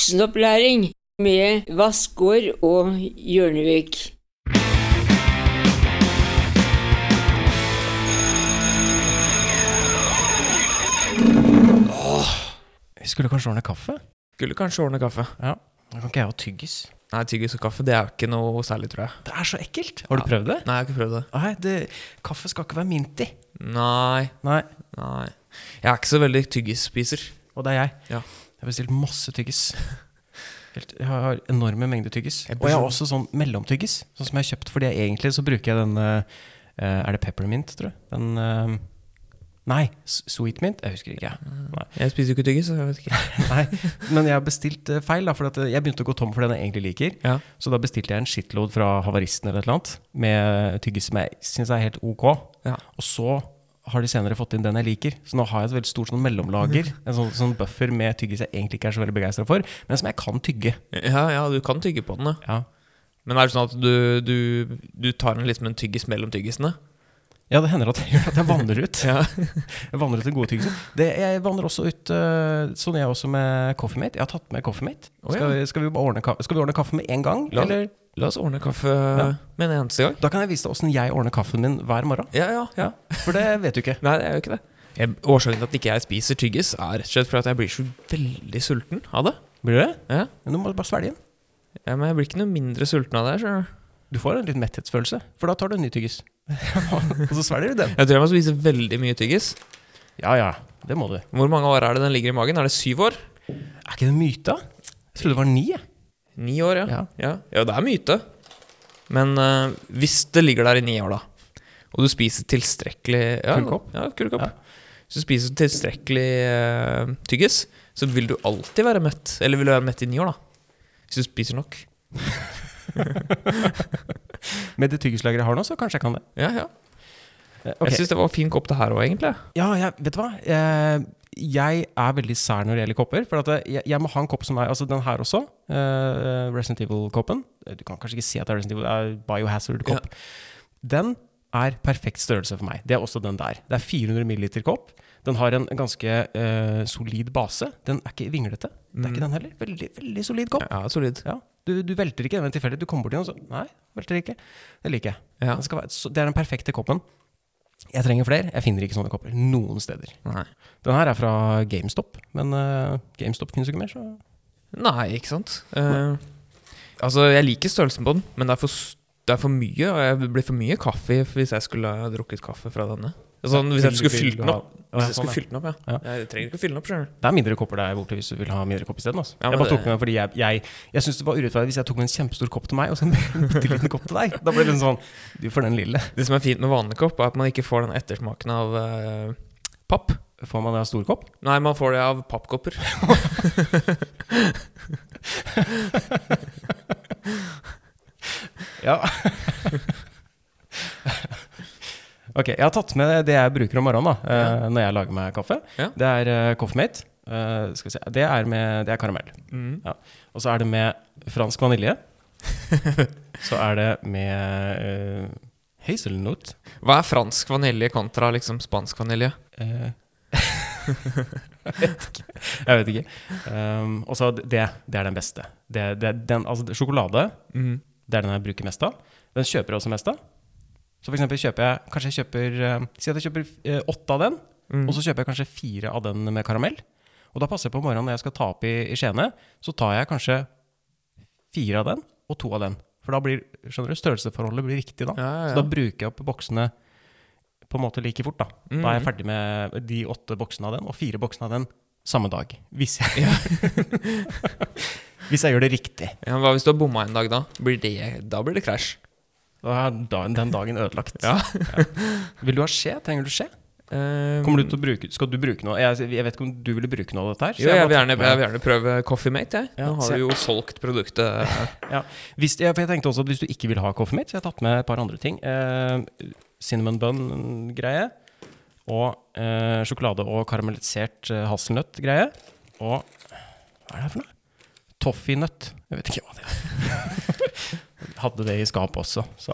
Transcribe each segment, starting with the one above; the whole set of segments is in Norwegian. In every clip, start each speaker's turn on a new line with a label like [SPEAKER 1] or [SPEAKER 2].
[SPEAKER 1] Voksenopplæring med Vassgård og Hjørnevik.
[SPEAKER 2] Vi skulle kanskje ordne kaffe?
[SPEAKER 3] Skulle kanskje ordne kaffe.
[SPEAKER 2] Da kan ikke jeg ha tyggis.
[SPEAKER 3] Nei, tyggis og kaffe det er jo ikke noe særlig, tror jeg.
[SPEAKER 2] Det er så ekkelt! Har du
[SPEAKER 3] Ja.
[SPEAKER 2] prøvd det?
[SPEAKER 3] Nei, jeg har ikke prøvd det.
[SPEAKER 2] Nei, det, kaffe skal ikke være mint i.
[SPEAKER 3] Nei,
[SPEAKER 2] Nei.
[SPEAKER 3] nei. Jeg er ikke så veldig tyggisspiser.
[SPEAKER 2] Og det er jeg.
[SPEAKER 3] Ja.
[SPEAKER 2] Jeg har bestilt masse tyggis. Helt, jeg har enorme mengder tyggis.
[SPEAKER 3] Jeg
[SPEAKER 2] Og jeg har
[SPEAKER 3] blir
[SPEAKER 2] også sånn mellomtyggis, sånn som jeg har kjøpt. Fordi jeg egentlig så bruker jeg den eh, Er det peppermint, tror jeg? Den eh, Nei, s- sweet mint? Jeg husker ikke. jeg.
[SPEAKER 3] Jeg spiser jo ikke tyggis, så jeg vet ikke.
[SPEAKER 2] Nei, Men jeg har bestilt eh, feil, da, for at eh, jeg begynte å gå tom for den jeg egentlig liker.
[SPEAKER 3] Ja.
[SPEAKER 2] Så da bestilte jeg en shitload fra Havaristen eller et eller annet, med tyggis som jeg syns er helt ok.
[SPEAKER 3] Ja.
[SPEAKER 2] Og så har de senere fått inn den jeg liker. Så nå har jeg et veldig stort sånn mellomlager, en sånn, sånn buffer med tyggis jeg egentlig ikke er så veldig begeistra for, men som jeg kan tygge.
[SPEAKER 3] Ja, ja, du kan tygge på den, ja.
[SPEAKER 2] Ja.
[SPEAKER 3] Men er det sånn at du, du, du tar en, liksom en tyggis mellom tyggisene?
[SPEAKER 2] ja, det hender at jeg, at jeg vanner ut.
[SPEAKER 3] Ja.
[SPEAKER 2] Jeg vanner ut den gode tyggisen. Det, jeg vanner også ut øh, sånn jeg også med Coffee Mate. Jeg har tatt med Coffee Mate.
[SPEAKER 3] Å, ja.
[SPEAKER 2] Skal, vi- skal, vi bare ordne, ka- skal vi ordne kaffe med en gang?
[SPEAKER 3] La-
[SPEAKER 2] Eller?
[SPEAKER 3] La oss ordne kaffe
[SPEAKER 2] Ja.
[SPEAKER 3] med en eneste gang.
[SPEAKER 2] Da kan jeg vise deg åssen jeg ordner kaffen min hver morgen.
[SPEAKER 3] Ja, ja, ja.
[SPEAKER 2] For det vet du ikke.
[SPEAKER 3] Nei, det er jo ikke det. Jeg, årsaken til at ikke jeg spiser tyggis, er rett og slett fordi at jeg blir så veldig sulten av det.
[SPEAKER 2] Blir det?
[SPEAKER 3] Ja.
[SPEAKER 2] Men du må bare svelge den.
[SPEAKER 3] Ja, men jeg blir ikke noe mindre sulten av det. skjønner du.
[SPEAKER 2] Du får en litt metthetsfølelse, for da tar du en ny tyggis. og så svelger du den.
[SPEAKER 3] Jeg tror jeg må spise veldig mye tyggis.
[SPEAKER 2] Ja ja, det må du.
[SPEAKER 3] Hvor mange år er det den ligger i magen? Er det syv år?
[SPEAKER 2] Er ikke det en myte? da? Jeg trodde det var ni. jeg.
[SPEAKER 3] Ni år, ja.
[SPEAKER 2] Ja.
[SPEAKER 3] Ja, ja det er myte. Men eh, hvis det ligger der i ni år, da, og du spiser tilstrekkelig ja,
[SPEAKER 2] Full kopp?
[SPEAKER 3] Ja, full kopp.
[SPEAKER 2] Ja.
[SPEAKER 3] Hvis du spiser tilstrekkelig eh, tyggis, så vil du alltid være mett. Eller vil du være mett i ni år, da. Hvis du spiser nok.
[SPEAKER 2] Med det tyggislageret jeg har nå, så kanskje jeg kan det.
[SPEAKER 3] Ja, ja.
[SPEAKER 2] Eh, ok.
[SPEAKER 3] Jeg syns det var fin kopp, det her òg, egentlig.
[SPEAKER 2] Ja, jeg, vet du hva? Eh, Jeg er veldig sær når det gjelder kopper. For at jeg, jeg må ha en kopp som er Altså den her også. eh, Resident Evil-koppen. Eh, Du kan kanskje ikke si at det er Resident Evil, det er Biohazard-kopp. Den er perfekt størrelse for meg. Det er også den der. Det er 400 milliliter kopp. Den har en ganske eh, solid base. Den er ikke vinglete. Det er ikke den heller. Veldig, veldig solid kopp.
[SPEAKER 3] Mm. Ja, solid.
[SPEAKER 2] Ja. Du, du velter ikke den ved en tilfeldighet. Du kommer bort til den, og så Nei, velter ikke. Det liker jeg.
[SPEAKER 3] Ja.
[SPEAKER 2] Den skal være, så, det er den perfekte koppen. Jeg trenger flere. Jeg finner ikke sånne kopper noen steder.
[SPEAKER 3] Nei.
[SPEAKER 2] Den her er fra GameStop, men eh, GameStop finnes jo ikke mer, så
[SPEAKER 3] Nei, ikke sant. Eh, altså, jeg liker størrelsen på den, men det er for, s- det er for mye. Og jeg blir for mye kaffe hvis jeg skulle ha drukket kaffe fra denne. Sånn, hvis jeg skulle fylt den opp. Hvis jeg skulle fylt den opp, ja.
[SPEAKER 2] sånn, Ja.
[SPEAKER 3] Jeg trenger ikke å fylle den opp sjøl.
[SPEAKER 2] Det er mindre kopper der borte hvis du vil ha mindre kopp isteden. Altså.
[SPEAKER 3] Ja, men
[SPEAKER 2] jeg bare
[SPEAKER 3] det-
[SPEAKER 2] tok med den fordi jeg, jeg, jeg syntes det var urettferdig hvis jeg tok med en kjempestor kopp til meg og så en bitte liten kopp til deg. Da ble det litt sånn Du får den lille.
[SPEAKER 3] Det som er fint med vanlig kopp, er at man ikke får den ettersmaken av eh, papp.
[SPEAKER 2] Får man en stor kopp?
[SPEAKER 3] Nei, man får det av pappkopper.
[SPEAKER 2] Ja. ok, jeg har tatt med det jeg bruker om morgenen da, eh, når jeg lager meg kaffe.
[SPEAKER 3] Ja.
[SPEAKER 2] Det er eh, Coffeemate. Eh, skal vi se. Det er, med, det er karamell.
[SPEAKER 3] Mm.
[SPEAKER 2] Og så er det med fransk vanilje. så er det med uh, hazelnut.
[SPEAKER 3] Hva er fransk vanilje kontra liksom spansk vanilje?
[SPEAKER 2] Eh, jeg vet ikke. Um, og så det, det er den beste. Det, det, den, altså, det- sjokolade
[SPEAKER 3] Mm.
[SPEAKER 2] det er den jeg bruker mest av. Den kjøper jeg også mest av. Så for eksempel kjøper jeg kanskje jeg kjøper, eh, Si at jeg kjøper eh, åtte av den,
[SPEAKER 3] Mm.
[SPEAKER 2] og så kjøper jeg kanskje fire av den med karamell. Og da passer jeg på morgenen når jeg skal ta opp i, i Skjene, så tar jeg kanskje fire av den og to av den. For da blir skjønner du, størrelsesforholdet blir riktig da.
[SPEAKER 3] Ja, ja,
[SPEAKER 2] Så da
[SPEAKER 3] ja.
[SPEAKER 2] bruker jeg opp boksene på en måte like fort. Da Da er jeg ferdig med de åtte boksene av den, og fire boksene av den samme dag. Hvis jeg, hvis jeg gjør det riktig.
[SPEAKER 3] ja, men Hva hvis du har bomma en dag, da? Blir det, da blir det krasj.
[SPEAKER 2] Da er da- den dagen ødelagt.
[SPEAKER 3] Ja.
[SPEAKER 2] Vil du ha skje? Trenger du skje?
[SPEAKER 3] Eh,
[SPEAKER 2] Kommer du til å bruke, skal du bruke noe? Jeg, jeg vet ikke om du ville bruke noe av dette her. så
[SPEAKER 3] Jo, jeg vil
[SPEAKER 2] bare
[SPEAKER 3] gjerne,
[SPEAKER 2] tar
[SPEAKER 3] jeg
[SPEAKER 2] med-
[SPEAKER 3] vil gjerne prøve Coffeemate, jeg.
[SPEAKER 2] Ja,
[SPEAKER 3] Nå
[SPEAKER 2] så
[SPEAKER 3] har du jo solgt produktet.
[SPEAKER 2] Ja. Hvis, ja, for jeg tenkte også at hvis du ikke vil ha coffee mate, så jeg har tatt med et par andre ting. Eh, cinnamon bun-greie. Og eh, sjokolade og karamellisert eh, hasselnøtt-greie. Og hva er det her for noe? Toffeenøtt. Jeg vet ikke hva det er. hadde det i skapet også. Så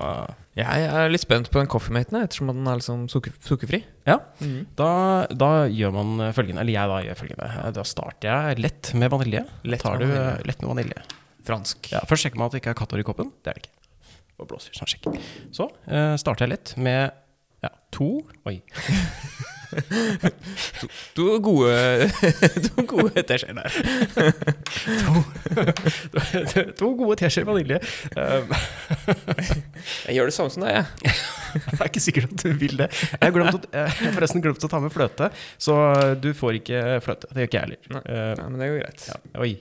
[SPEAKER 3] Jeg er litt spent på den coffeematen, ettersom at den er liksom sukker, sukkerfri.
[SPEAKER 2] ja.
[SPEAKER 3] Mm.
[SPEAKER 2] Da, da gjør man eh, følgende, eller jeg da gjør følgende. Eh, Da starter jeg lett med vanilje.
[SPEAKER 3] Lett
[SPEAKER 2] Tar
[SPEAKER 3] med
[SPEAKER 2] du, eh,
[SPEAKER 3] vanilje.
[SPEAKER 2] Lett med vanilje.
[SPEAKER 3] Fransk.
[SPEAKER 2] Ja, først sjekker man at det ikke er katthår i koppen. Det er det ikke. Og blåser, sånn sjekk. Så eh, starter jeg lett med ja, to Oi.
[SPEAKER 3] Du er gode, du er gode teskjeer der.
[SPEAKER 2] to gode teskjeer vanilje. Um,
[SPEAKER 3] Jeg gjør det samme som deg, jeg.
[SPEAKER 2] det er ikke sikkert at du vil det. Jeg har glemt at- jeg har forresten glemt å ta med fløte, så du får ikke fløte. Det gjør ikke jeg heller. Eh,
[SPEAKER 3] Ja, men det går greit.
[SPEAKER 2] ja. Oi.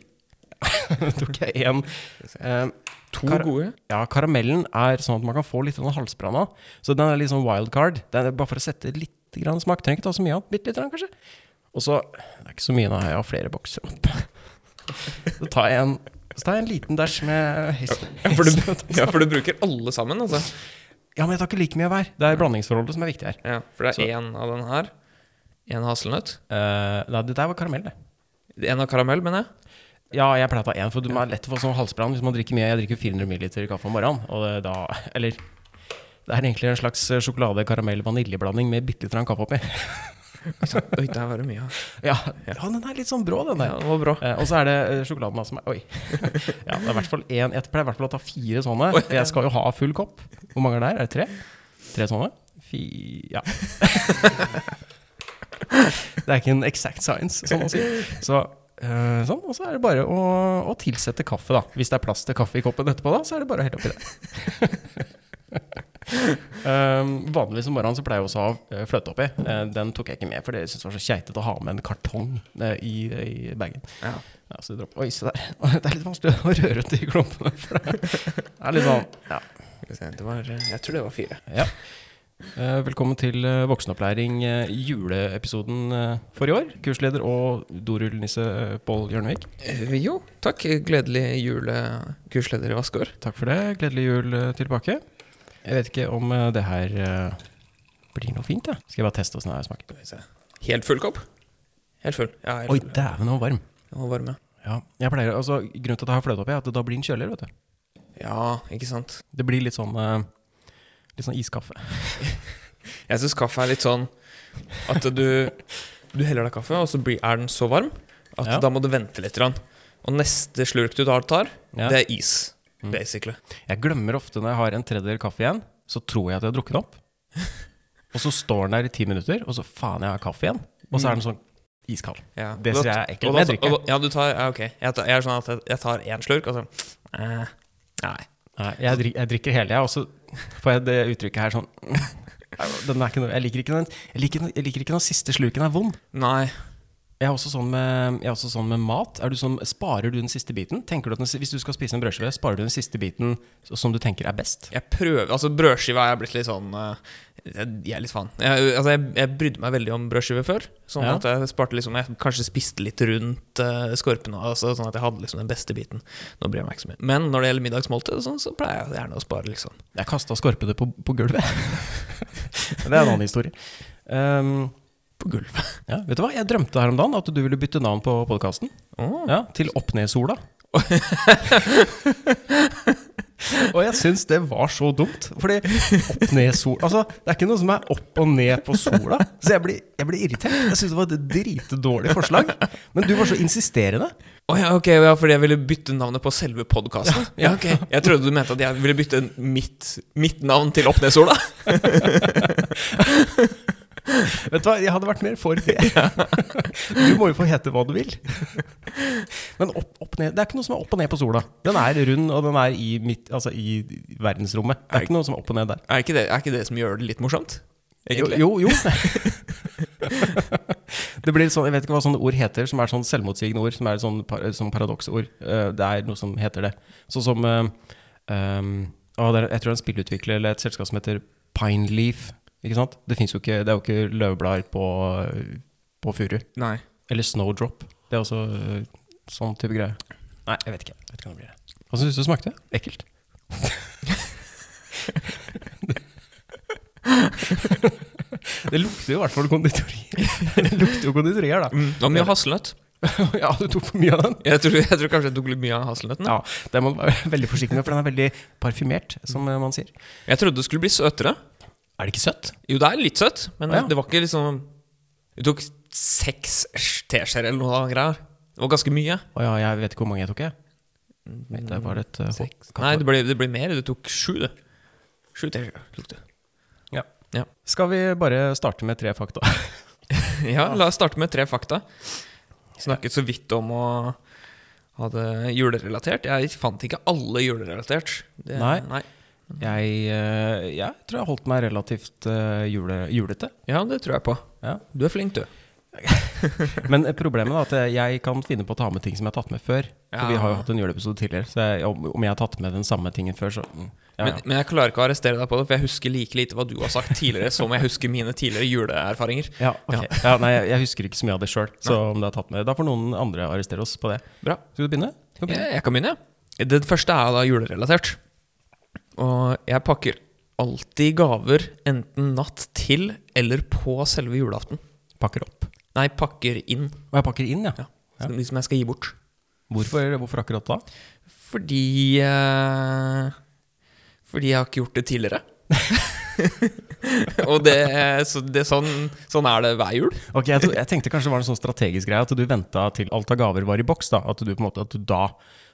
[SPEAKER 2] tok jeg én. Eh,
[SPEAKER 3] To
[SPEAKER 2] Kar-
[SPEAKER 3] gode.
[SPEAKER 2] Ja, karamellen er sånn at man kan få litt sånn halsbranna. Så den er litt sånn wildcard. Den er bare for å sette litt grann smak. Trenger ikke ta så mye av den. Bitte litt, grann, kanskje. Og så Det er ikke så mye, da. Jeg har flere bokser oppe. Så tar jeg en, så tar jeg en liten dæsj med hesel.
[SPEAKER 3] Ja for, du, ja, for du bruker alle sammen, altså.
[SPEAKER 2] Ja, men jeg tar ikke like mye av hver. Det er blandingsforholdet som er viktig her.
[SPEAKER 3] Ja, for det
[SPEAKER 2] Så-
[SPEAKER 3] er én av den her. Én hasselnøtt.
[SPEAKER 2] Eh, nei, det der var karamell, det.
[SPEAKER 3] Én av karamell, mener jeg.
[SPEAKER 2] Ja, jeg pleier å ta én, for det er lett å få sånn halsbrann hvis man drikker mye. Jeg drikker 400 ml kaffe om morgenen, og det, da Eller det er egentlig en slags sjokolade-karamell-vaniljeblanding med bitte litt grann kaffe oppi.
[SPEAKER 3] Oi, der var det mye. av.
[SPEAKER 2] Ja, ja. den er litt sånn brå, den
[SPEAKER 3] Ja,
[SPEAKER 2] der.
[SPEAKER 3] det var bra.
[SPEAKER 2] Eh, og så er det eh, sjokoladen da som er Oi. ja, det er i hvert fall én. Jeg pleier i hvert fall å ta fire sånne.
[SPEAKER 3] Oi.
[SPEAKER 2] for Jeg skal jo ha full kopp. Hvor mange er det her? Er det tre? Tre sånne? Fi... Ja. det er ikke en exact science, sånn å si. Så, eh, sånn. Og så er det bare å, å tilsette kaffe, da. Hvis det er plass til kaffe i koppen etterpå, da, så er det bare å helle oppi det. um, vanligvis om morgenen så pleier jeg også å ha eh, fløte oppi. Eh, den tok jeg ikke med, for det syntes jeg var så keitete å ha med en kartong eh, i, i bagen.
[SPEAKER 3] Ja.
[SPEAKER 2] Ja, så du dropper- Oi, se der. Det er litt vanskelig å røre ut de klumpene. For det er litt sånn ja.
[SPEAKER 3] Skal vi se, Det var, jeg tror det var fire.
[SPEAKER 2] ja. Eh, Velkommen til eh, voksenopplæring eh, juleepisoden eh, for i år. Kursleder og dorullnisse eh, Pål Hjørnevik.
[SPEAKER 3] Eh, Jo, takk. Gledelig jul, eh, kursleder i Vassgård.
[SPEAKER 2] Takk for det. Gledelig jul eh, tilbake. Jeg vet ikke om eh, det her eh, blir noe fint, jeg. Skal jeg bare teste åssen det her smaker.
[SPEAKER 3] Helt full kopp? Helt full. Ja, helt
[SPEAKER 2] Oi,
[SPEAKER 3] full.
[SPEAKER 2] dæven, den var varm.
[SPEAKER 3] Den var varm, ja.
[SPEAKER 2] Ja. Jeg pleier, altså, grunnen til at jeg har fløte oppi, er at da blir den kjøligere, vet du.
[SPEAKER 3] Ja, ikke sant.
[SPEAKER 2] Det blir litt sånn, eh, litt sånn iskaffe.
[SPEAKER 3] Jeg syns kaffe er litt sånn at du, du heller deg kaffe, og så blir, er den så varm at
[SPEAKER 2] Ja.
[SPEAKER 3] da må du vente litt. grann. Og neste slurk du tar, tar
[SPEAKER 2] Ja. Mm.
[SPEAKER 3] det er is. Basically.
[SPEAKER 2] Jeg glemmer ofte når jeg har en tredjedel kaffe igjen, så tror jeg at jeg har drukket den opp. Og så står den der i ti minutter, og så faen, jeg har kaffe igjen. Og så er den sånn iskald.
[SPEAKER 3] Ja.
[SPEAKER 2] Det
[SPEAKER 3] Og da-
[SPEAKER 2] synes jeg er ekkelt,
[SPEAKER 3] og
[SPEAKER 2] men
[SPEAKER 3] da-
[SPEAKER 2] jeg drikker.
[SPEAKER 3] og da- Ja, du tar, ja, ok. Jeg, tar, jeg er sånn at jeg, jeg tar én slurk, og så eh, Nei.
[SPEAKER 2] Nei, jeg, drik, jeg drikker hele, jeg, og så får jeg det uttrykket her sånn den er ikke noe, jeg, liker ikke den, jeg, liker, den- jeg liker ikke når siste sluken er vond.
[SPEAKER 3] Nei.
[SPEAKER 2] Jeg er, også sånn med, jeg er også sånn med mat. Er du sånn, sparer du den siste biten? Tenker du at den, si- Hvis du skal spise en brødskive, sparer du den siste biten s- som du tenker er best?
[SPEAKER 3] Jeg prøver Altså, brødskive er jeg blitt litt sånn eh, Jeg jeg er litt faen. Jeg, altså, jeg, jeg brydde meg veldig om brødskive før. Sånn
[SPEAKER 2] Ja.
[SPEAKER 3] at jeg sparte liksom Jeg kanskje spiste litt rundt eh, skorpene, altså, sånn at jeg hadde liksom den beste biten. Nå bryr jeg meg ikke så mye. Men når det gjelder middagsmåltid, og sånn, så pleier jeg gjerne å spare, liksom.
[SPEAKER 2] Jeg kasta skorpene på, på gulvet. Men det er en annen historie. Um,
[SPEAKER 3] På gulvet.
[SPEAKER 2] Ja, vet du hva? Jeg drømte her om dagen at du ville bytte navn på podkasten.
[SPEAKER 3] Åh.
[SPEAKER 2] Ja, til Oppned-sola. og jeg syns det var så dumt. Fordi Oppned-sola Altså, det er ikke noe som er opp og ned på sola. Så jeg blir, jeg blir irritert. Jeg syns det var et dritdårlig forslag. Men du var så insisterende.
[SPEAKER 3] Å ja, ok, ja, fordi jeg ville bytte navnet på selve podkasten?
[SPEAKER 2] Ja,
[SPEAKER 3] Ja, ok. Jeg trodde du mente at jeg ville bytte mitt, mitt navn til Oppnesola.
[SPEAKER 2] Vet du hva, jeg hadde vært mer for det. Du må jo få hete hva du vil. Men opp, opp ned, det er ikke noe som er opp og ned på sola. Den er rund, og den er i, midt, altså i verdensrommet. Det er ikke noe som er opp og ned der.
[SPEAKER 3] Er ikke, det, er ikke det som gjør det litt morsomt?
[SPEAKER 2] Jo,
[SPEAKER 3] Egentlig.
[SPEAKER 2] jo. jo. det blir sånn, Jeg vet ikke hva sånne ord heter, som er sånn selvmotsigende ord, som er sånn par, sånn paradoksord. Eh, det er noe som heter det. Sånn som eh, ehm, å, det er, Jeg tror det er en spillutvikler eller et selskap som heter Pineleaf. Ikke sant? Det, finnes jo ikke, det er jo ikke løvblader på, på furu.
[SPEAKER 3] Nei.
[SPEAKER 2] Eller Snowdrop. Det er også eh, sånn type greie. Nei, jeg vet ikke. Jeg vet ikke hva det blir. Hva syns du det smakte? Ekkelt? det lukter jo i hvert fall konditori. det lukter jo konditorier, da.
[SPEAKER 3] Mm, det var mye hasselnøtt.
[SPEAKER 2] ja, du tok for mye av den?
[SPEAKER 3] Jeg tror, jeg tror kanskje jeg tok litt mye av hasselnøtten.
[SPEAKER 2] Ja, den må du være veldig forsiktig med, for den er veldig parfymert, som eh, man sier.
[SPEAKER 3] Jeg trodde det skulle bli søtere.
[SPEAKER 2] Er det ikke søtt?
[SPEAKER 3] Jo, det er litt søtt, men
[SPEAKER 2] Å, ja.
[SPEAKER 3] det var ikke liksom Du tok seks teskjeer eller noe av greier. Det var ganske mye.
[SPEAKER 2] Å ja, jeg vet ikke hvor mange jeg tok, jeg. Nei, Det var et eh, håp.
[SPEAKER 3] Nei, det ble, det ble mer. Du tok sju, du. Sju teskjeer tok du.
[SPEAKER 2] Ja.
[SPEAKER 3] Ja.
[SPEAKER 2] Skal vi bare starte med tre fakta?
[SPEAKER 3] Ja, la oss starte med tre fakta. Snakket så vidt om å ha det julerelatert. Jeg fant ikke alle julerelatert. Det,
[SPEAKER 2] Nei. Jeg, eh, jeg tror jeg holdt meg relativt eh, jule, julete.
[SPEAKER 3] Ja, det tror jeg på.
[SPEAKER 2] Ja.
[SPEAKER 3] Du er flink, du.
[SPEAKER 2] Men eh, problemet er at eh, jeg kan finne på å ta med ting som jeg har tatt med før. For
[SPEAKER 3] Ja.
[SPEAKER 2] vi har jo hatt en juleepisode tidligere, så jeg, om, om jeg har tatt med den samme tingen før, så mm, ja,
[SPEAKER 3] Men,
[SPEAKER 2] ja.
[SPEAKER 3] men jeg klarer ikke å arrestere deg på det, for jeg husker like lite hva du har sagt tidligere, som jeg husker mine tidligere juleerfaringer.
[SPEAKER 2] Ja, ok. ja. nei, jeg, jeg husker ikke så mye av det sjøl, så om det er tatt med Da får noen andre arrestere oss på det.
[SPEAKER 3] Bra.
[SPEAKER 2] Skal du begynne? Skal du
[SPEAKER 3] Jeg,
[SPEAKER 2] begynne?
[SPEAKER 3] jeg kan begynne, jeg. Den første er da julerelatert. Og jeg pakker alltid gaver enten natt til eller på selve julaften.
[SPEAKER 2] Pakker opp.
[SPEAKER 3] Nei, pakker inn.
[SPEAKER 2] Og jeg pakker inn, ja.
[SPEAKER 3] Ja. som- De som jeg skal gi bort.
[SPEAKER 2] Hvorfor, hvorfor akkurat da?
[SPEAKER 3] Fordi eh, Fordi jeg har ikke gjort det tidligere. og det, så det sånn, sånn er det hver jul.
[SPEAKER 2] Ok, jeg, tro- jeg tenkte kanskje det var en sånn strategisk greie at du venta til alt av gaver var i boks. da, At du på en måte, at du da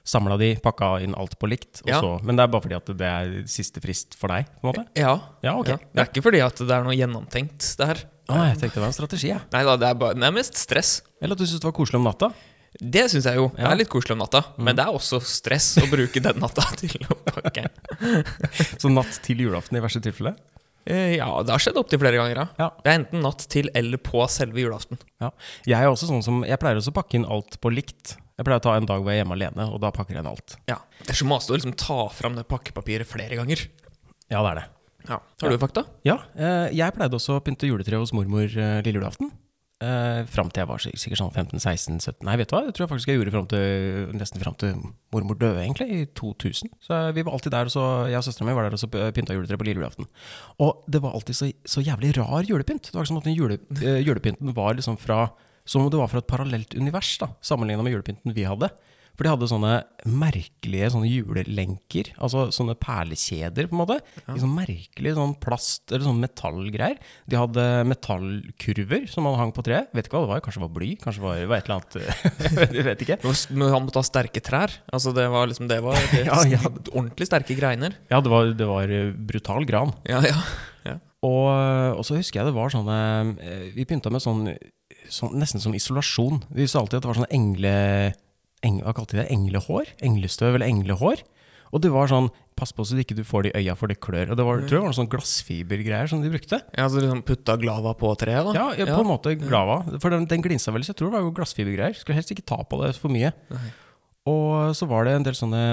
[SPEAKER 2] samla de, pakka inn alt på likt. Og
[SPEAKER 3] Ja.
[SPEAKER 2] så, men det er bare fordi at det er siste frist for deg? på en måte?
[SPEAKER 3] Ja.
[SPEAKER 2] Ja, ok.
[SPEAKER 3] ja. Det er ikke fordi at det er noe gjennomtenkt, det her.
[SPEAKER 2] Å, nei, jeg tenkte det var en strategi. Ja.
[SPEAKER 3] Nei da, det er, bare, det er mest stress.
[SPEAKER 2] Eller at du syntes det var koselig om natta.
[SPEAKER 3] Det syns jeg jo. Det
[SPEAKER 2] Ja.
[SPEAKER 3] er litt koselig om natta, men det er også stress å bruke den natta til å pakke.
[SPEAKER 2] Så natt til julaften i verste tilfelle.
[SPEAKER 3] Eh, ja, det har skjedd opptil flere ganger, da.
[SPEAKER 2] Ja.
[SPEAKER 3] Det er enten natt til eller på selve julaften.
[SPEAKER 2] Ja. Jeg er også sånn som, jeg pleier også å pakke inn alt på likt. Jeg pleier å ta en dag hvor jeg er hjemme alene, og da pakker jeg inn alt.
[SPEAKER 3] Ja. Det er så masete å liksom ta fram det pakkepapiret flere ganger.
[SPEAKER 2] Ja, det er det.
[SPEAKER 3] Ja. Har du fakta?
[SPEAKER 2] Ja, eh, jeg pleide også å pynte juletreet hos mormor eh, lille julaften. Eh, fram til jeg var sik- sikkert sånn 15-16-17 Nei, vet du hva? Det tror jeg faktisk jeg gjorde fram til, nesten fram til mormor døde, egentlig, i 2000. Så eh, vi var alltid der, og så jeg og søstera mi var der og så p- pynta juletreet på lille julaften. Og det var alltid så, så jævlig rar julepynt. Det var som at den jule, eh, julepynten var liksom fra Som om det var fra et parallelt univers, da, sammenligna med julepynten vi hadde. For de hadde sånne merkelige sånne julelenker, altså sånne perlekjeder, på en måte. I sånn merkelig sånn plast- eller sånn metallgreier. De hadde metallkurver som man hang på treet. Vet ikke hva det var, kanskje det var bly? Kanskje det var, det var et eller annet Jeg vet- Jeg vet ikke.
[SPEAKER 3] Det var- Men han måtte ha sterke trær. Altså, det var liksom Det var det,
[SPEAKER 2] Ja, ja.
[SPEAKER 3] ordentlig sterke greiner.
[SPEAKER 2] Ja, det var, det var eh, brutal gran.
[SPEAKER 3] Ja, ja. ja.
[SPEAKER 2] Og, eh, og så husker jeg det var sånne eh, Vi begynte med sånn, sånn Nesten som isolasjon. Vi sa alltid at det var sånn engle... Eng, hva kalte de det? Englehår? Englestøv eller englehår? Og det var sånn Pass på så du ikke du får det i øya, for det klør. Og det var, tror jeg var noen sånn glassfibergreier som de brukte.
[SPEAKER 3] ja så liksom putta glava på treet, da?
[SPEAKER 2] Ja, ja, på en måte glava. For den, den glinsa veldig, så jeg tror det var jo glassfibergreier. Skulle helst ikke ta på det for mye. Og så var det en del sånne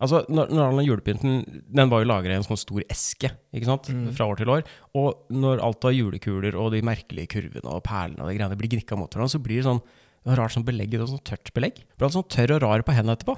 [SPEAKER 2] Altså, når, når all den julepynten Den var jo lagra i en sånn stor eske, ikke sant? Fra år til år. Og når alt av julekuler og de merkelige kurvene og perlene og de greiene blir gnikka mot hverandre, så blir det sånn det var rart sånn belegg, det var sånn tørt belegg. Det ble alt sånn tørr og rar på hendene etterpå.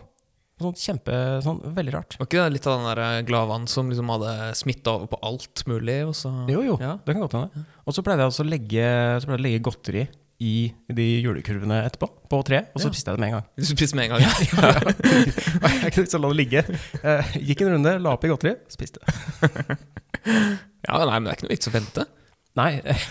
[SPEAKER 2] Sånn kjempe, sånn veldig rart.
[SPEAKER 3] Var ikke det litt av den der glavaen som liksom hadde smitta over på alt mulig? Og så
[SPEAKER 2] Jo, jo,
[SPEAKER 3] Ja.
[SPEAKER 2] det kan godt hende. Og så pleide jeg altså å legge, så pleide jeg å legge godteri i de julekurvene etterpå, på treet, og så
[SPEAKER 3] Ja.
[SPEAKER 2] spiste jeg det med en gang.
[SPEAKER 3] Du spiste med en gang? Ja.
[SPEAKER 2] Jeg kunne ikke la det ligge. Eh, Gikk en runde, la opp i godteri, spiste det.
[SPEAKER 3] Ja, nei, men det er ikke noe vits å vente.
[SPEAKER 2] Nei, eh,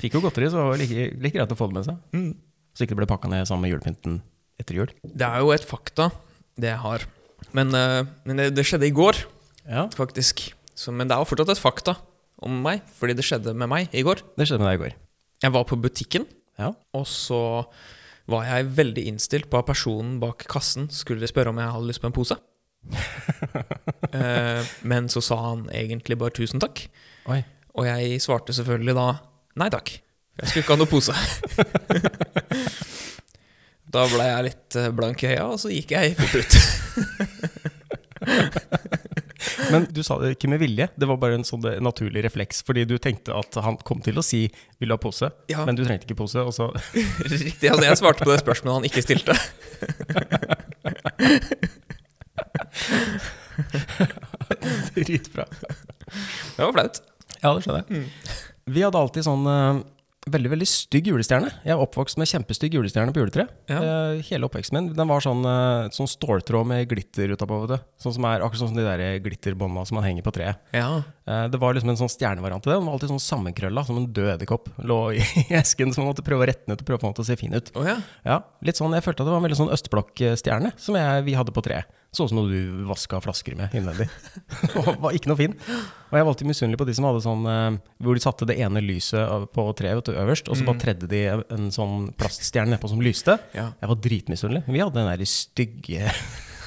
[SPEAKER 2] fikk jo godteri, så var det like, like greit å få det med seg.
[SPEAKER 3] Mm.
[SPEAKER 2] Så ikke det ble pakka ned sammen med julepynten etter jul.
[SPEAKER 3] Det er jo et fakta, det jeg har. Men, eh, men det, det skjedde i går,
[SPEAKER 2] Ja,
[SPEAKER 3] faktisk. Så, men det er jo fortsatt et fakta om meg, fordi det skjedde med meg i går.
[SPEAKER 2] Det skjedde med deg i går.
[SPEAKER 3] Jeg var på butikken,
[SPEAKER 2] Ja.
[SPEAKER 3] og så var jeg veldig innstilt på at personen bak kassen skulle spørre om jeg hadde lyst på en pose. Eh, men så sa han egentlig bare 'tusen takk',
[SPEAKER 2] Oi.
[SPEAKER 3] og jeg svarte selvfølgelig da 'nei takk'. Jeg skulle ikke ha noe pose. da ble jeg litt eh, blank i øya, og så gikk jeg fort ut.
[SPEAKER 2] Men du sa det ikke med vilje, det var bare en sånn eh, naturlig refleks. Fordi du tenkte at han kom til å si 'vil du ha pose',
[SPEAKER 3] Ja.
[SPEAKER 2] men du trengte ikke pose. Og så
[SPEAKER 3] Riktig. Altså, jeg svarte på det spørsmålet han ikke stilte.
[SPEAKER 2] Dritbra.
[SPEAKER 3] Det var flaut. Mm.
[SPEAKER 2] Ja, det skjønner jeg. Vi hadde alltid sånn eh, veldig veldig stygg julestjerne. Jeg er oppvokst med kjempestygg julestjerne på juletre.
[SPEAKER 3] Ja.
[SPEAKER 2] Eh, hele oppveksten min. Den var sånn, eh, sånn ståltråd med glitter utapå. vet du. Sånn som er akkurat sånn som de der glitterbånda som man henger på treet.
[SPEAKER 3] Ja.
[SPEAKER 2] Eh, Det var liksom en sånn stjernevariant til det. Den var alltid sånn sammenkrølla, som en død edderkopp. Lå i esken, så man måtte prøve å rette den ut og prøve å få den til å se fin ut.
[SPEAKER 3] Å ja.
[SPEAKER 2] Ja, litt sånn, Jeg følte at det var en veldig sånn østblokkstjerne som jeg, vi hadde på treet. Så ut som noe du vaska flasker med innvendig. Og var ikke noe fin. Og jeg var alltid misunnelig på de som hadde sånn eh, hvor de satte det ene lyset av- på treet vet du, øverst, og så bare tredde de en sånn plaststjerne nedpå som lyste.
[SPEAKER 3] Ja.
[SPEAKER 2] Jeg var dritmisunnelig. Vi hadde den der stygge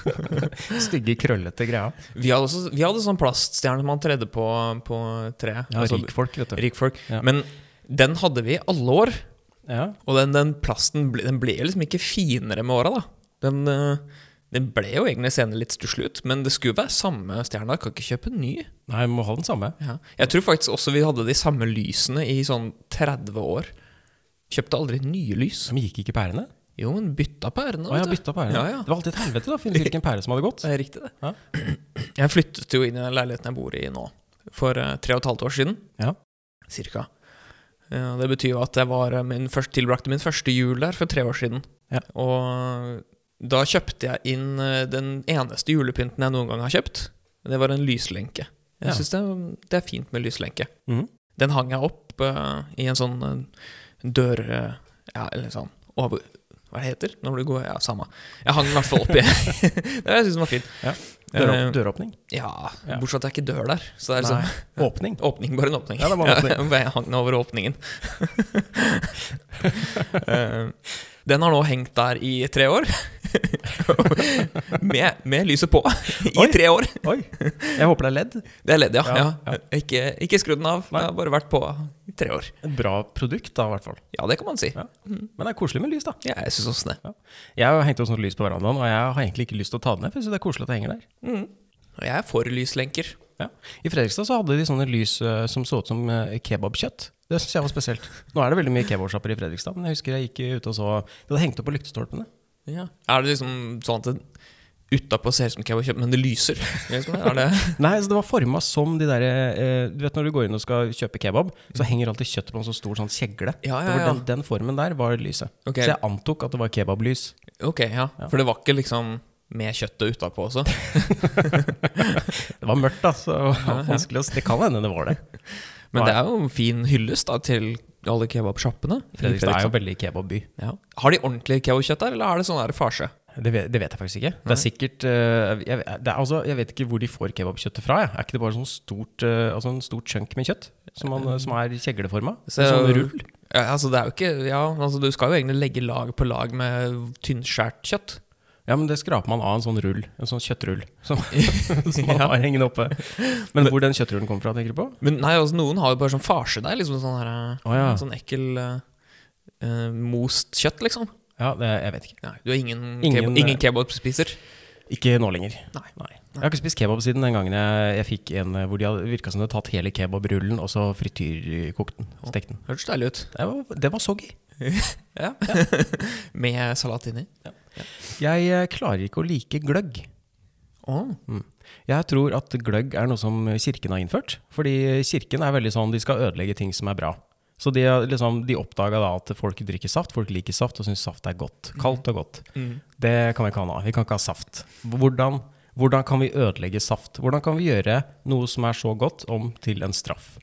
[SPEAKER 2] Stygge, krøllete greia.
[SPEAKER 3] Vi, hadde også, vi hadde sånn plaststjerne som man tredde på, på treet.
[SPEAKER 2] Ja,
[SPEAKER 3] Altså,
[SPEAKER 2] Rikfolk, vet du.
[SPEAKER 3] rikfolk.
[SPEAKER 2] Ja.
[SPEAKER 3] Men den hadde vi i alle år.
[SPEAKER 2] Ja.
[SPEAKER 3] Og den, den plasten ble, den ble liksom ikke finere med åra, da. Den, eh, den ble jo egentlig senere litt stusslig ut, men det skulle være samme stjerna. Kan ikke kjøpe en ny.
[SPEAKER 2] Nei, vi må ha den samme.
[SPEAKER 3] Ja. Jeg tror faktisk også vi hadde de samme lysene i sånn 30 år. Kjøpte aldri nye lys.
[SPEAKER 2] Som gikk ikke pærene?
[SPEAKER 3] Jo, men bytta pærene.
[SPEAKER 2] Å, jeg bytta pærene.
[SPEAKER 3] Ja, ja.
[SPEAKER 2] Det var alltid et helvete da, å finne ut hvilken pære som hadde gått.
[SPEAKER 3] Det er riktig, det.
[SPEAKER 2] Ja.
[SPEAKER 3] Jeg flyttet jo inn i den leiligheten jeg bor i nå, for eh, tre og et halvt år siden.
[SPEAKER 2] Ja.
[SPEAKER 3] Cirka. Eh, Det betyr jo at jeg var eh, min først, tilbrakte min første jul der for tre år siden.
[SPEAKER 2] Ja.
[SPEAKER 3] Og eh, da kjøpte jeg inn eh, den eneste julepynten jeg noen gang har kjøpt. Det var en lyslenke.
[SPEAKER 2] Ja.
[SPEAKER 3] Jeg synes syns det, det er fint med lyslenke.
[SPEAKER 2] Mhm.
[SPEAKER 3] Den hang jeg opp eh, i en sånn uh, dør... eh, ja, eller sånn over, Hva det heter når du går Ja, samme. Jeg hang den i hvert fall opp i Det var- jeg synes den var fin.
[SPEAKER 2] Ja. sånn?
[SPEAKER 3] Eh,
[SPEAKER 2] Døråp døråpning.
[SPEAKER 3] ja,
[SPEAKER 2] Ja.
[SPEAKER 3] bortsett fra at det er ikke dør der. Så det er
[SPEAKER 2] Nei,
[SPEAKER 3] liksom
[SPEAKER 2] åpning.
[SPEAKER 3] åpning, bare en åpning.
[SPEAKER 2] Ja, det var en åpning.
[SPEAKER 3] jeg hang den over åpningen. Eh, den har nå hengt der i tre år. med, med lyset på. I
[SPEAKER 2] Oi.
[SPEAKER 3] tre år.
[SPEAKER 2] Oi, jeg håper det er ledd.
[SPEAKER 3] Det er ledd, ja.
[SPEAKER 2] Ja,
[SPEAKER 3] ja,
[SPEAKER 2] ja.
[SPEAKER 3] Ikke, ikke skrudd den av. Det har bare vært på i tre år.
[SPEAKER 2] Et bra produkt da, i hvert fall.
[SPEAKER 3] Ja, det kan man si.
[SPEAKER 2] Ja. Men det er koselig med lys, da.
[SPEAKER 3] Ja, jeg syns også det.
[SPEAKER 2] Jeg har hengt opp sånt lys på verandaen, og jeg har egentlig ikke lyst til å ta det ned, for jeg synes det er koselig at det henger der.
[SPEAKER 3] Mm. Og jeg er for lyslenker.
[SPEAKER 2] Ja. I Fredrikstad så hadde de sånne lys eh, som så ut som eh, kebabkjøtt. Det syns jeg var spesielt. Nå er det veldig mye kebabsjapper i Fredrikstad, men jeg husker jeg gikk ute og så Det hadde hengt opp på lyktestolpene.
[SPEAKER 3] Ja. Er det liksom sånn at det utapå ser ut som kebabkjøtt, men det lyser? Liksom, Er det
[SPEAKER 2] Nei, altså sånn det var forma som de derre eh, Du vet når du går inn og skal kjøpe kebab, så henger alltid kjøttet på en så stor sånn kjegle.
[SPEAKER 3] Ja, ja,
[SPEAKER 2] Det var
[SPEAKER 3] ja.
[SPEAKER 2] Den, den formen der var lyset.
[SPEAKER 3] Ok.
[SPEAKER 2] Så jeg antok at det var kebablys.
[SPEAKER 3] Ok, ja.
[SPEAKER 2] Ja.
[SPEAKER 3] For det var ikke liksom med kjøttet utapå også?
[SPEAKER 2] Det var mørkt, da, så det var vanskelig å s- Det kan hende det var det.
[SPEAKER 3] Men
[SPEAKER 2] Nei.
[SPEAKER 3] det er jo en fin hyllest da til alle kebabsjappene. i
[SPEAKER 2] Fredrikstad er jo
[SPEAKER 3] Fredrikstad.
[SPEAKER 2] en veldig kebabby.
[SPEAKER 3] ja. Har de ordentlig kebabkjøtt der, eller er det sånn der farse?
[SPEAKER 2] Det vet, det vet jeg faktisk ikke. Det er sikkert eh, jeg, det er, altså, jeg vet ikke hvor de får kebabkjøttet fra. Jeg. Er ikke det bare sånn stort, eh, altså en stort chunk med kjøtt som, man, som er kjegleforma?
[SPEAKER 3] Så-
[SPEAKER 2] sånn rull?
[SPEAKER 3] Ja, altså det er jo ikke, ja, altså du skal jo egentlig legge lag på lag med tynnskjært kjøtt.
[SPEAKER 2] Ja, men det skraper man av en sånn rull. En sånn kjøttrull som, som man
[SPEAKER 3] Ja.
[SPEAKER 2] har hengende oppe. Men hvor den kjøttrullen kommer fra, tenker du på?
[SPEAKER 3] Men nei, altså noen har jo bare sånn farsedeig, liksom sånn her eh,
[SPEAKER 2] Å ja.
[SPEAKER 3] Sånn ekkel eh, eh, most kjøtt, liksom.
[SPEAKER 2] ja det, jeg vet ikke.
[SPEAKER 3] Nei, du er ingen,
[SPEAKER 2] Ingen,
[SPEAKER 3] kebab,
[SPEAKER 2] eh,
[SPEAKER 3] ingen kebabspiser.
[SPEAKER 2] Ikke nå lenger.
[SPEAKER 3] Nei.
[SPEAKER 2] Jeg har ikke spist kebab siden den gangen jeg, jeg fikk en eh, hvor de hadde virka som de hadde tatt hele kebabrullen og så frityrkokt den. Stekt den.
[SPEAKER 3] Hørtes deilig ut.
[SPEAKER 2] Det var, det var soggy.
[SPEAKER 3] Ja. med salat inni.
[SPEAKER 2] Jeg eh, klarer ikke å like gløgg.
[SPEAKER 3] Å,
[SPEAKER 2] Jeg tror at gløgg er noe som kirken har innført. Fordi kirken er veldig sånn, de skal ødelegge ting som er bra. Så de, har liksom, de oppdaga da at folk drikker saft, folk liker saft og syns saft er godt. Kaldt og godt.
[SPEAKER 3] Mm.
[SPEAKER 2] Det kan vi ikke ha nå. Vi kan ikke ha saft. Hvordan, hvordan kan vi ødelegge saft? Hvordan kan vi gjøre noe som er så godt, om til en straff?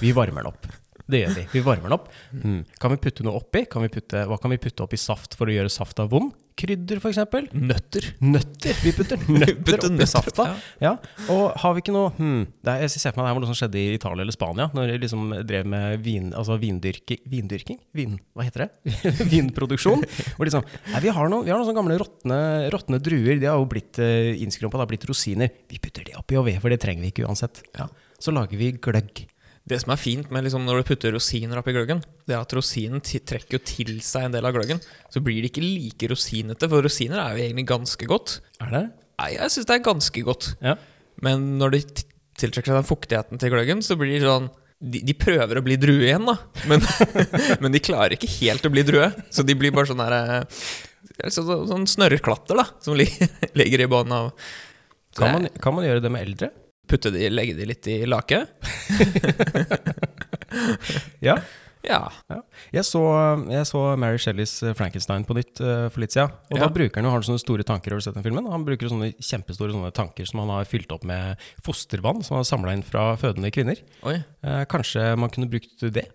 [SPEAKER 2] Vi varmer den opp. Det gjør vi. Vi varmer den opp. Mm. Kan vi putte noe oppi? Kan vi putte, hva kan vi putte oppi saft for å gjøre safta vond? Krydder, f.eks.
[SPEAKER 3] Nøtter.
[SPEAKER 2] Nøtter! Vi putter nøtter
[SPEAKER 3] Putter
[SPEAKER 2] oppi
[SPEAKER 3] nøtter,
[SPEAKER 2] safta. Ja. Og har vi ikke noe hmm, det er, Jeg ser for meg det her var noe som skjedde i Italia eller Spania, når de liksom drev med vin, altså vindyrki, vindyrking? Vin, hva heter det? Vinproduksjon. Hvor liksom Nei, vi har noen, vi har noen sånne gamle råtne, råtne druer. De har jo blitt uh, innskrumpa, det har blitt rosiner. Vi putter det oppi og ved, for det trenger vi ikke uansett.
[SPEAKER 3] Ja.
[SPEAKER 2] Så lager vi gløgg.
[SPEAKER 3] Det som er fint med liksom når du putter rosiner oppi gløggen, det er at rosinen ti- trekker jo til seg en del av gløggen. Så blir det ikke like rosinete, for rosiner er jo egentlig ganske godt.
[SPEAKER 2] Er det?
[SPEAKER 3] Nei, jeg syns det er ganske godt.
[SPEAKER 2] Ja.
[SPEAKER 3] Men når de t- tiltrekker seg den fuktigheten til gløggen, så blir det sånn de, de prøver å bli drue igjen, da, men, men de klarer ikke helt å bli drue. Så de blir bare sånn der eh, så, så, Sånn snørreklatter, da, som lig- ligger i bånn av Så
[SPEAKER 2] Kan
[SPEAKER 3] jeg-
[SPEAKER 2] man, kan man gjøre det med eldre?
[SPEAKER 3] Putte de, legge de litt i lake.
[SPEAKER 2] Ja.
[SPEAKER 3] Ja.
[SPEAKER 2] Jeg så, jeg så Mary Shelleys eh, Frankenstein på nytt eh, for litt siden. Og
[SPEAKER 3] Ja.
[SPEAKER 2] da bruker han jo har han sånne store tanker. Har du sett den filmen? Han bruker sånne kjempestore sånne tanker som han har fylt opp med fostervann som han har samla inn fra fødende kvinner.
[SPEAKER 3] Oi.
[SPEAKER 2] Eh, kanskje man kunne brukt det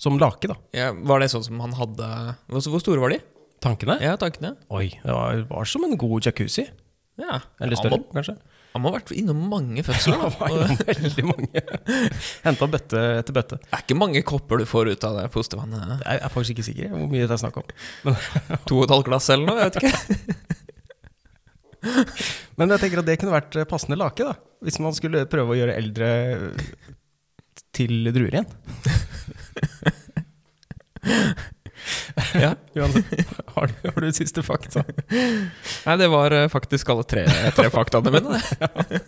[SPEAKER 2] som lake, da.
[SPEAKER 3] Ja, var det sånn som han hadde Hvor hvor store var de?
[SPEAKER 2] Tankene.
[SPEAKER 3] Ja, tankene?
[SPEAKER 2] Oi, det var, var som en god jacuzzi.
[SPEAKER 3] Ja.
[SPEAKER 2] Eller
[SPEAKER 3] han,
[SPEAKER 2] større,
[SPEAKER 3] må,
[SPEAKER 2] kanskje.
[SPEAKER 3] han må ha vært innom
[SPEAKER 2] Det
[SPEAKER 3] mange fødsler.
[SPEAKER 2] var
[SPEAKER 3] da. Og
[SPEAKER 2] innom veldig mange. Henta bøtte etter bøtte.
[SPEAKER 3] Det er ikke mange kopper du får ut av det fostervannet.
[SPEAKER 2] Jeg er faktisk ikke sikker hvor mye det er snakk om.
[SPEAKER 3] To og et halvt glass eller noe? jeg vet ikke
[SPEAKER 2] Men jeg tenker at det kunne vært eh, passende lake, da. Hvis man skulle prøve å gjøre eldre eh, til druer igjen.
[SPEAKER 3] ja.
[SPEAKER 2] Uansett. Har, du- har du siste fakta?
[SPEAKER 3] Nei, det var eh, faktisk alle tre, tre faktaene mine. det.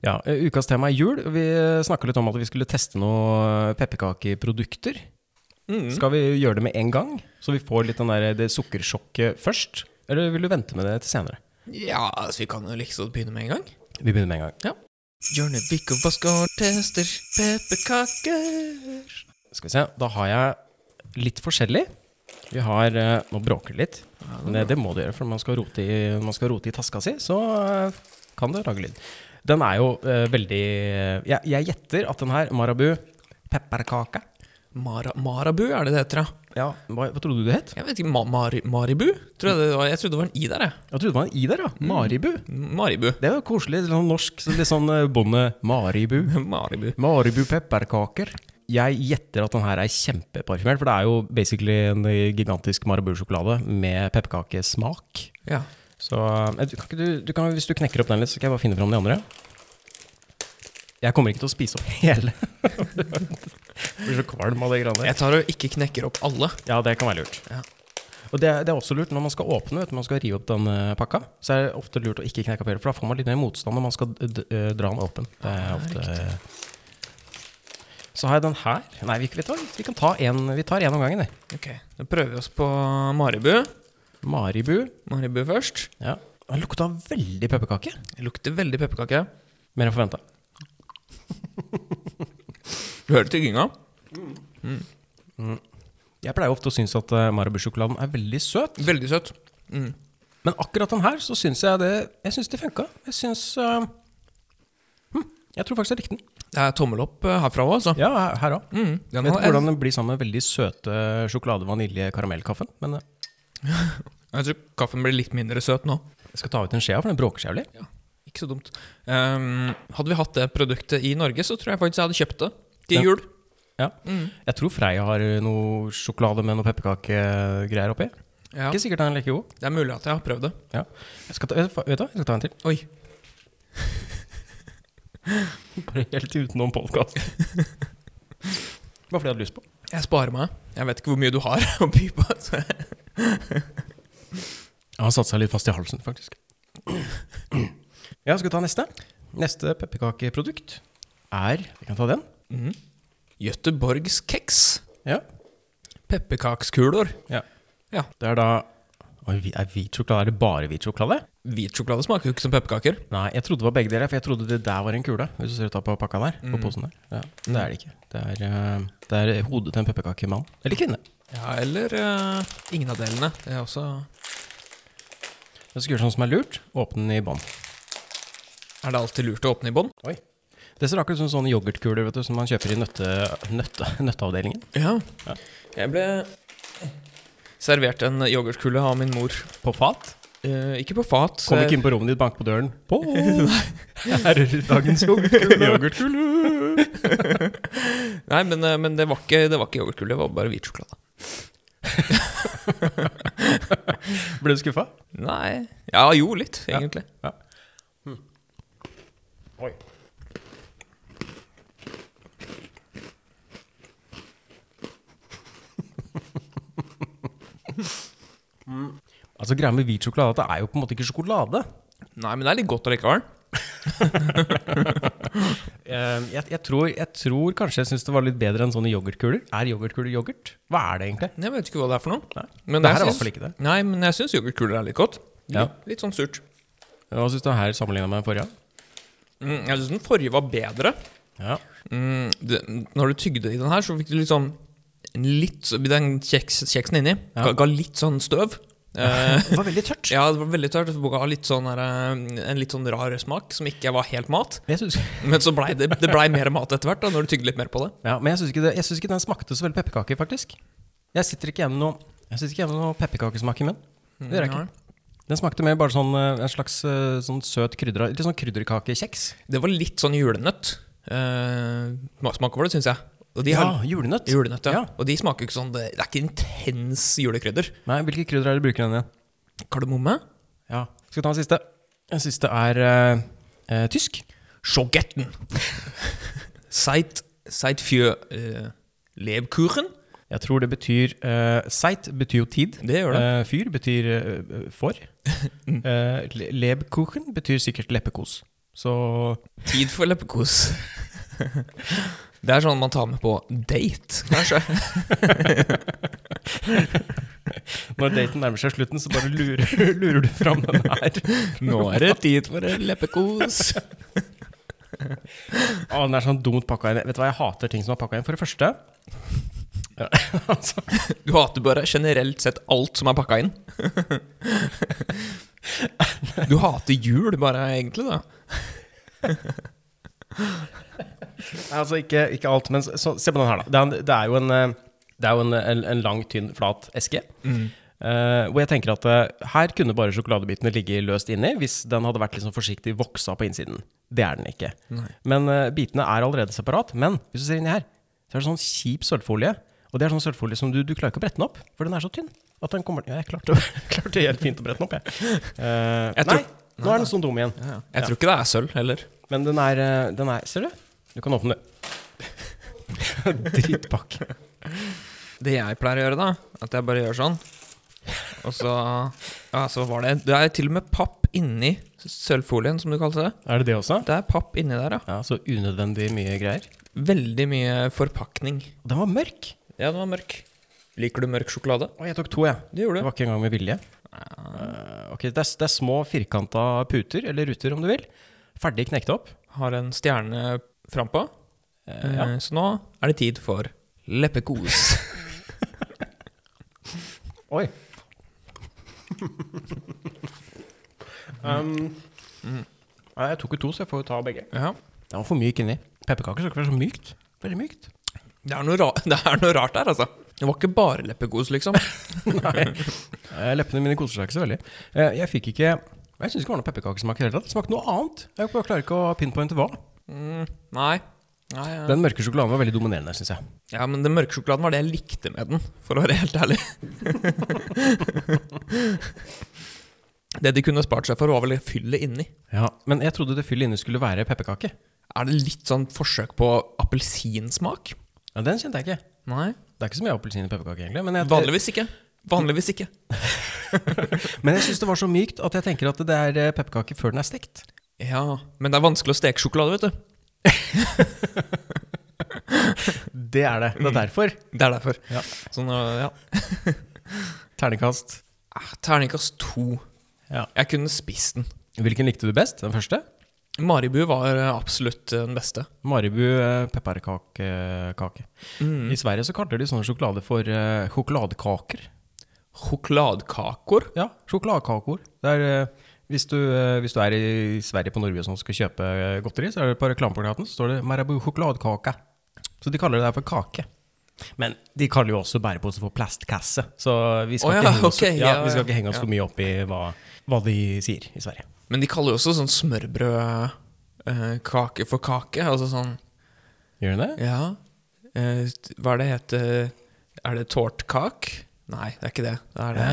[SPEAKER 2] Ja, eh, Ukas tema er jul. Vi snakka litt om at vi skulle teste noen eh, pepperkakeprodukter.
[SPEAKER 3] Mm.
[SPEAKER 2] Skal vi gjøre det med en gang, så vi får litt den der, eh, det sukkersjokket først? Eller vil du vente med det til senere?
[SPEAKER 3] Ja, altså, vi kan jo liksom begynne med en gang.
[SPEAKER 2] Vi begynner med en gang.
[SPEAKER 3] Hjørnevik og Vaskar tester pepperkaker.
[SPEAKER 2] Skal vi se, da har jeg litt forskjellig. Vi har eh, Nå bråker det litt. Men det, det må det gjøre, for når man skal rote i, når man skal rote i taska si, så eh, kan det lage lyd. Den er jo eh, veldig jeg, jeg gjetter at den her, Marabu pepperkake
[SPEAKER 3] Mara, Marabu er det det heter, ja.
[SPEAKER 2] ja, hva, hva trodde du det het?
[SPEAKER 3] Jeg vet ikke, ma, mari, Maribu? Tror jeg, det var, jeg trodde det var en i der, jeg.
[SPEAKER 2] Jeg trodde det var en i der, ja. Maribu.
[SPEAKER 3] Maribu.
[SPEAKER 2] Det er jo koselig. Litt sånn norsk, så litt sånn eh, bonde Maribu.
[SPEAKER 3] Maribu.
[SPEAKER 2] Maribu pepperkaker. Jeg gjetter at den her er kjempeparfymert, for det er jo basically en gigantisk Marabu-sjokolade med pepperkakesmak.
[SPEAKER 3] Ja.
[SPEAKER 2] Så eh, du kan ikke, du, du kan, Hvis du knekker opp den litt, så skal jeg bare finne fram de andre. Jeg kommer ikke til å spise opp hele. Jeg blir så kvalm av det greiene der.
[SPEAKER 3] Jeg tar og ikke knekker opp alle.
[SPEAKER 2] Ja, det kan være lurt.
[SPEAKER 3] Ja.
[SPEAKER 2] Og det, det er også lurt når man skal åpne, vet du, man skal rive opp den eh, pakka. Så er det ofte lurt å ikke knekke opp hele, for da får man litt mer motstand når man skal d d eh, dra den åpen. Det er ofte... Så har jeg den her. Nei, vi, vet du hva, vi kan ta en, vi tar en om gangen. vi.
[SPEAKER 3] Ok, Da prøver vi oss på Maribu.
[SPEAKER 2] Maribu.
[SPEAKER 3] Maribu først.
[SPEAKER 2] Ja. Den lukta veldig pepperkake.
[SPEAKER 3] Det lukter veldig pepperkake.
[SPEAKER 2] Mer enn forventa.
[SPEAKER 3] Du hører tygginga?
[SPEAKER 2] Jeg pleier ofte å synes at eh, Marabou-sjokoladen er veldig søt,
[SPEAKER 3] Veldig søtt. Mm.
[SPEAKER 2] men akkurat den her så syns jeg det Jeg synes det funka. Jeg syns eh, hm, Jeg tror faktisk jeg likte den.
[SPEAKER 3] Det er tommel opp eh, herfra òg, altså.
[SPEAKER 2] Ja, her- her òg.
[SPEAKER 3] Mm. Den
[SPEAKER 2] Vet
[SPEAKER 3] har-
[SPEAKER 2] ikke hvordan den blir sammen med veldig søte sjokolade-vanilje-karamellkaffen, men eh,
[SPEAKER 3] Jeg tror kaffen blir litt mindre søt nå.
[SPEAKER 2] jeg skal ta ut en skje av, for den bråker seg jævlig.
[SPEAKER 3] Ikke så dumt. Ehm, hadde vi hatt det produktet i Norge, så tror jeg faktisk jeg hadde kjøpt det til
[SPEAKER 2] Ja.
[SPEAKER 3] jul.
[SPEAKER 2] Ja.
[SPEAKER 3] Mm.
[SPEAKER 2] Jeg tror Freia har eh, noe sjokolade med noe pepperkakegreier oppi.
[SPEAKER 3] Ja.
[SPEAKER 2] Ikke sikkert den er like god.
[SPEAKER 3] Det er mulig at jeg har prøvd det.
[SPEAKER 2] Ja. Jeg skal ta, vet du hva, jeg skal ta en til.
[SPEAKER 3] Oi.
[SPEAKER 2] Bare helt utenom podkast. Bare fordi jeg hadde lyst på.
[SPEAKER 3] Jeg sparer meg. Jeg vet ikke hvor mye du har å by på. Så.
[SPEAKER 2] Jeg har satt seg litt fast i halsen, faktisk. Ja, skal vi ta neste? Neste pepperkakeprodukt er Vi kan ta den.
[SPEAKER 3] Mm. Göteborgskeks.
[SPEAKER 2] Ja.
[SPEAKER 3] Pepperkakskuler.
[SPEAKER 2] Det er da Oi, hvi- er hvit sjokolade? Er det bare hvit sjokolade?
[SPEAKER 3] Hvit sjokolade smaker jo ikke som pepperkaker.
[SPEAKER 2] Nei, jeg trodde det var begge deler, for jeg trodde det der var en kule. Hvis du ser ut av på pakka der, på posen der. Ja, det er det ikke. Det er, eh, det er hodet til en pepperkakemann. Eller kvinne.
[SPEAKER 3] Ja, eller eh, ingen av delene. Det er også
[SPEAKER 2] Jeg skal gjøre sånn som er lurt. Åpne den i bånn.
[SPEAKER 3] Er det alltid lurt å åpne i bånn?
[SPEAKER 2] Oi. Det ser akkurat ut som sånne yoghurtkuler vet du, som man kjøper i nøtte, nøtte, nøtteavdelingen.
[SPEAKER 3] Ja.
[SPEAKER 2] Ja.
[SPEAKER 3] Jeg ble servert en yoghurtkule av min mor.
[SPEAKER 2] På fat.
[SPEAKER 3] Eh, ikke på fat.
[SPEAKER 2] Kom ikke
[SPEAKER 3] jeg-
[SPEAKER 2] inn på rommet ditt, bank på døren. På! Her er dagens yoghurtkule.
[SPEAKER 3] Nei, men, eh, men det, var ikke, det var ikke yoghurtkule, det var bare hvit sjokolade.
[SPEAKER 2] Ble du skuffa?
[SPEAKER 3] Nei Ja, jo, litt, egentlig.
[SPEAKER 2] Ja. Oi. Altså Greia med hvit sjokolade at det er jo på en måte ikke sjokolade.
[SPEAKER 3] Nei, men det er litt godt allikevel.
[SPEAKER 2] Eh, jeg, jeg, tror, jeg tror kanskje jeg syns det var litt bedre enn sånne yoghurtkuler. Er yoghurtkuler yoghurt? Hva er det egentlig?
[SPEAKER 3] Jeg vet ikke hva det er for noe.
[SPEAKER 2] Nei.
[SPEAKER 3] Men
[SPEAKER 2] det her er i
[SPEAKER 3] jeg
[SPEAKER 2] hvert fall
[SPEAKER 3] syns-
[SPEAKER 2] ikke det.
[SPEAKER 3] Nei, men jeg syns yoghurtkuler er litt godt.
[SPEAKER 2] Ja.
[SPEAKER 3] Litt, litt sånn surt.
[SPEAKER 2] Hva syns du her sammenligna med forrige?
[SPEAKER 3] Mm, jeg syns den forrige var bedre.
[SPEAKER 2] Ja.
[SPEAKER 3] Mm, det, når du tygde i den her, så fikk du litt sånn en litt, så- Den kjeks, kjeksen inni
[SPEAKER 2] Ja.
[SPEAKER 3] ga, ga litt sånn støv. Eh,
[SPEAKER 2] Det var veldig tørt.
[SPEAKER 3] ja, det var veldig tørt. Det ga litt sånn der, eh, en litt sånn rar smak, som ikke var helt mat.
[SPEAKER 2] Jeg synes,
[SPEAKER 3] Men så blei det, det blei mer mat etter hvert, da, når du tygde litt mer på det.
[SPEAKER 2] ja, men jeg syns ikke, det- jeg syns ikke den smakte så veldig pepperkake, faktisk. Jeg sitter ikke igjen med noe, jeg sitter ikke igjen med noe pepperkakesmak i munnen. Det gjør jeg ikke. Den smakte mer bare sånn, eh, en slags eh, sånn søt krydder, litt sånn krydderkakekjeks.
[SPEAKER 3] Det var litt sånn julenøtt. Eh, smak over det, syns jeg. Og de har
[SPEAKER 2] Ja, julenøtt.
[SPEAKER 3] julenøtt, ja.
[SPEAKER 2] Ja.
[SPEAKER 3] Og de smaker ikke sånn Det, det er ikke intens julekrydder.
[SPEAKER 2] Nei, hvilke krydder er det du bruker den igjen?
[SPEAKER 3] Kardemomme?
[SPEAKER 2] Ja. Skal vi ta den siste? Den siste er eh, eh, tysk.
[SPEAKER 3] Schogetten. Seit, seit für eh, Lebkuchen.
[SPEAKER 2] Jeg tror det betyr eh, Seit betyr jo tid.
[SPEAKER 3] Det gjør det.
[SPEAKER 2] Eh, fyr betyr eh, eh, for. Eh, le- lebkuchen betyr sikkert leppekos. Så
[SPEAKER 3] Tid for leppekos. Det er sånn man tar med på date, kanskje.
[SPEAKER 2] når daten nærmer seg slutten, så bare lurer, lurer du fram den her.
[SPEAKER 3] Nå er det tid for en leppekos.
[SPEAKER 2] Å, den er sånn dumt pakka inn. Vet du hva, jeg hater ting som er pakka inn. For det første ja, altså,
[SPEAKER 3] Du hater bare generelt sett alt som er pakka inn. Du hater jul bare, egentlig, da.
[SPEAKER 2] altså ikke, ikke alt, men så, så, se på den her, da. Det er, en- det er jo en, eh, det er jo en, en, en lang, tynn, flat eske.
[SPEAKER 3] Mm.
[SPEAKER 2] Eh, hvor jeg tenker at eh, her kunne bare sjokoladebitene ligge løst inni hvis den hadde vært liksom forsiktig voksa på innsiden. Det er den ikke. Men eh, bitene er allerede separat. Men hvis du ser inni her, så er det sånn kjip sølvfolie. Og det er sånn sølvfolie som du, du klarer ikke å brette den opp, for den er så tynn. At den kommer, ja, jeg klarte, klarte helt fint å brette den opp, jeg. Eh,
[SPEAKER 3] Jeg tror-
[SPEAKER 2] nei, nå er den sånn dum igjen.
[SPEAKER 3] Jeg tror ikke det er sølv heller.
[SPEAKER 2] Men den er, eh, den er Ser du? Du kan åpne den. Drittpakke.
[SPEAKER 3] Det jeg pleier å gjøre, da, at jeg bare gjør sånn. Og så Ja, så var det Det er til og med papp inni sølvfolien, som du kalte det.
[SPEAKER 2] Er det det også?
[SPEAKER 3] Det er papp inni der, ja.
[SPEAKER 2] Ja, Så unødvendig mye greier.
[SPEAKER 3] Veldig mye forpakning.
[SPEAKER 2] Og Den var mørk!
[SPEAKER 3] Ja, den var mørk. Liker du mørk sjokolade?
[SPEAKER 2] Og jeg tok to, jeg.
[SPEAKER 3] Det gjorde
[SPEAKER 2] Det
[SPEAKER 3] du.
[SPEAKER 2] var ikke engang med vilje. Eh, ok, det er, det er små firkanta puter, eller ruter om du vil. Ferdig knekt opp.
[SPEAKER 3] Har en stjerne frampå.
[SPEAKER 2] Eh, ja.
[SPEAKER 3] Eh, Så nå er det tid for leppekos.
[SPEAKER 2] Oi. um, nei, jeg tok jo to, så jeg får jo ta begge.
[SPEAKER 3] ja.
[SPEAKER 2] Den var for myk inni. Pepperkaker skal ikke være så mykt. Veldig mykt.
[SPEAKER 3] Det er, noe ra det er noe rart der, altså. Det var ikke bare leppekos, liksom.
[SPEAKER 2] Nei. Eh, Leppene mine koser seg ikke så veldig. Eh, Jeg fikk ikke Jeg syns ikke det var noe pepperkakesmak i det hele tatt. Det smakte noe annet. Jeg bare klarer ikke å pinpointe hva.
[SPEAKER 3] Mm, nei. nei ja.
[SPEAKER 2] Den mørke sjokoladen var veldig dominerende, syns jeg.
[SPEAKER 3] ja, men den mørke sjokoladen var det jeg likte med den, for å være helt ærlig. det de kunne spart seg for, var vel fyllet inni.
[SPEAKER 2] Ja, Men jeg trodde det fyllet inne skulle være pepperkake.
[SPEAKER 3] Er det litt sånn forsøk på appelsinsmak?
[SPEAKER 2] Ja, Den kjente jeg ikke.
[SPEAKER 3] Nei.
[SPEAKER 2] Det er ikke så mye appelsin i pepperkake, egentlig. Men jeg,
[SPEAKER 3] Vanligvis ikke. Vanligvis ikke.
[SPEAKER 2] men jeg syns det var så mykt at jeg tenker at det er eh, pepperkake før den er stekt.
[SPEAKER 3] Ja, men det er vanskelig å steke sjokolade, vet du.
[SPEAKER 2] Det er det. Det er derfor.
[SPEAKER 3] Det er derfor.
[SPEAKER 2] Ja.
[SPEAKER 3] Sånn, øh, ja.
[SPEAKER 2] Ternekast.
[SPEAKER 3] Ah, Terningkast to.
[SPEAKER 2] Ja.
[SPEAKER 3] Jeg kunne spist den.
[SPEAKER 2] Hvilken likte du best? Den første?
[SPEAKER 3] Maribu var øh, absolutt øh, den beste.
[SPEAKER 2] Maribu eh, pepperkakekake. I Sverige så kaller de sånne sjokolade for eh, sjokoladekaker.
[SPEAKER 3] Sjokoladekakor.
[SPEAKER 2] Ja, sjokoladekakor. Det er, eh, hvis, du, eh, hvis du er i Sverige på Norge og sånn, skal kjøpe eh, godteri, så er det på reklameplakaten så står det 'Marabou sjokoladekake'. Så de kaller det der for kake. Men de kaller jo også bærepose for plastkasse, så vi skal,
[SPEAKER 3] Å ja,
[SPEAKER 2] ikke, henge oss,
[SPEAKER 3] ok,
[SPEAKER 2] ja,
[SPEAKER 3] ja,
[SPEAKER 2] vi skal
[SPEAKER 3] ja,
[SPEAKER 2] ikke henge oss
[SPEAKER 3] ja.
[SPEAKER 2] for mye opp i hva, hva de sier i Sverige.
[SPEAKER 3] Men de kaller jo også sånn smørbrødkake for kake. Altså sånn
[SPEAKER 2] Gjør de det?
[SPEAKER 3] Ja. eh, hva er det heter Er det tårtkak? Nei, det er ikke det. Det er, det.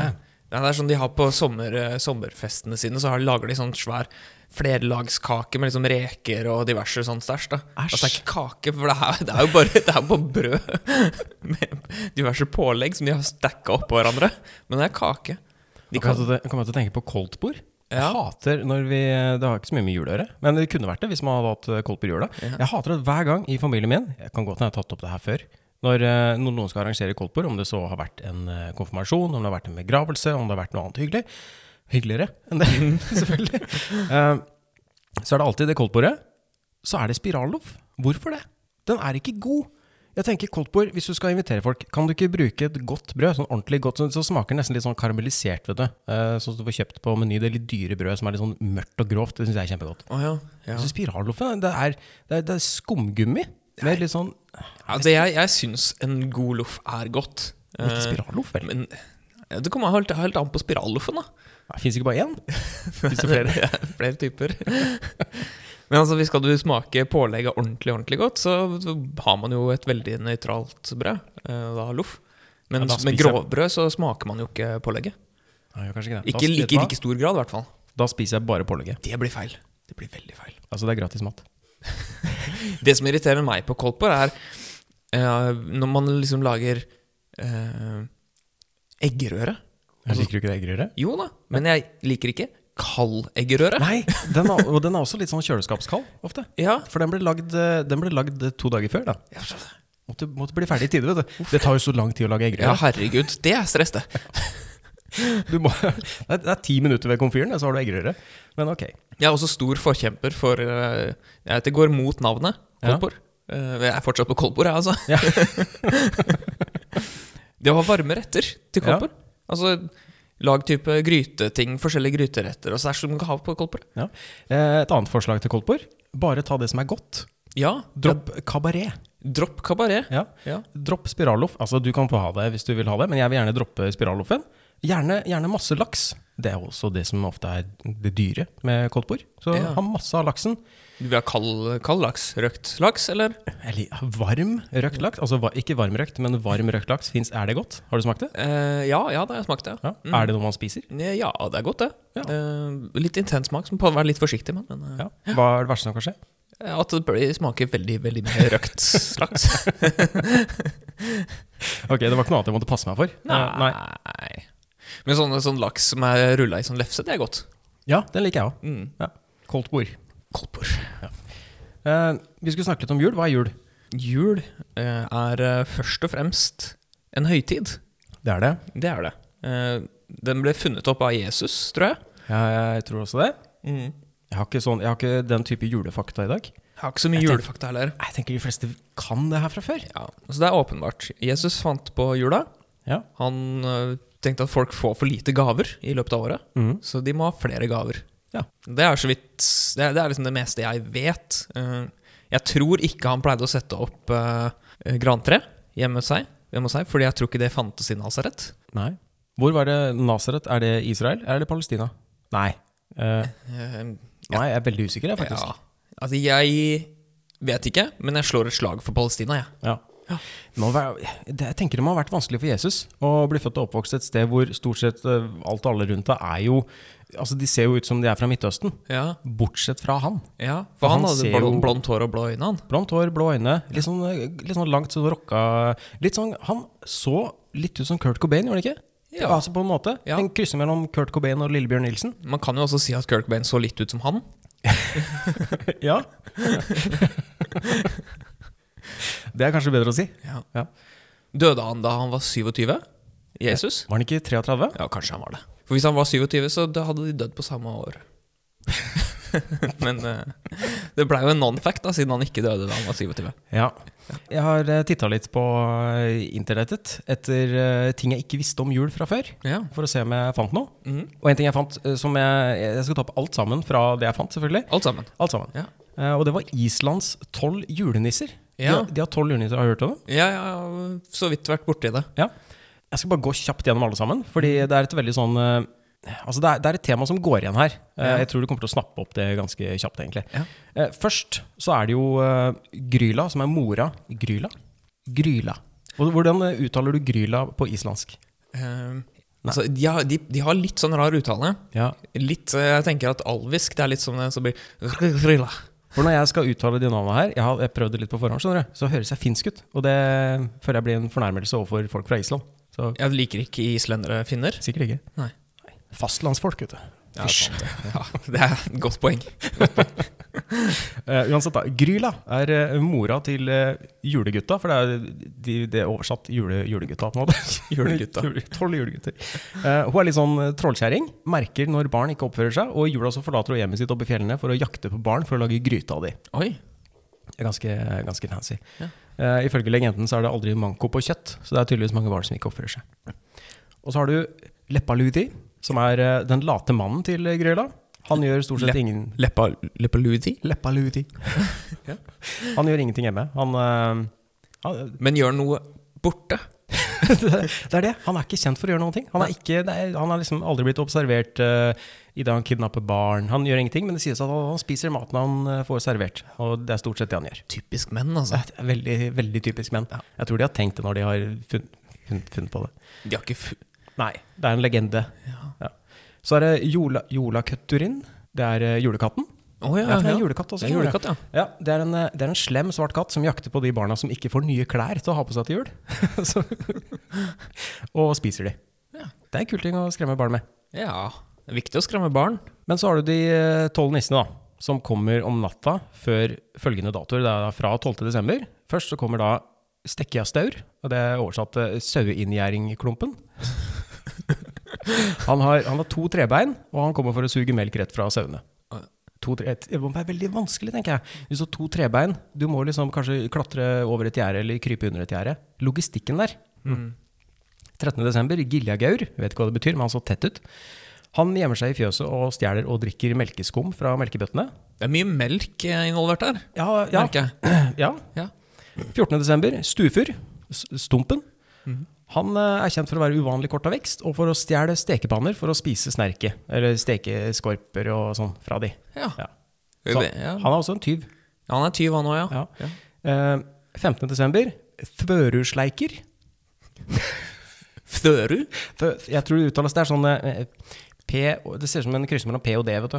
[SPEAKER 3] Nei, det er sånn de har på sommer, eh, sommerfestene sine. Så har, lager de sånn svær flerlagskake med liksom reker og diverse sånn stæsj. da.
[SPEAKER 2] Æsj.
[SPEAKER 3] Altså, det er ikke kake, for det er, det er jo bare det er jo bare brød med diverse pålegg som de har stacka oppå hverandre. Men det er kake. De
[SPEAKER 2] Kommer
[SPEAKER 3] kan,
[SPEAKER 2] Altså, jeg til å- kommer jeg til å tenke på koldtbord?
[SPEAKER 3] Ja.
[SPEAKER 2] Jeg hater når vi Det har ikke så mye med jul å gjøre, men det kunne vært det hvis man hadde hatt eh, kold på jula.
[SPEAKER 3] Ja.
[SPEAKER 2] Jeg hater at hver gang i familien min Jeg kan godt hende jeg har tatt opp det her før. Når eh, noen noen skal arrangere koldtbord, om det så har vært en eh, konfirmasjon, om det har vært en begravelse, om det har vært noe annet hyggelig Hyggeligere enn det, selvfølgelig. Eh, så er det alltid det koldtbordet. Så er det spiralloff. Hvorfor det? Den er ikke god. Jeg tenker koldtbord, hvis du skal invitere folk, kan du ikke bruke et godt brød? Sånn ordentlig godt, så, så smaker det nesten litt sånn karamellisert, vet du. Eh, sånn som du får kjøpt på Meny, det litt dyre brødet som er litt sånn mørkt og grovt. Det syns jeg er kjempegodt.
[SPEAKER 3] Å ja. ja.
[SPEAKER 2] Jeg synes Spiralloffen, det er, det er, det er skumgummi. Med litt sånn
[SPEAKER 3] Altså, jeg, jeg syns en god loff er godt.
[SPEAKER 2] men Ikke
[SPEAKER 3] Eh,
[SPEAKER 2] spiralloff, vel?
[SPEAKER 3] Men ja, det kommer helt, helt an på spiralloffen, da.
[SPEAKER 2] Fins ikke bare én? Fins det flere?
[SPEAKER 3] Ja, flere typer. Men altså, hvis skal du smake pålegget ordentlig ordentlig godt, så så har man jo et veldig nøytralt brød. eh, Da loff. Men
[SPEAKER 2] Ja, da
[SPEAKER 3] med
[SPEAKER 2] spiser jeg-
[SPEAKER 3] grovbrød så smaker man jo ikke pålegget.
[SPEAKER 2] Nei, jeg gjør kanskje ikke
[SPEAKER 3] Ikke
[SPEAKER 2] det. Da,
[SPEAKER 3] i
[SPEAKER 2] vet
[SPEAKER 3] like,
[SPEAKER 2] du hva?
[SPEAKER 3] like stor grad, i hvert fall.
[SPEAKER 2] da spiser jeg bare pålegget.
[SPEAKER 3] Det blir feil. Det blir veldig feil.
[SPEAKER 2] Altså, det er gratis mat.
[SPEAKER 3] Det som irriterer meg på Kolpor, er eh, når man liksom lager uh, eggerøre. Altså-
[SPEAKER 2] Liker du ikke det eggerøret?
[SPEAKER 3] Jo da, men jeg liker ikke kald eggerøre.
[SPEAKER 2] Nei! Den er, og den er også litt sånn kjøleskapskald, ofte.
[SPEAKER 3] Ja.
[SPEAKER 2] For den ble lagd, eh, den ble lagd eh, to dager før, da. Måtte, måtte bli ferdig i tide, vet du. Det tar jo så lang tid å lage
[SPEAKER 3] ja,
[SPEAKER 2] eggerøre.
[SPEAKER 3] herregud. Det er stress, det.
[SPEAKER 2] Du må, det, er, det er ti minutter ved komfyren, og så har du eggerøre. Men ok.
[SPEAKER 3] Jeg er også stor forkjemper for eh, Jeg vet det går mot navnet
[SPEAKER 2] Ja.
[SPEAKER 3] Kolbor. Eh, jeg er fortsatt på Kolbor, jeg, altså.
[SPEAKER 2] Ja.
[SPEAKER 3] det å ha varme retter til
[SPEAKER 2] Ja.
[SPEAKER 3] Kolbor. Altså, lag type gryteting, forskjellige gryteretter og sånn som du kan ha på Kolbor.
[SPEAKER 2] Ja. Eh, Et annet forslag til koldtbord? Bare ta det som er godt.
[SPEAKER 3] Ja, dropp,
[SPEAKER 2] Dropp kabaret.
[SPEAKER 3] dropp kabaret.
[SPEAKER 2] Ja.
[SPEAKER 3] Ja.
[SPEAKER 2] Dropp spiralloff. Altså, du kan få ha det hvis du vil ha det, men jeg vil gjerne droppe spiralloffen. Gjerne, gjerne masse laks. Det er også det som ofte er det dyre med koldtbord. Så
[SPEAKER 3] Ja.
[SPEAKER 2] ha masse av laksen.
[SPEAKER 3] Du vil ha kald, kald laks? Røkt laks, eller?
[SPEAKER 2] Eller varm røkt laks. Altså va- ikke varm røkt, men varm røkt laks. Fins, er det godt? Har du smakt det?
[SPEAKER 3] Eh, ja, ja, det har jeg smakt, ja.
[SPEAKER 2] Ja. Er det noe man spiser?
[SPEAKER 3] Ja, ja, det er godt, det.
[SPEAKER 2] Ja.
[SPEAKER 3] Eh, litt intens smak, så man må være litt forsiktig med. Men, eh,
[SPEAKER 2] Ja. Hva er det verste som kan skje?
[SPEAKER 3] At det blir- smaker veldig, veldig mye røkt laks.
[SPEAKER 2] Ok, det var ikke noe annet jeg måtte passe meg for. Eh,
[SPEAKER 3] Nei. Men sånn, sånn laks som er rulla i sånn lefse, det er godt.
[SPEAKER 2] Ja, den liker jeg òg.
[SPEAKER 3] Mm.
[SPEAKER 2] Ja. Koldtbord.
[SPEAKER 3] Kolpor.
[SPEAKER 2] Eh, vi skulle snakke litt om jul. Hva er jul?
[SPEAKER 3] Jul eh, er eh, først og fremst en høytid.
[SPEAKER 2] Det er det.
[SPEAKER 3] Det er det. Eh, den ble funnet opp av Jesus, tror jeg.
[SPEAKER 2] Ja, jeg tror også det.
[SPEAKER 3] Mm.
[SPEAKER 2] Jeg har ikke, sånn, jeg har ikke den type julefakta i dag.
[SPEAKER 3] Jeg har ikke så mye
[SPEAKER 2] Jeg tenker-
[SPEAKER 3] julefakta heller.
[SPEAKER 2] Jeg tenker de fleste kan det her fra før.
[SPEAKER 3] Ja, så det er åpenbart. Jesus fant på jula.
[SPEAKER 2] Ja.
[SPEAKER 3] Han eh, tenkte at folk får for lite gaver i løpet av året,
[SPEAKER 2] Mhm.
[SPEAKER 3] så de må ha flere gaver.
[SPEAKER 2] Ja.
[SPEAKER 3] Det er så vidt Det er, det er liksom det meste jeg vet. Eh, Jeg tror ikke han pleide å sette opp eh, grantre hjemme hos seg, hjemme hos seg fordi jeg tror ikke det fantes i Nasaret.
[SPEAKER 2] Nei. Hvor var det Nasaret? Er det Israel? Er det Palestina? Nei. Eh,
[SPEAKER 3] Eh,
[SPEAKER 2] nei, jeg er veldig usikker, jeg, faktisk.
[SPEAKER 3] Ja. Altså, jeg vet ikke, men jeg slår et slag for Palestina, jeg.
[SPEAKER 2] Ja. Det må være, det, jeg tenker det må ha vært vanskelig for Jesus å bli født og oppvokst et sted hvor stort sett eh, alt og alle rundt deg er jo Altså, de ser jo ut som de er fra Midtøsten,
[SPEAKER 3] Ja,
[SPEAKER 2] bortsett fra han.
[SPEAKER 3] ja. For han,
[SPEAKER 2] Han
[SPEAKER 3] hadde
[SPEAKER 2] ser
[SPEAKER 3] blond,
[SPEAKER 2] jo-
[SPEAKER 3] blondt hår og blå øyne, han.
[SPEAKER 2] Blondt hår, blå øyne, litt sånn, eh, litt sånn langt, sånn rocka litt sånn, Han så litt ut som Kurt Cobain, gjorde han ikke?
[SPEAKER 3] Ja.
[SPEAKER 2] Altså på en måte.
[SPEAKER 3] Ja.
[SPEAKER 2] En krysser mellom Kurt Cobain og Lillebjørn Nilsen.
[SPEAKER 3] Man kan jo også si at Kirk Bain så litt ut som han.
[SPEAKER 2] ja. det er kanskje bedre å si.
[SPEAKER 3] Ja.
[SPEAKER 2] Ja.
[SPEAKER 3] Døde han da han var 27? Jesus?
[SPEAKER 2] Var han ikke 33?
[SPEAKER 3] Ja, kanskje han var det. For hvis han var 27, så da hadde de dødd på samme år. Men eh, det blei jo en non-fact, da, siden han ikke døde da han var 27.
[SPEAKER 2] Ja. Jeg har titta litt på eh, internettet etter eh, ting jeg ikke visste om jul fra før.
[SPEAKER 3] Ja.
[SPEAKER 2] For å se om jeg fant noe.
[SPEAKER 3] Mhm.
[SPEAKER 2] Og en ting jeg fant eh, som jeg Jeg skal ta opp alt sammen fra det jeg fant, selvfølgelig.
[SPEAKER 3] Alt sammen.
[SPEAKER 2] Alt sammen.
[SPEAKER 3] Ja.
[SPEAKER 2] Eh, og det var Islands tolv julenisser. De,
[SPEAKER 3] Ja.
[SPEAKER 2] har- de har tolv julenisser, har du hørt om det?
[SPEAKER 3] Ja, jeg har så vidt vært borti det.
[SPEAKER 2] Ja. Jeg skal bare gå kjapt gjennom alle sammen, fordi
[SPEAKER 3] Mm.
[SPEAKER 2] det er et veldig sånn eh, Altså, det er, det er et tema som går igjen her. Eh,
[SPEAKER 3] Ja.
[SPEAKER 2] Jeg tror du kommer til å snappe opp det ganske kjapt, egentlig.
[SPEAKER 3] Ja.
[SPEAKER 2] Eh, først så er det jo eh, Gryla, som er mora Gryla? Gryla. Hvor- Hvordan eh, uttaler du Gryla på islandsk?
[SPEAKER 3] Eh, altså, de, har, de, de har litt sånn rar uttale.
[SPEAKER 2] Ja.
[SPEAKER 3] Litt, eh, jeg tenker at alvisk det er litt som det som blir Rilla.
[SPEAKER 2] For når jeg skal uttale de navnene her, jeg har jeg prøvd det litt på forhånd, skjønner du, så høres jeg finsk ut. Og det føler jeg blir en fornærmelse overfor folk fra Island. Så
[SPEAKER 3] Jeg liker ikke islendere finner.
[SPEAKER 2] sikkert ikke.
[SPEAKER 3] Nei.
[SPEAKER 2] Fastlandsfolk, vet du.
[SPEAKER 3] Ja, sant det. ja, det er et godt poeng.
[SPEAKER 2] Eh, uansett, da. Gryla er eh, mora til eh, julegutta, for det er, de, det er oversatt jule, julegutta på en måte.
[SPEAKER 3] Julegutta.
[SPEAKER 2] Jule- Tolv julegutter. Eh, hun er litt sånn eh, trollkjerring. Merker når barn ikke oppfører seg, og i jula så forlater hun hjemmet sitt oppe i fjellene for å jakte på barn for å lage gryte av de.
[SPEAKER 3] Oi.
[SPEAKER 2] Det er Ganske, ganske fancy.
[SPEAKER 3] Ja.
[SPEAKER 2] Eh, ifølge legenden så er det aldri manko på kjøtt, så det er tydeligvis mange barn som ikke oppfører seg. Og så har du Leppaludi, som er eh, den late mannen til eh, Gryla. Han gjør stort sett
[SPEAKER 3] Lepp-
[SPEAKER 2] ingen
[SPEAKER 3] Leppa, leppaludi?
[SPEAKER 2] Leppaluti.
[SPEAKER 3] Ja.
[SPEAKER 2] Han gjør ingenting hjemme. Han, eh, han,
[SPEAKER 3] Men gjør noe borte.
[SPEAKER 2] det er det. Han er ikke kjent for å gjøre noen ting. Han er, ikke, det er, han er liksom aldri blitt observert eh, i det han kidnapper barn. Han gjør ingenting, men det sies at han, han spiser maten han eh, får servert. Og det er stort sett det han gjør.
[SPEAKER 3] Typisk menn, altså.
[SPEAKER 2] Det er veldig, veldig typisk menn. Jeg tror de har tenkt det når de har funnet, funnet, funnet på det.
[SPEAKER 3] De har ikke fu...
[SPEAKER 2] Nei, det er en legende.
[SPEAKER 3] Ja.
[SPEAKER 2] Ja. Så er det Jola, Jolakutturin. Det er eh, julekatten.
[SPEAKER 3] Å ja,
[SPEAKER 2] Ja, for det er
[SPEAKER 3] ja.
[SPEAKER 2] julekatt også.
[SPEAKER 3] Det er
[SPEAKER 2] skjønner jeg.
[SPEAKER 3] julekatt, ja.
[SPEAKER 2] Ja, det er, en, eh, det er en slem svart katt som jakter på de barna som ikke får nye klær til å ha på seg til jul. Så- og spiser de.
[SPEAKER 3] Ja.
[SPEAKER 2] Det er en kul ting å skremme barn med.
[SPEAKER 3] Ja. Det er viktig å skremme barn.
[SPEAKER 2] Men så har du de eh, tolv nissene, da. Som kommer om natta før følgende datoer. Det er da fra 12. desember. Først så kommer da Stekkjastaur, og det er oversatt til saueinngjerdingklumpen. Han har, han har to trebein, og han kommer for å suge melk rett fra sauene. To, tre, et- det må være veldig vanskelig, tenker jeg. Hvis du har to trebein, du må liksom kanskje klatre over et gjerde eller krype under et gjerde. Logistikken der. 13. desember, Giljagaur, vet ikke hva det betyr, men han så tett ut. Han gjemmer seg i fjøset og stjeler og drikker melkeskum fra melkebøttene.
[SPEAKER 3] Det er mye melk eh, involvert her,
[SPEAKER 2] Ja, ja,
[SPEAKER 3] merker jeg.
[SPEAKER 2] ja.
[SPEAKER 3] Ja.
[SPEAKER 2] 14. desember, Stufur, S- Stumpen. Han eh, er kjent for å være uvanlig kort av vekst, og for å stjele stekepanner for å spise snerke, eller stekeskorper og sånn fra de.
[SPEAKER 3] Ja.
[SPEAKER 2] Ja.
[SPEAKER 3] Det-
[SPEAKER 2] Så,
[SPEAKER 3] ja.
[SPEAKER 2] han er også en tyv.
[SPEAKER 3] Han er tyv, han òg, ja.
[SPEAKER 2] Ja. Eh, 15. desember, Tvørursleiker.
[SPEAKER 3] Føru?
[SPEAKER 2] Fø- Jeg tror det uttales det er sånn eh, P, og- det ser ut som en kryssing mellom P og D, vet du.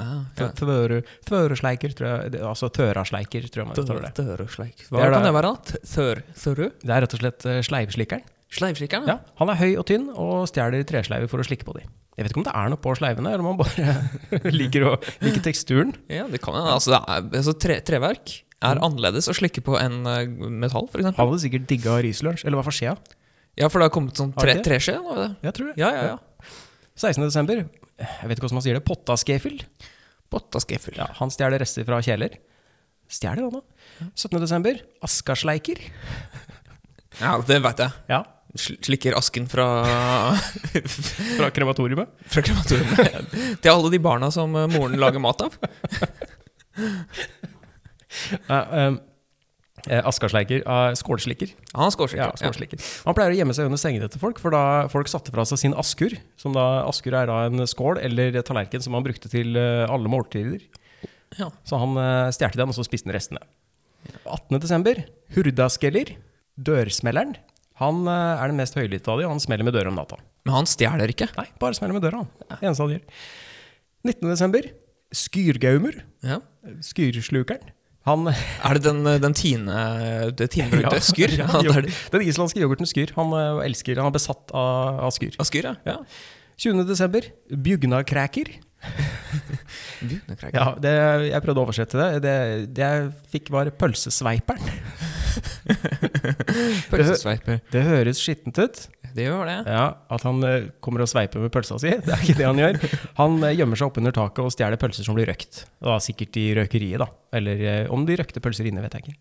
[SPEAKER 3] Ah,
[SPEAKER 2] Fø- Tvøru, tvørusleiker, tror jeg. det- Altså tørasleiker, tror jeg man uttaler det.
[SPEAKER 3] Dørøsleik.
[SPEAKER 2] Det
[SPEAKER 3] Hva
[SPEAKER 2] er
[SPEAKER 3] kan
[SPEAKER 2] det.
[SPEAKER 3] det være? da? T- Sør, Søru?
[SPEAKER 2] Det er rett og slett eh, sleivslikkeren.
[SPEAKER 3] Sleivskikkeren?
[SPEAKER 2] Ja, han er høy og tynn og stjeler tresleiver for å slikke på de. Jeg vet ikke om det er noe på sleivene, eller om han bare liker, å, liker teksturen.
[SPEAKER 3] Ja, det kan hende. Altså, det er- altså, tre, treverk er
[SPEAKER 2] Mm.
[SPEAKER 3] annerledes å slikke på enn eh, metall, for eksempel.
[SPEAKER 2] Han hadde sikkert digga rislunsj, eller hva for skjea?
[SPEAKER 3] Ja, for det har kommet sånn
[SPEAKER 2] Har
[SPEAKER 3] tre,
[SPEAKER 2] det?
[SPEAKER 3] treskje? nå, er det?
[SPEAKER 2] Jeg tror det.
[SPEAKER 3] Ja, ja, ja.
[SPEAKER 2] 16. desember, jeg vet ikke hvordan man sier det, Pottaskefild.
[SPEAKER 3] Bottaskeffel.
[SPEAKER 2] Ja, han stjeler rester fra kjeler. Stjeler han da? 17. desember, Askarsleiker.
[SPEAKER 3] Ja, det veit jeg.
[SPEAKER 2] Ja,
[SPEAKER 3] Sl- Slikker asken fra,
[SPEAKER 2] fra krematoriet.
[SPEAKER 3] fra krematoriet til alle de barna som eh, moren lager mat av.
[SPEAKER 2] Askarsleiker, eh, skålslikker.
[SPEAKER 3] Han er skålslikker.
[SPEAKER 2] Ja, skålslikker. Han pleier å gjemme seg under sengene til folk, for da folk satte fra seg sin askur, som da askur er da en skål eller tallerken som han brukte til eh, alle måltider.
[SPEAKER 3] Ja.
[SPEAKER 2] Så han eh, stjerte den, og så spiste han restene. 18. desember, Hurdaskeller, dørsmelleren. Han eh, er den mest høylytte av de, og han smeller med døra om natta.
[SPEAKER 3] Men han stjeler ikke.
[SPEAKER 2] Nei, bare smeller med døra, han. Det eneste han gjør. 19. desember, Skyrgaumer,
[SPEAKER 3] Ja.
[SPEAKER 2] skyrslukeren. Han
[SPEAKER 3] Er det den, eh, den tine, det tinebrukte skyr? Ja, det er det.
[SPEAKER 2] Den islandske yoghurten Skyr. Han eh, elsker, han er besatt av, av Skyr.
[SPEAKER 3] Ja, skyr, ja. ja.
[SPEAKER 2] 20. desember, Bjugnakræker.
[SPEAKER 3] Bjørnekreik.
[SPEAKER 2] Ja, det, jeg prøvde å oversette det. Det, det jeg fikk, var pølsesveiperen.
[SPEAKER 3] Pølsesveiper.
[SPEAKER 2] Det høres skittent ut.
[SPEAKER 3] Det gjør det.
[SPEAKER 2] Ja, At han eh, kommer og sveiper med pølsa si. Det er ikke det han gjør. Han eh, gjemmer seg oppunder taket og stjeler pølser som blir røkt. Da, sikkert i røkeriet, da. Eller eh, om de røkte pølser inne, vet jeg ikke.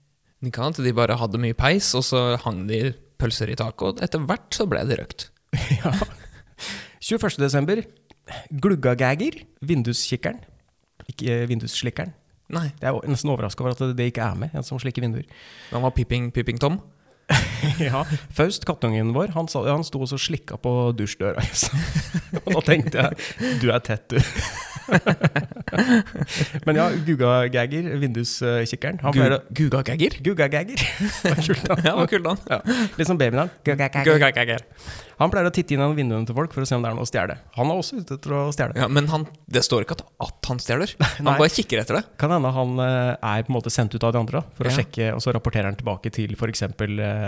[SPEAKER 3] Det kan hende de bare hadde mye peis, og så hang de pølser i taket, og etter hvert så ble det røkt.
[SPEAKER 2] Ja. 21. desember. Gluggagæger. Vinduskikkeren. Ikke eh, vindusslikkeren.
[SPEAKER 3] Nei.
[SPEAKER 2] Det er jo nesten overraska over at det ikke er med, en som slikker vinduer.
[SPEAKER 3] Han var Pipping Pipping Tom.
[SPEAKER 2] Ja. Faust, kattungen vår, han, sa, han sto også og slikka på dusjdøra. Og da tenkte jeg du er tett, du. Men ja, Gugagæger, vinduskikkeren. Han pleier å
[SPEAKER 3] Gugagagger.
[SPEAKER 2] Gugagæger. Det var kult, da.
[SPEAKER 3] Ja, hva kult, han.
[SPEAKER 2] Ja. Litt som babynavn. Gugagæger.
[SPEAKER 3] Gugagagger.
[SPEAKER 2] Han pleier å titte inn gjennom vinduene til folk for å se om det er noe å stjele. Han er også ute etter å stjele.
[SPEAKER 3] Ja, men han, det står ikke at, at han stjeler. Han
[SPEAKER 2] Nei.
[SPEAKER 3] bare kikker etter det.
[SPEAKER 2] Kan hende han eh, er på en måte sendt ut av de andre da, for å
[SPEAKER 3] Ja.
[SPEAKER 2] sjekke, og så rapporterer han tilbake til f.eks. eh,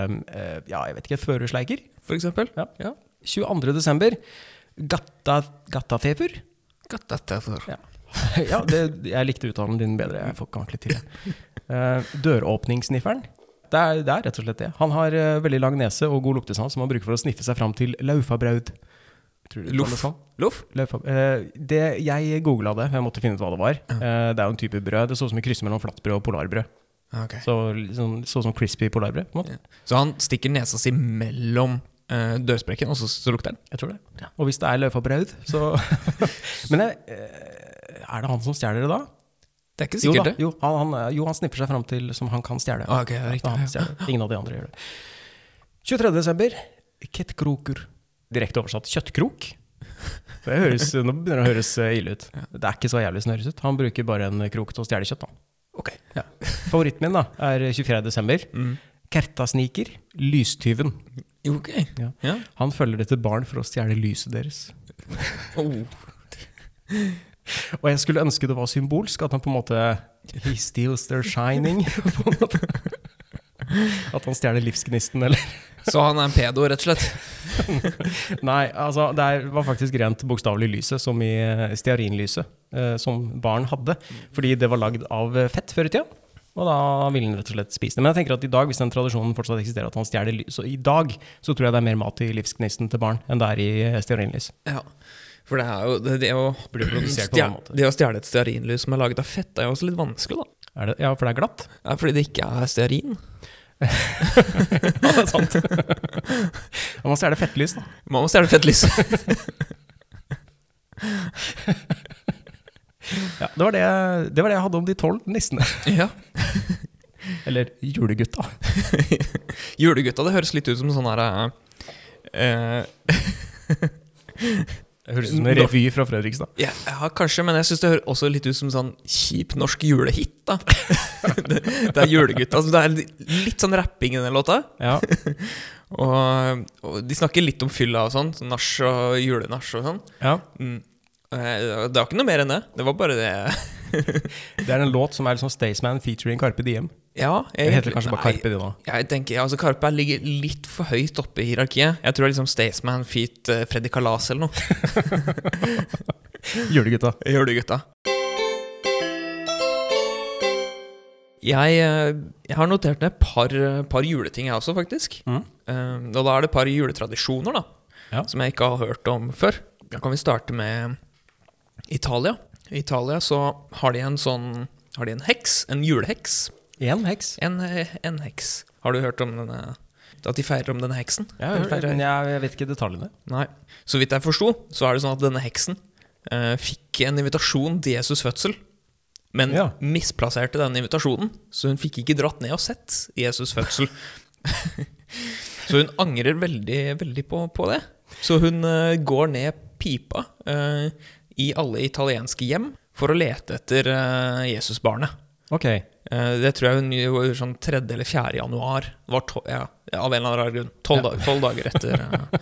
[SPEAKER 2] Ja, jeg vet ikke, førersleiker.
[SPEAKER 3] For eksempel.
[SPEAKER 2] Ja.
[SPEAKER 3] Ja.
[SPEAKER 2] 22. desember. Gatta, gattafeber.
[SPEAKER 3] akkurat dette for.
[SPEAKER 2] ja, det, jeg likte uttalen din bedre. Jeg får ikke ordentlig til det. Eh, døråpningssnifferen. Det er, det er rett og slett det. Han har eh, veldig lang nese og god luktesans som han bruker for å sniffe seg fram til laufabraud. Tror du det
[SPEAKER 3] Loff.
[SPEAKER 2] uttales sånn?
[SPEAKER 3] Loff?
[SPEAKER 2] Laufa- eh, det, jeg googla det, jeg måtte finne ut hva det var. Eh, det er jo en type brød. Det så ut som et kryss mellom flatbrød og polarbrød. Så liksom, så ut som crispy polarbrød. på en måte.
[SPEAKER 3] Så han stikker nesa si mellom eh, dørsprekken, og så, så lukter den.
[SPEAKER 2] Jeg tror det. Og hvis det er laufabraud, så Men jeg, eh, er det han som stjeler det da?
[SPEAKER 3] Det er ikke
[SPEAKER 2] Jo,
[SPEAKER 3] sikkert,
[SPEAKER 2] da,
[SPEAKER 3] det.
[SPEAKER 2] jo, han, han, eh, jo, han sniffer seg fram til som han kan stjele.
[SPEAKER 3] Ah, ok, det er riktig,
[SPEAKER 2] Ja, han
[SPEAKER 3] ja.
[SPEAKER 2] stjeler. Ingen av de andre gjør det. 23. desember, kettkroker. Direkte oversatt kjøttkrok. Det høres, nå begynner det å høres eh, ille ut. Det er ikke så jævlig som det høres ut. Han bruker bare en krok til å stjele kjøtt. Da.
[SPEAKER 3] Ok. Mm.
[SPEAKER 2] Favoritten min da, er 24. desember. Kertasniker, lystyven.
[SPEAKER 3] Jo, ok.
[SPEAKER 2] Ja.
[SPEAKER 3] Ja.
[SPEAKER 2] Han følger det til barn for å stjele lyset deres.
[SPEAKER 3] Oh.
[SPEAKER 2] Og jeg skulle ønske det var symbolsk, at han på en måte He steals their shining, på en måte. At han stjeler livsgnisten, eller
[SPEAKER 3] Så han er en pedo, rett og slett?
[SPEAKER 2] Nei, altså, det er- var faktisk rent bokstavelig lyset, som i eh, stearinlyset, eh, som barn hadde. Fordi det var lagd av eh, fett før i tida. Og da ville han rett og slett spise det. Men jeg tenker at i dag, hvis den tradisjonen fortsatt eksisterer, at han stjeler lys, så i dag så tror jeg det er mer mat i livsgnisten til barn enn det er i eh, stearinlys.
[SPEAKER 3] Ja. For det er jo det, det å
[SPEAKER 2] Blir produsert på en annen måte.
[SPEAKER 3] stjele- det å stjele et stearinlys som er laget av fett, er jo også litt vanskelig, da.
[SPEAKER 2] Er det, ja, for det er glatt.
[SPEAKER 3] Ja, fordi det ikke er stearin.
[SPEAKER 2] Ja, det er sant. Og man stjeler fettlys, da.
[SPEAKER 3] Man må stjele fettlys.
[SPEAKER 2] Ja, det, var det, det var det jeg hadde om de tolv nissene.
[SPEAKER 3] ja.
[SPEAKER 2] Eller julegutta.
[SPEAKER 3] Julegutta, det høres litt ut som sånn her eh,
[SPEAKER 2] Det høres ut som en revy fra Fredrikstad.
[SPEAKER 3] Ja, ja, kanskje, men jeg syns det høres også litt ut som sånn kjip norsk julehit. da Det, det er julegutta. Altså, det er litt sånn rapping i den låta.
[SPEAKER 2] Ja,
[SPEAKER 3] Og, og de snakker litt om fylla og sånn. sånn Nach og julenach og sånn.
[SPEAKER 2] ja.
[SPEAKER 3] Mm. Eh, Det var ikke noe mer enn det. Det var bare det.
[SPEAKER 2] Det er en låt som er liksom Staysman featuring Carpe Diem.
[SPEAKER 3] Ja,
[SPEAKER 2] Det heter kanskje bare
[SPEAKER 3] Nei,
[SPEAKER 2] Carpe Diem da.
[SPEAKER 3] Jeg tenker, ja, altså Karpe ligger litt for høyt oppe i hierarkiet. Jeg tror det er liksom Staysman feat eh, Freddy Kalas eller noe.
[SPEAKER 2] Julegutta.
[SPEAKER 3] Gjør du, gutta? Jeg, eh, jeg har notert ned et par, eh, par juleting, jeg også, faktisk.
[SPEAKER 2] Mhm.
[SPEAKER 3] Eh, og da er det et par juletradisjoner da,
[SPEAKER 2] Ja.
[SPEAKER 3] som jeg ikke har hørt om før. Da kan vi starte med Italia. I Italia så har de en sånn Har de en heks? En juleheks?
[SPEAKER 2] Én heks.
[SPEAKER 3] En, eh, en heks. Har du hørt om denne At de feirer om denne heksen?
[SPEAKER 2] Ja, jeg,
[SPEAKER 3] Eller feirer-
[SPEAKER 2] men jeg, jeg vet ikke detaljene.
[SPEAKER 3] Nei. Så vidt jeg forsto, så er det sånn at denne heksen eh, fikk en invitasjon til Jesus' fødsel, men
[SPEAKER 2] Ja.
[SPEAKER 3] misplasserte den invitasjonen, så hun fikk ikke dratt ned og sett Jesus' fødsel. så hun angrer veldig, veldig på, på det. Så hun eh, går ned pipa eh, i alle italienske hjem for å lete etter eh, Jesus-barnet.
[SPEAKER 2] Ok.
[SPEAKER 3] Eh, Det tror jeg hun gjorde sånn 3. eller 4. januar. Var to, ja, av en eller annen rar grunn. Tolv dag, tolv dager etter. eh,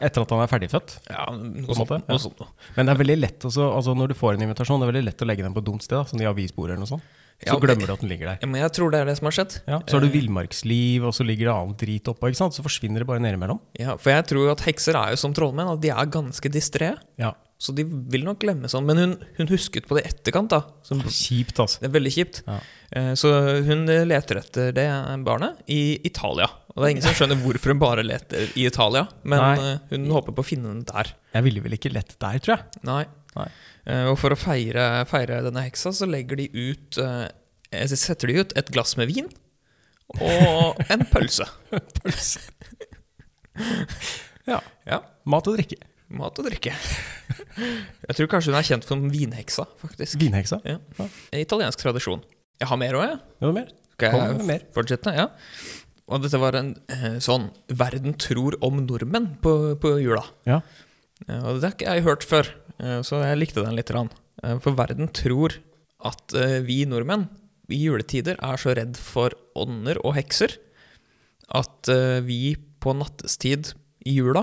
[SPEAKER 2] Etter at han er ferdigfødt.
[SPEAKER 3] Ja, noe
[SPEAKER 2] På en
[SPEAKER 3] sånt.
[SPEAKER 2] måte, ja.
[SPEAKER 3] Noe sånt noe.
[SPEAKER 2] Men det er veldig lett også, altså når du får en invitasjon, det er veldig lett å legge den på et dumt sted, da, som de avisbordet eller noe sånt. Så
[SPEAKER 3] Ja,
[SPEAKER 2] glemmer du at den ligger der.
[SPEAKER 3] Ja, men jeg tror det er det som har skjedd.
[SPEAKER 2] Ja. Så har du villmarksliv, og så ligger det annet drit oppå, ikke sant. Så forsvinner det bare nedimellom.
[SPEAKER 3] Ja, for jeg tror at hekser er jo som trollmenn, at de er ganske distré.
[SPEAKER 2] Ja.
[SPEAKER 3] Så de vil nok glemme sånn. Men hun, hun husket på det i etterkant, da. Så
[SPEAKER 2] Kjipt, altså.
[SPEAKER 3] det er veldig kjipt.
[SPEAKER 2] Ja.
[SPEAKER 3] Eh, Så hun leter etter det barnet i Italia. Og det er ingen som skjønner hvorfor hun bare leter i Italia, men
[SPEAKER 2] Nei.
[SPEAKER 3] eh, hun håper på å finne den der.
[SPEAKER 2] Jeg ville vel ikke lett der, tror jeg.
[SPEAKER 3] Nei.
[SPEAKER 2] Nei.
[SPEAKER 3] Eh, og for å feire, feire denne heksa, så legger de ut eh, eh, Så setter de ut et glass med vin og en pølse.
[SPEAKER 2] Ja.
[SPEAKER 3] Ja.
[SPEAKER 2] Mat og drikke.
[SPEAKER 3] Mat og drikke. Jeg tror kanskje hun er kjent som vinheksa, faktisk.
[SPEAKER 2] Vinheksa.
[SPEAKER 3] Ja.
[SPEAKER 2] Ja.
[SPEAKER 3] Italiensk tradisjon. Jeg har mer òg, jeg.
[SPEAKER 2] Noe mer?
[SPEAKER 3] Skal
[SPEAKER 2] Kom med
[SPEAKER 3] jeg
[SPEAKER 2] mer.
[SPEAKER 3] fortsette? Ja. Og dette var en eh, sånn Verden tror om nordmenn på, på jula.
[SPEAKER 2] Ja.
[SPEAKER 3] Ja, Eh, og det har ikke jeg hørt før, eh, så jeg likte den litt. grann. Eh, For verden tror at eh, vi nordmenn i juletider er så redd for ånder og hekser at eh, vi på nattestid i jula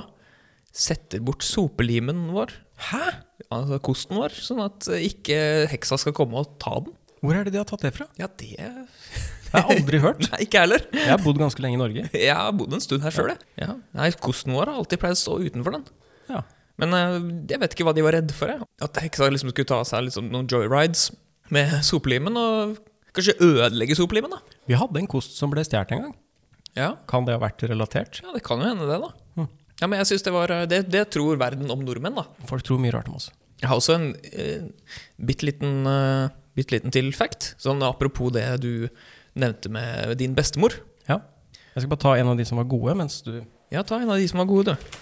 [SPEAKER 3] setter bort sopelimen vår,
[SPEAKER 2] Hæ?
[SPEAKER 3] altså kosten vår, sånn at eh, ikke heksa skal komme og ta den.
[SPEAKER 2] Hvor er det de har tatt det fra?
[SPEAKER 3] Ja, det Nei,
[SPEAKER 2] Jeg har aldri hørt.
[SPEAKER 3] ikke jeg heller.
[SPEAKER 2] Jeg har bodd ganske lenge i Norge.
[SPEAKER 3] Jeg har bodd en stund her sjøl, jeg. Ja. Nei, kosten vår har alltid pleid å stå utenfor den.
[SPEAKER 2] Ja.
[SPEAKER 3] Men eh, jeg vet ikke hva de var redd for. Jeg. At heksa liksom skulle ta seg liksom, noen joyrides med soplimen, og kanskje ødelegge soplimen. da
[SPEAKER 2] Vi hadde en kost som ble stjålet en gang.
[SPEAKER 3] Ja,
[SPEAKER 2] Kan det ha vært relatert?
[SPEAKER 3] ja det kan jo hende, det, da.
[SPEAKER 2] Hm.
[SPEAKER 3] Ja, men jeg synes Det var eh, det, det tror verden om nordmenn, da.
[SPEAKER 2] Folk tror mye rart om oss.
[SPEAKER 3] Jeg har også en eh, bitte liten, eh, bitte liten til fact. Sånn apropos det du nevnte med din bestemor.
[SPEAKER 2] Ja. Jeg skal bare ta en av de som var gode, mens du
[SPEAKER 3] Ja, ta en av de som var gode, du.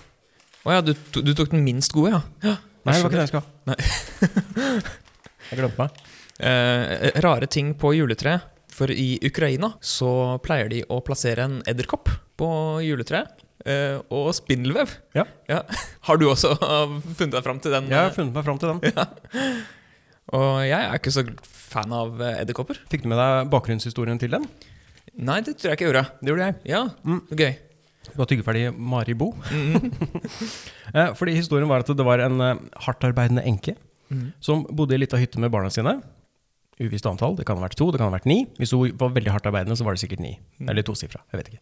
[SPEAKER 3] Å ja, du, to- du tok den minst gode, ja. ja
[SPEAKER 2] Nei, det
[SPEAKER 3] jeg
[SPEAKER 2] var ikke
[SPEAKER 3] skjønner.
[SPEAKER 2] det jeg skulle ha.
[SPEAKER 3] Nei.
[SPEAKER 2] jeg glemte meg.
[SPEAKER 3] Eh, rare ting på juletreet. For i Ukraina så pleier de å plassere en edderkopp på juletreet. eh, og spindelvev.
[SPEAKER 2] Ja.
[SPEAKER 3] Har du også eh, funnet deg fram til den?
[SPEAKER 2] Jeg har funnet meg fram til den.
[SPEAKER 3] Og jeg er ikke så fan av eh, edderkopper.
[SPEAKER 2] Fikk du med deg bakgrunnshistorien til den?
[SPEAKER 3] Nei, det tror jeg ikke jeg gjorde.
[SPEAKER 2] Det gjorde jeg.
[SPEAKER 3] Ja,
[SPEAKER 2] Mm.
[SPEAKER 3] gøy.
[SPEAKER 2] Du var tyggeferdig Maribo. Eh, Fordi historien var at det var en eh, hardtarbeidende enke som bodde i ei lita hytte med barna sine. Uvisst antall, det kan ha vært to, det kan ha vært ni. Hvis hun var veldig hardtarbeidende, så var det sikkert ni. Eller tosifra, jeg vet ikke.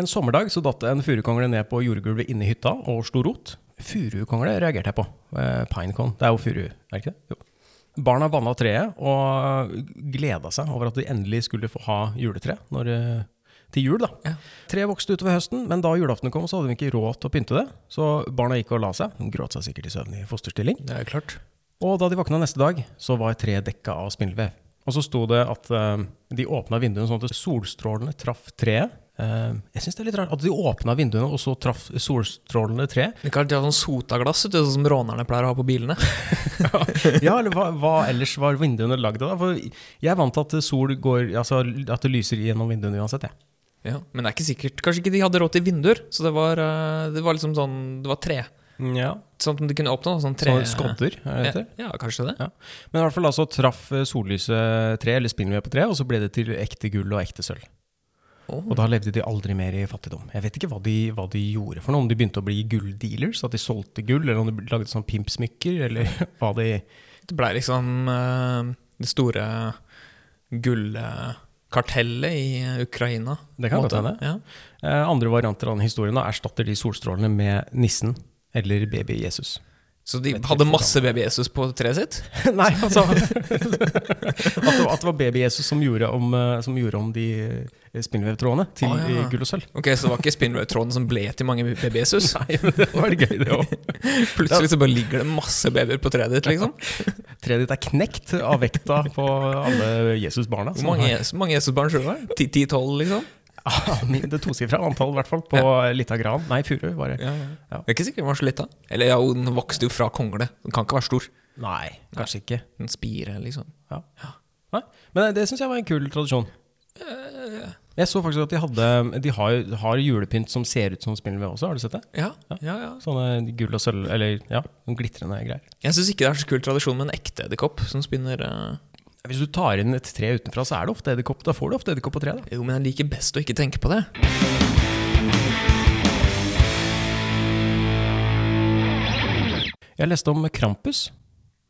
[SPEAKER 2] En sommerdag så datt en furukongle ned på jordgulvet inne i hytta og slo rot. Furukongle reagerte jeg på. Eh, Pinecone. Det er jo furu, er det ikke det? Jo. Barna vanna treet og gleda seg over at de endelig skulle få ha juletre når, eh, til jul. da.
[SPEAKER 3] Ja.
[SPEAKER 2] Treet vokste utover høsten, men da julaften kom, så hadde de ikke råd til å pynte det. Så barna gikk og la seg. De gråt seg sikkert i søvn i fosterstilling.
[SPEAKER 3] Det er klart.
[SPEAKER 2] Og da de våkna neste dag, så var treet dekka av spindelvev. Og så sto det at eh, de åpna vinduene sånn at solstrålene traff treet. Eh, jeg syns det er litt rart at de åpna vinduene, og så traff solstrålene treet.
[SPEAKER 3] Det kan alltid ha sånn sotaglass, vet du, sånn som rånerne pleier å ha på bilene.
[SPEAKER 2] Ja, eller hva, hva ellers var vinduene lagd av? da? For jeg er vant til at sol går Altså at det lyser gjennom vinduene uansett, jeg.
[SPEAKER 3] Ja, men det er ikke sikkert. Kanskje ikke de hadde råd til vinduer, så det var, eh, det var liksom sånn Det var tre.
[SPEAKER 2] Ja.
[SPEAKER 3] Sånn at de kunne åpne da, sånn tre
[SPEAKER 2] Sånne skodder, er det det?
[SPEAKER 3] Ja, ja, kanskje det.
[SPEAKER 2] Ja. Men i hvert fall da så traff eh, sollyset treet, eller spindelvev på treet, og så ble det til ekte gull og ekte sølv.
[SPEAKER 3] Åh.
[SPEAKER 2] Og da levde de aldri mer i fattigdom. Jeg vet ikke hva de, hva de gjorde for noe, om de begynte å bli gulldealers, at de solgte gull, eller om de lagde sånn pimpsmykker, eller hva de eh,
[SPEAKER 3] Det ble liksom eh, det store gullkartellet i Ukraina.
[SPEAKER 2] Det kan
[SPEAKER 3] På en
[SPEAKER 2] godt
[SPEAKER 3] måte. Ja.
[SPEAKER 2] Eh, Andre varianter av den historien da, erstatter de solstrålene med nissen eller baby Jesus.
[SPEAKER 3] Så de
[SPEAKER 2] Vet ikke
[SPEAKER 3] hadde
[SPEAKER 2] hvordan.
[SPEAKER 3] masse baby Jesus på treet sitt?
[SPEAKER 2] Nei, altså At det, var- at det var baby Jesus som gjorde om, eh, som gjorde om de eh, spindelvevtrådene til
[SPEAKER 3] Å, ja.
[SPEAKER 2] eh, gull og sølv.
[SPEAKER 3] Ok, Så det var ikke spinnrødtråden som ble til mange baby Jesus?
[SPEAKER 2] Nei, men det var gøy, det òg.
[SPEAKER 3] Plutselig så bare ligger det masse babyer på treet ditt, liksom.
[SPEAKER 2] Treet ditt er knekt av vekta på alle Jesus-barna.
[SPEAKER 3] Hvor mange, Jesus- mange Jesus-barn tror du det var? 10-12, liksom?
[SPEAKER 2] Ah, Det tosifra antall, i hvert fall, på lita gran. Nei, furu, var det.
[SPEAKER 3] Ja, ja.
[SPEAKER 2] Ja.
[SPEAKER 3] Jeg er ikke sikker den var så lita. Eller ja, hun vokste jo fra kongle. Den kan ikke være stor.
[SPEAKER 2] Nei, kanskje ikke.
[SPEAKER 3] En spire, liksom.
[SPEAKER 2] Ja. Nei. Men det syns jeg var en kul tradisjon. Jeg så faktisk at de hadde De har, har julepynt som ser ut som spindelvev også, har du sett det?
[SPEAKER 3] Ja, ja, ja.
[SPEAKER 2] Sånne gull og sølv, eller ja, sånne glitrende greier.
[SPEAKER 3] Jeg syns ikke det er så kul tradisjon med en ekte edderkopp som spinner eh,
[SPEAKER 2] Hvis du tar inn et tre utenfra, så er det ofte edderkopp. Da får du ofte edderkopp på treet. da.
[SPEAKER 3] Jo, men jeg liker best å ikke tenke på det.
[SPEAKER 2] Jeg leste om Krampus.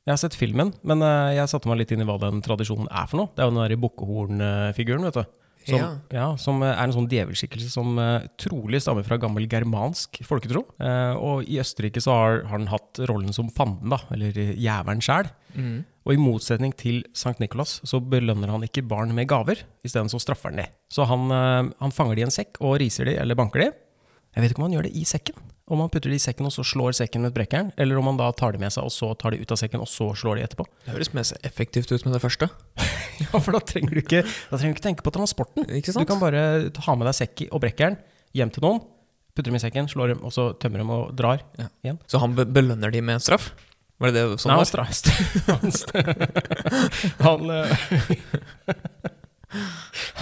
[SPEAKER 2] Jeg har sett filmen, men eh, jeg satte meg litt inn i hva den tradisjonen er for noe. Det er jo den derre bukkehornfiguren, vet du. Som, ja.
[SPEAKER 3] Ja.
[SPEAKER 2] som eh, er en sånn djevelskikkelse som eh, trolig stammer fra gammel germansk folketro. Eh, og i Østerrike så har, har den hatt rollen som fanden, da, eller eh, jævelen sjæl. Og i motsetning til Sankt Nikolas så belønner han ikke barn med gaver, isteden så straffer han de. Så han, eh, han fanger de i en sekk og riser de, eller banker de. Jeg vet ikke om han gjør det i sekken. Om han putter det i sekken og så slår sekken med brekkeren, eller om han da tar det med seg og så tar det ut av sekken og så slår de etterpå.
[SPEAKER 3] Det høres mer effektivt ut med det første.
[SPEAKER 2] Ja, for da trenger du ikke, da trenger du ikke tenke på transporten.
[SPEAKER 3] Ikke
[SPEAKER 2] Du
[SPEAKER 3] sant?
[SPEAKER 2] kan bare ta- ha med deg sekk i- og brekkeren hjem til noen, putter dem i sekken, slår dem, og så tømmer dem og drar
[SPEAKER 3] Ja.
[SPEAKER 2] igjen.
[SPEAKER 3] Så han be belønner de med en straff? Var det det sånn
[SPEAKER 2] Nei, han
[SPEAKER 3] var?
[SPEAKER 2] stra- st- han st- Han eh,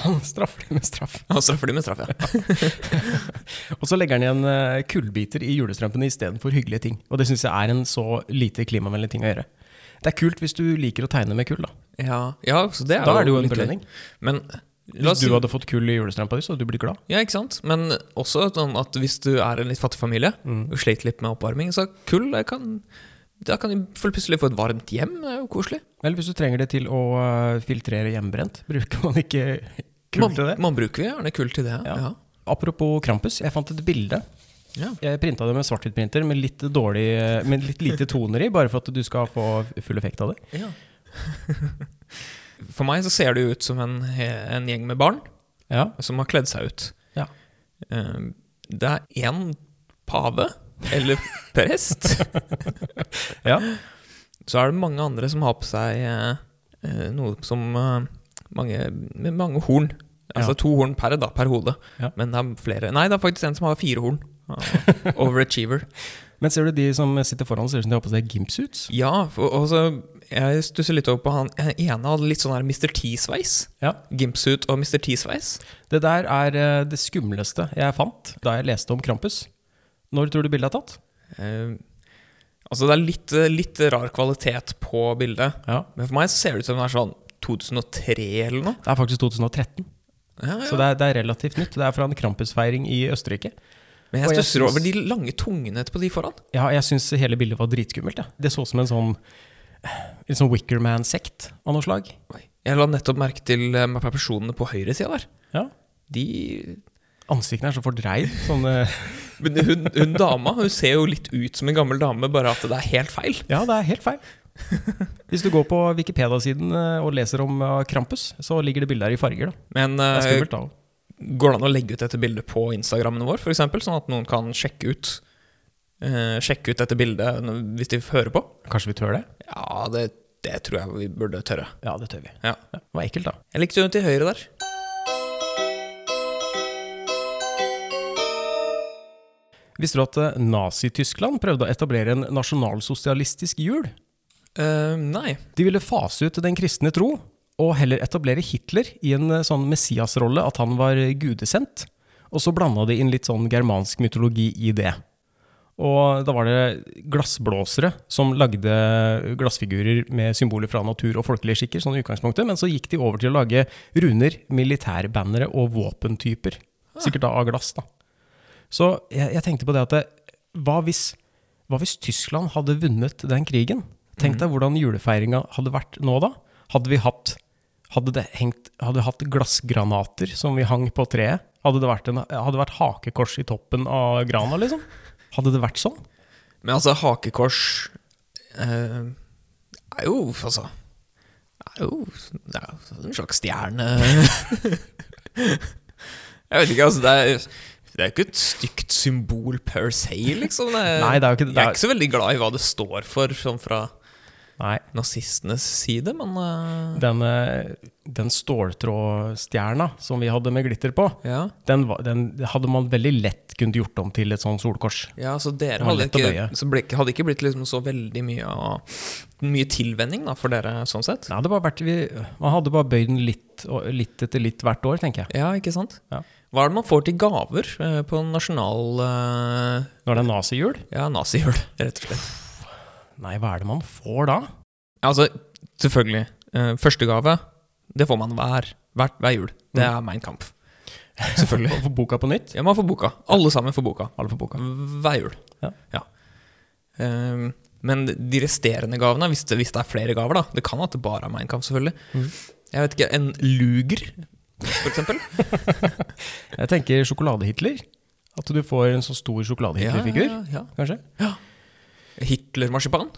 [SPEAKER 2] Han straffer dem med straff.
[SPEAKER 3] Han straffer de med straff, ja.
[SPEAKER 2] Og så legger han igjen eh, kullbiter i julestrømpene istedenfor hyggelige ting. Og det syns jeg er en så lite klimavennlig ting å gjøre. Det er kult hvis du liker å tegne med kull, da.
[SPEAKER 3] ja. Ja, så det er
[SPEAKER 2] Da er det jo en
[SPEAKER 3] litt gøy.
[SPEAKER 2] belønning.
[SPEAKER 3] Men la
[SPEAKER 2] Hvis
[SPEAKER 3] oss
[SPEAKER 2] du
[SPEAKER 3] si
[SPEAKER 2] hadde fått kull i julestrømpa di, så hadde du blitt glad.
[SPEAKER 3] Ja, ikke sant? Men også sånn at hvis du er en litt fattig familie
[SPEAKER 2] Mm.
[SPEAKER 3] og sleit litt med oppvarming, så kull det kan, Da kan du full- plutselig få et varmt hjem. Det er jo koselig.
[SPEAKER 2] Eller hvis du trenger det til å eh, filtrere hjemmebrent, bruker man ikke kull
[SPEAKER 3] man,
[SPEAKER 2] til det?
[SPEAKER 3] man bruker jo gjerne kull til det. Ja.
[SPEAKER 2] Apropos Krampus, jeg fant et bilde
[SPEAKER 3] Ja.
[SPEAKER 2] Jeg printa det med svart-hvitt-printer med litt dårlig eh, Med litt lite toner i, bare for at du skal få full effekt av det.
[SPEAKER 3] For meg så ser det jo ut som en, en gjeng med barn
[SPEAKER 2] Ja.
[SPEAKER 3] som har kledd seg ut.
[SPEAKER 2] Ja.
[SPEAKER 3] Eh, Det er én pave, eller prest.
[SPEAKER 2] Ja.
[SPEAKER 3] Så er det mange andre som har på seg eh, eh, noe som eh, mange, Med mange horn. Altså
[SPEAKER 2] Ja.
[SPEAKER 3] to horn per, da, per hode.
[SPEAKER 2] Ja.
[SPEAKER 3] Men det er flere Nei, det er faktisk en som har fire horn. Ah, Overachiever.
[SPEAKER 2] Men ser du de som sitter foran, ser ut som de har på seg gimpsuits?
[SPEAKER 3] Ja, for, og så jeg stusser litt over på han eh, ene hadde litt sånn her Mr. T-sveis.
[SPEAKER 2] Ja.
[SPEAKER 3] Gimpsuit og Mr. T-sveis.
[SPEAKER 2] Det der er eh, det skumleste jeg fant da jeg leste om Krampus. Når tror du bildet er tatt?
[SPEAKER 3] Eh, altså, det er litt, eh, litt rar kvalitet på bildet.
[SPEAKER 2] Ja.
[SPEAKER 3] Men for meg så ser det ut som det er sånn 2003 eller noe.
[SPEAKER 2] Det er faktisk 2013,
[SPEAKER 3] Ja, ja.
[SPEAKER 2] så det er, det er relativt nytt. Det er fra en Krampus-feiring i Østerrike. og
[SPEAKER 3] Men jeg
[SPEAKER 2] jeg
[SPEAKER 3] stusser
[SPEAKER 2] syns-
[SPEAKER 3] over de lange tungene på de foran.
[SPEAKER 2] Ja, jeg syns hele bildet var dritskummelt. Ja. Det så ut som en sånn Litt sånn Wickerman-sekt av noe slag.
[SPEAKER 3] Jeg la nettopp merke til eh, personene på høyresida der.
[SPEAKER 2] Ja.
[SPEAKER 3] De
[SPEAKER 2] Ansiktene er så fordreid. Sånne,
[SPEAKER 3] Men hun, hun dama hun ser jo litt ut som en gammel dame, bare at det er helt feil.
[SPEAKER 2] ja, det er helt feil. Hvis du går på Wikipedia-siden eh, og leser om eh, Krampus, så ligger det bilder her i farger. Da.
[SPEAKER 3] Men
[SPEAKER 2] Det er
[SPEAKER 3] eh,
[SPEAKER 2] skummelt, da.
[SPEAKER 3] går det an å legge ut dette bildet på Instagrammen vår, f.eks., sånn at noen kan sjekke ut eh, Sjekke ut dette bildet når- hvis de hører på?
[SPEAKER 2] Kanskje vi tør det?
[SPEAKER 3] Ja, det, det tror jeg vi burde tørre.
[SPEAKER 2] Ja, det tør vi.
[SPEAKER 3] Ja.
[SPEAKER 2] Ja, det var ekkelt, da.
[SPEAKER 3] Jeg likte hun til høyre der.
[SPEAKER 2] Visste du at eh, Nazi-Tyskland prøvde å etablere en nasjonalsosialistisk jul?
[SPEAKER 3] Eh, nei.
[SPEAKER 2] De ville fase ut den kristne tro, og heller etablere Hitler i en eh, sånn messiasrolle, at han var eh, gudesendt. Og så blanda de inn litt sånn germansk mytologi i det. Og da var det glassblåsere som lagde glassfigurer med symboler fra natur og folkelige skikker, sånn i utgangspunktet, men så gikk de over til å lage runer, militærbannere og våpentyper. Sikkert da av glass, da. Så jeg, jeg tenkte på det at det, hva, hvis, hva hvis Tyskland hadde vunnet den krigen? Tenk deg hvordan julefeiringa hadde vært nå da. Hadde vi hatt, hadde det hengt, hadde vi hatt glassgranater som vi hang på treet? Hadde det vært, en, hadde det vært hakekors i toppen av grana, liksom? Hadde det vært sånn?
[SPEAKER 3] Men altså, hakekors eh, er jo Altså Er jo det er jo en slags stjerne Jeg vet ikke, altså. Det er, det er jo ikke et stygt symbol per se, liksom. Det er,
[SPEAKER 2] Nei, det er jo ikke det.
[SPEAKER 3] Jeg er ikke så veldig glad i hva det står for, sånn fra
[SPEAKER 2] Nei.
[SPEAKER 3] nazistenes side, men eh,
[SPEAKER 2] Den, eh, den ståltrådstjerna som vi hadde med glitter på,
[SPEAKER 3] ja.
[SPEAKER 2] den, var- den hadde man veldig lett kunnet gjort om til et sånn solkors.
[SPEAKER 3] Ja, så
[SPEAKER 2] Det
[SPEAKER 3] dere
[SPEAKER 2] var
[SPEAKER 3] hadde
[SPEAKER 2] lett å
[SPEAKER 3] ikke,
[SPEAKER 2] bøye.
[SPEAKER 3] så ble, ikke- hadde ikke blitt liksom så veldig mye, av- mye tilvenning da, for dere, sånn sett?
[SPEAKER 2] Nei, det bare vært, vi, Man hadde bare bøyd den litt, og- litt etter litt hvert år, tenker jeg.
[SPEAKER 3] Ja, ikke sant?
[SPEAKER 2] Ja.
[SPEAKER 3] Hva er det man får til gaver eh, på nasjonal eh,
[SPEAKER 2] Når det er nazihjul?
[SPEAKER 3] Ja, nazihjul, rett og slett.
[SPEAKER 2] Nei, hva er det man får da?
[SPEAKER 3] Altså, selvfølgelig. eh, Førstegave, det får man hver, hver, hver jul. Det
[SPEAKER 2] Mm.
[SPEAKER 3] er Mein Kampf. Selvfølgelig.
[SPEAKER 2] Å få boka på nytt?
[SPEAKER 3] Ja, man får boka. Alle sammen får boka.
[SPEAKER 2] Alle får boka.
[SPEAKER 3] Hver jul.
[SPEAKER 2] Ja.
[SPEAKER 3] Eh, men de resterende gavene, hvis det, hvis det er flere gaver, da Det kan at det bare er Mein Kampf, selvfølgelig.
[SPEAKER 2] Mm.
[SPEAKER 3] Jeg vet ikke, En luger, for eksempel?
[SPEAKER 2] Jeg tenker sjokolade-Hitler. At du får en så stor sjokolade-Hitler-figur,
[SPEAKER 3] Ja, ja,
[SPEAKER 2] kanskje?
[SPEAKER 3] ja. Hitler-marsipan?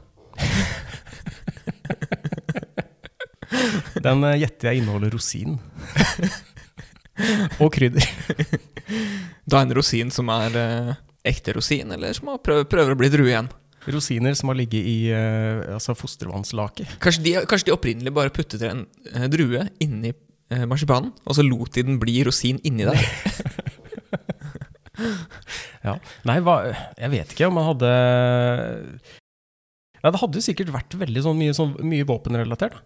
[SPEAKER 2] Den eh, gjetter jeg inneholder rosin. og krydder.
[SPEAKER 3] Da en rosin som er eh, ekte rosin, eller som har prøv, prøver å bli drue igjen.
[SPEAKER 2] Rosiner som har ligget i eh, altså fostervannslake.
[SPEAKER 3] Kanskje de, kanskje de opprinnelig bare puttet en eh, drue inni eh, marsipanen, og så lot de den bli rosin inni der.
[SPEAKER 2] Ja. Nei, hva, jeg vet ikke om man hadde Nei, det hadde jo sikkert vært veldig sånn mye, sånn, mye våpenrelatert. da.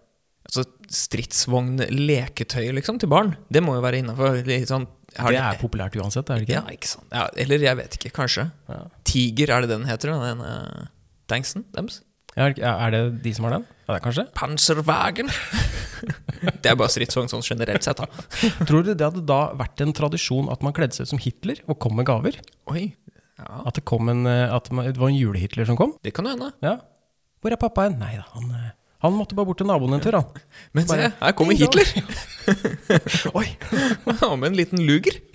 [SPEAKER 3] Altså stridsvogn-leketøy, liksom, til barn. Det må jo være innafor. Sånn, har
[SPEAKER 2] Det
[SPEAKER 3] de-
[SPEAKER 2] er populært uansett, er det ikke?
[SPEAKER 3] Ja, ikke sant. Ja, eller jeg vet ikke, kanskje.
[SPEAKER 2] Ja.
[SPEAKER 3] Tiger, er det det den heter? Den eh, tanksen deres?
[SPEAKER 2] Er, er det de som har den? Ja, det er kanskje.
[SPEAKER 3] Panserwagen! det er bare stridsvogn sånn generelt sett, da.
[SPEAKER 2] Tror du det hadde da vært en tradisjon at man kledde seg ut som Hitler og kom med gaver?
[SPEAKER 3] Oi. Ja,
[SPEAKER 2] At det, kom en, eh, at man- det var en jule-Hitler som kom?
[SPEAKER 3] det kan jo hende.
[SPEAKER 2] Ja. Hvor er pappa hen? Nei da, han, eh, han måtte bare bort til naboen en tur, han.
[SPEAKER 3] Men se,
[SPEAKER 2] Bare-
[SPEAKER 3] her kommer
[SPEAKER 2] Ding dong.
[SPEAKER 3] Hitler! Oi. Han har med en liten luger.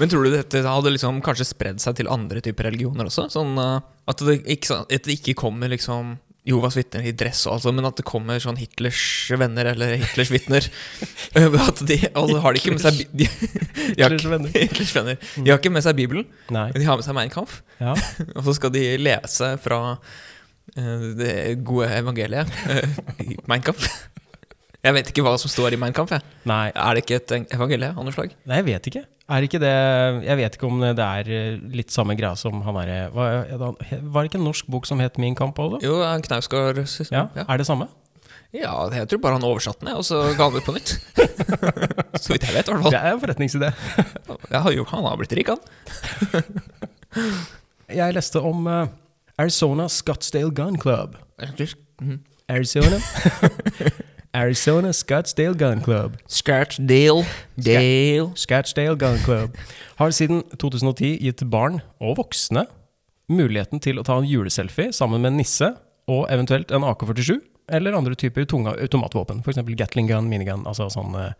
[SPEAKER 3] Men tror du dette hadde liksom kanskje spredd seg til andre typer religioner også? Sånn eh, At det ikke, at det ikke kommer liksom Jovas vitner i dress, og alt sånt, men at det kommer sånn Hitlers venner eller Hitlers vitner At de altså, har de ikke med seg bi- de, de har,
[SPEAKER 2] Hitlers
[SPEAKER 3] ikke-
[SPEAKER 2] venner.
[SPEAKER 3] Hitlers venner. De har ikke med seg Bibelen,
[SPEAKER 2] Nei.
[SPEAKER 3] men de har med seg Mein Kampf.
[SPEAKER 2] Ja.
[SPEAKER 3] Og så skal de lese fra eh, det gode evangeliet, eh, i Mein Kampf. Jeg vet ikke hva som står i Mein Kampf. Jeg.
[SPEAKER 2] Nei.
[SPEAKER 3] Er det ikke et evangelie av noe slag?
[SPEAKER 2] Nei, jeg vet ikke. Er ikke det Jeg vet ikke om det er eh, litt samme greia som han derre Var var det ikke en norsk bok som het Min kamp òg, da?
[SPEAKER 3] Jo, eh, Knausgård synes-
[SPEAKER 2] Ja.
[SPEAKER 3] Ja.
[SPEAKER 2] Er det samme?
[SPEAKER 3] ja, jeg tror bare han oversatte den, jeg, og så ga han det ut på nytt. så vidt jeg vet, i hvert
[SPEAKER 2] Det er en forretningsidé.
[SPEAKER 3] fall. Jeg har jo, han har blitt rik, han.
[SPEAKER 2] Jeg leste om eh, Arizona Scottsdale Gun Club.
[SPEAKER 3] Mhm.
[SPEAKER 2] Arizona Arizona Scottsdale Gun Club.
[SPEAKER 3] Scottsdale Dale
[SPEAKER 2] Scottsdale Gun Club har siden 2010 gitt barn og voksne muligheten til å ta en juleselfie sammen med en nisse og eventuelt en AK-47 eller andre typer tunga automatvåpen, f.eks. Gatling gun, minigun, altså sånne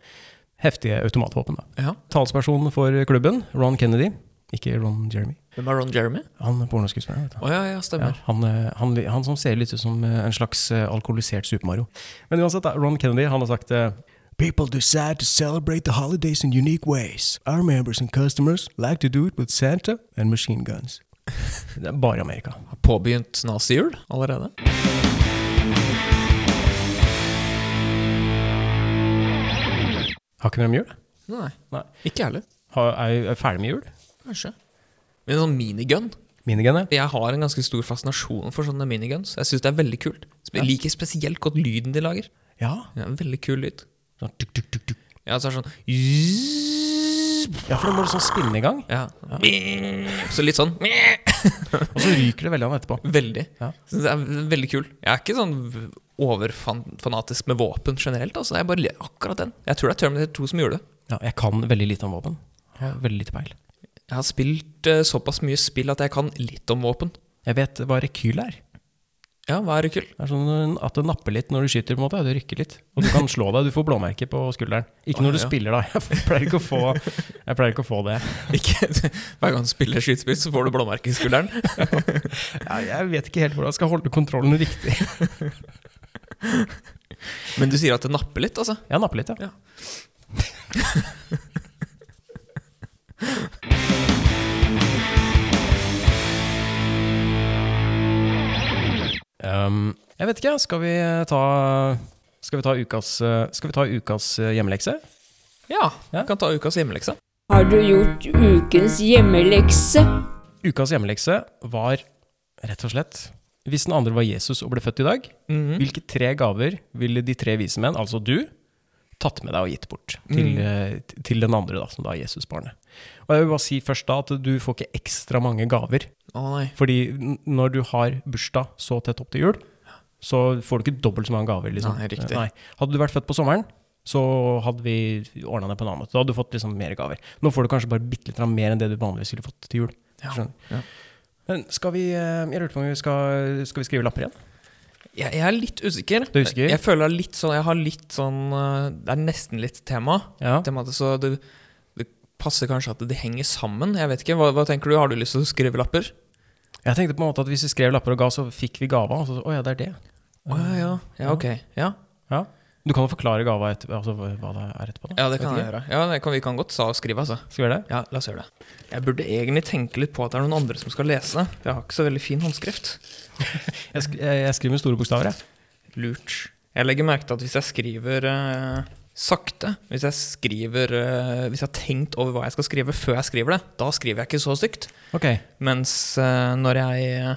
[SPEAKER 2] heftige automatvåpen. Da.
[SPEAKER 3] Ja.
[SPEAKER 2] Talsperson for klubben, Ron Kennedy, ikke Ron Jeremy,
[SPEAKER 3] Hvem er Ron Jeremy?
[SPEAKER 2] han er pornoskuespilleren. vet du.
[SPEAKER 3] Å ja, ja,
[SPEAKER 2] Ja,
[SPEAKER 3] stemmer.
[SPEAKER 2] han, eh, han, li- han som ser litt ut som eh, en slags eh, alkoholisert Super Mario. Men uansett, da, Ron Kennedy han har sagt eh, People decide to celebrate the holidays in unique ways. Our members and customers like to do it with Santa and machine guns. Det er bare Amerika.
[SPEAKER 3] Har Påbegynt nazihjul allerede?
[SPEAKER 2] Har ikke mer om jul?
[SPEAKER 3] Nei.
[SPEAKER 2] Nei.
[SPEAKER 3] Ikke jeg heller.
[SPEAKER 2] Har, er, er ferdig med jul?
[SPEAKER 3] Kanskje. Men en sånn minigun
[SPEAKER 2] Minigun, ja.
[SPEAKER 3] Jeg har en ganske stor fascinasjon for sånne miniguns. Jeg syns det er veldig kult. Spe- Jeg liker spesielt godt lyden de lager.
[SPEAKER 2] Ja.
[SPEAKER 3] Det er en veldig kul lyd.
[SPEAKER 2] Sånn, tuk, tuk, tuk, tuk.
[SPEAKER 3] Ja, så er det sånn
[SPEAKER 2] ja, for da må du sånn spinne i gang,
[SPEAKER 3] ja. Så litt sånn
[SPEAKER 2] og så ryker det veldig an etterpå.
[SPEAKER 3] Veldig.
[SPEAKER 2] Ja.
[SPEAKER 3] Så Det er veldig kul. Jeg er ikke sånn overfanatisk med våpen generelt. Altså. Jeg bare liker akkurat den. Jeg tror det er Terminator 2 som gjorde det.
[SPEAKER 2] Ja, jeg kan veldig lite om våpen. Har veldig lite peil.
[SPEAKER 3] Jeg har spilt eh, såpass mye spill at jeg kan litt om våpen.
[SPEAKER 2] Jeg vet hva rekyl er.
[SPEAKER 3] Ja, hva er det kul?
[SPEAKER 2] Det er sånn at det napper litt når du skyter, på en måte. Du rykker litt. Og du kan slå deg. Du får blåmerke på skulderen. Ikke når du
[SPEAKER 3] Ah, ja.
[SPEAKER 2] spiller, da. Jeg pleier ikke å få, jeg pleier ikke å få det.
[SPEAKER 3] Ikke, hver gang du spiller skytespill, så får du blåmerke i skulderen.
[SPEAKER 2] Jeg vet ikke helt hvordan jeg skal holde kontrollen riktig.
[SPEAKER 3] Men du sier at det napper litt, altså?
[SPEAKER 2] Jeg napper litt, ja. Um, jeg vet ikke, skal vi ta Skal vi ta ukas, eh, skal vi ta ukas eh, hjemmelekse?
[SPEAKER 3] Ja,
[SPEAKER 2] Ja.
[SPEAKER 3] vi kan ta ukas hjemmelekse.
[SPEAKER 1] Har du gjort ukens hjemmelekse?
[SPEAKER 2] Ukas hjemmelekse var rett og slett Hvis den andre var Jesus og ble født i dag,
[SPEAKER 3] Mm.
[SPEAKER 2] hvilke tre gaver ville de tre vise menn, altså du, tatt med deg og gitt bort
[SPEAKER 3] Mm.
[SPEAKER 2] til, eh, t- til den andre, da, som da er Jesusbarnet? Og jeg vil bare si først da at du får ikke ekstra mange gaver.
[SPEAKER 3] Å nei.
[SPEAKER 2] Fordi n- når du har bursdag så tett opp til jul, så får du ikke dobbelt så mange gaver. Liksom.
[SPEAKER 3] Nei, riktig.
[SPEAKER 2] Hadde du vært født på sommeren, så hadde vi ordna det på en annen måte. Da hadde du fått liksom mer gaver. Nå får du kanskje bare bitte litt mer enn det du vanligvis ville fått til jul.
[SPEAKER 3] Ja.
[SPEAKER 2] Skjønner. Men skal vi, eh, jeg lurte på om vi skal, skal vi skrive lapper igjen?
[SPEAKER 3] Jeg, jeg er litt usikker.
[SPEAKER 2] Du er usikker?
[SPEAKER 3] Jeg føler litt sånn, jeg har litt sånn eh, Det er nesten litt tema.
[SPEAKER 2] Ja.
[SPEAKER 3] tema det, så det, det passer kanskje at de henger sammen. Jeg vet ikke, hva, hva tenker du? Har du lyst til å skrive lapper?
[SPEAKER 2] Jeg tenkte på en måte at hvis vi skrev lapper og ga, så fikk vi gava. Og så, å ja, det er det. Eh,
[SPEAKER 3] Å ja, ja. ja, ok. Ja,
[SPEAKER 2] Ja. Du kan jo forklare gava etter, altså, hva hva det er etterpå. Da.
[SPEAKER 3] ja det kan
[SPEAKER 2] Vet
[SPEAKER 3] jeg gjøre. Ja, det kan, Vi kan godt sa skrive, altså.
[SPEAKER 2] Skal vi gjøre det?
[SPEAKER 3] Ja, la oss gjøre det. Jeg burde egentlig tenke litt på at det er noen andre som skal lese. for Jeg har ikke så veldig fin håndskrift.
[SPEAKER 2] Jeg, sk jeg jeg skriver med store bokstaver, jeg.
[SPEAKER 3] Lurt. Jeg legger merke til at hvis jeg skriver eh, sakte, hvis jeg skriver eh, Hvis jeg har tenkt over hva jeg skal skrive før jeg skriver det, da skriver jeg ikke så stygt.
[SPEAKER 2] Ok.
[SPEAKER 3] Mens eh, når jeg eh,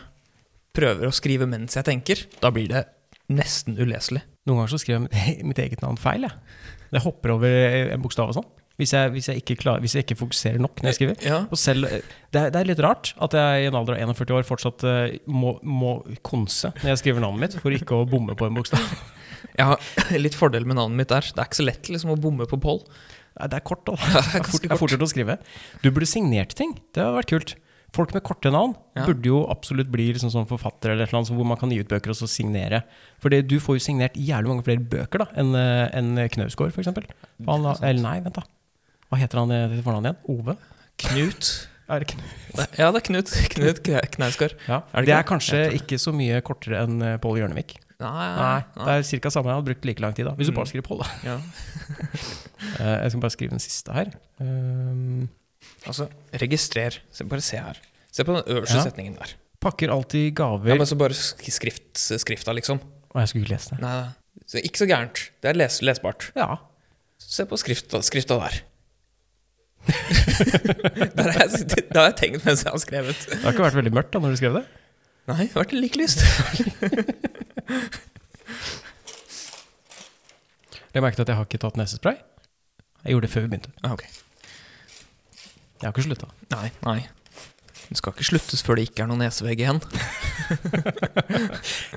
[SPEAKER 3] prøver å skrive mens jeg tenker, da blir det nesten uleselig.
[SPEAKER 2] Noen ganger så skriver jeg mitt, mitt eget navn feil, jeg. Jeg hopper over en bokstav og sånn. Hvis jeg, hvis, jeg ikke klarer, hvis jeg ikke fokuserer nok når jeg skriver.
[SPEAKER 3] Ja.
[SPEAKER 2] Og selv, det, er, det er litt rart at jeg i en alder av 41 år fortsatt eh, må, må konse når jeg skriver navnet mitt, for ikke å bomme på en bokstav.
[SPEAKER 3] Jeg har litt fordel med navnet mitt der. Det er ikke så lett liksom, å bomme på Pål.
[SPEAKER 2] Nei, Det er kort, da.
[SPEAKER 3] Ja,
[SPEAKER 2] Det er, fort,
[SPEAKER 3] ganske
[SPEAKER 2] det er fortere å skrive. Du burde signert ting. Det hadde vært kult. Folk med korte navn
[SPEAKER 3] Ja.
[SPEAKER 2] burde jo absolutt bli liksom sånn forfatter eller et eller annet, så hvor man kan gi ut bøker og så signere. Fordi du får jo signert jævlig mange flere bøker da, enn en Knausgård, f.eks. Eller nei, vent, da. Hva heter han eh, til fornavn eh, igjen? Ove?
[SPEAKER 3] Knut
[SPEAKER 2] Er det ikke
[SPEAKER 3] Nei, Ja, det er Knut. Knut Kne- Knausgård.
[SPEAKER 2] Ja.
[SPEAKER 3] Er det
[SPEAKER 2] det
[SPEAKER 3] ikke?
[SPEAKER 2] er kanskje
[SPEAKER 3] Jeg tror det. Ah,
[SPEAKER 2] ikke så mye kortere enn eh, Pål Hjørnevik.
[SPEAKER 3] Nei,
[SPEAKER 2] Nei, det er ca. samme. Jeg hadde brukt like lang tid, da. Hvis du
[SPEAKER 3] Mm.
[SPEAKER 2] bare skriver Pål, da.
[SPEAKER 3] Ja.
[SPEAKER 2] Eh, Jeg skal bare skrive den siste her. Um,
[SPEAKER 3] Altså, registrer. Se, bare se her. Se på den øverste
[SPEAKER 2] Ja.
[SPEAKER 3] setningen der.
[SPEAKER 2] pakker alltid gaver
[SPEAKER 3] Ja, men så bare sk- skrift, skrifta, liksom.
[SPEAKER 2] Å, jeg skulle ikke lese det.
[SPEAKER 3] Nei, nei. Så ikke så gærent. Det er les, lesbart.
[SPEAKER 2] Ja.
[SPEAKER 3] Se på skrifta, skrifta der. der har jeg, sittet- det har jeg tenkt mens jeg har skrevet.
[SPEAKER 2] Det har ikke vært veldig mørkt da når du skrev det.
[SPEAKER 3] Nei, det har vært like lyst.
[SPEAKER 2] Jeg merket at jeg har ikke tatt nesespray. Jeg gjorde det før vi begynte.
[SPEAKER 3] Ah, ok.
[SPEAKER 2] Jeg har ikke slutta.
[SPEAKER 3] Nei, nei. Det skal ikke sluttes før det ikke er noen nesevegg igjen.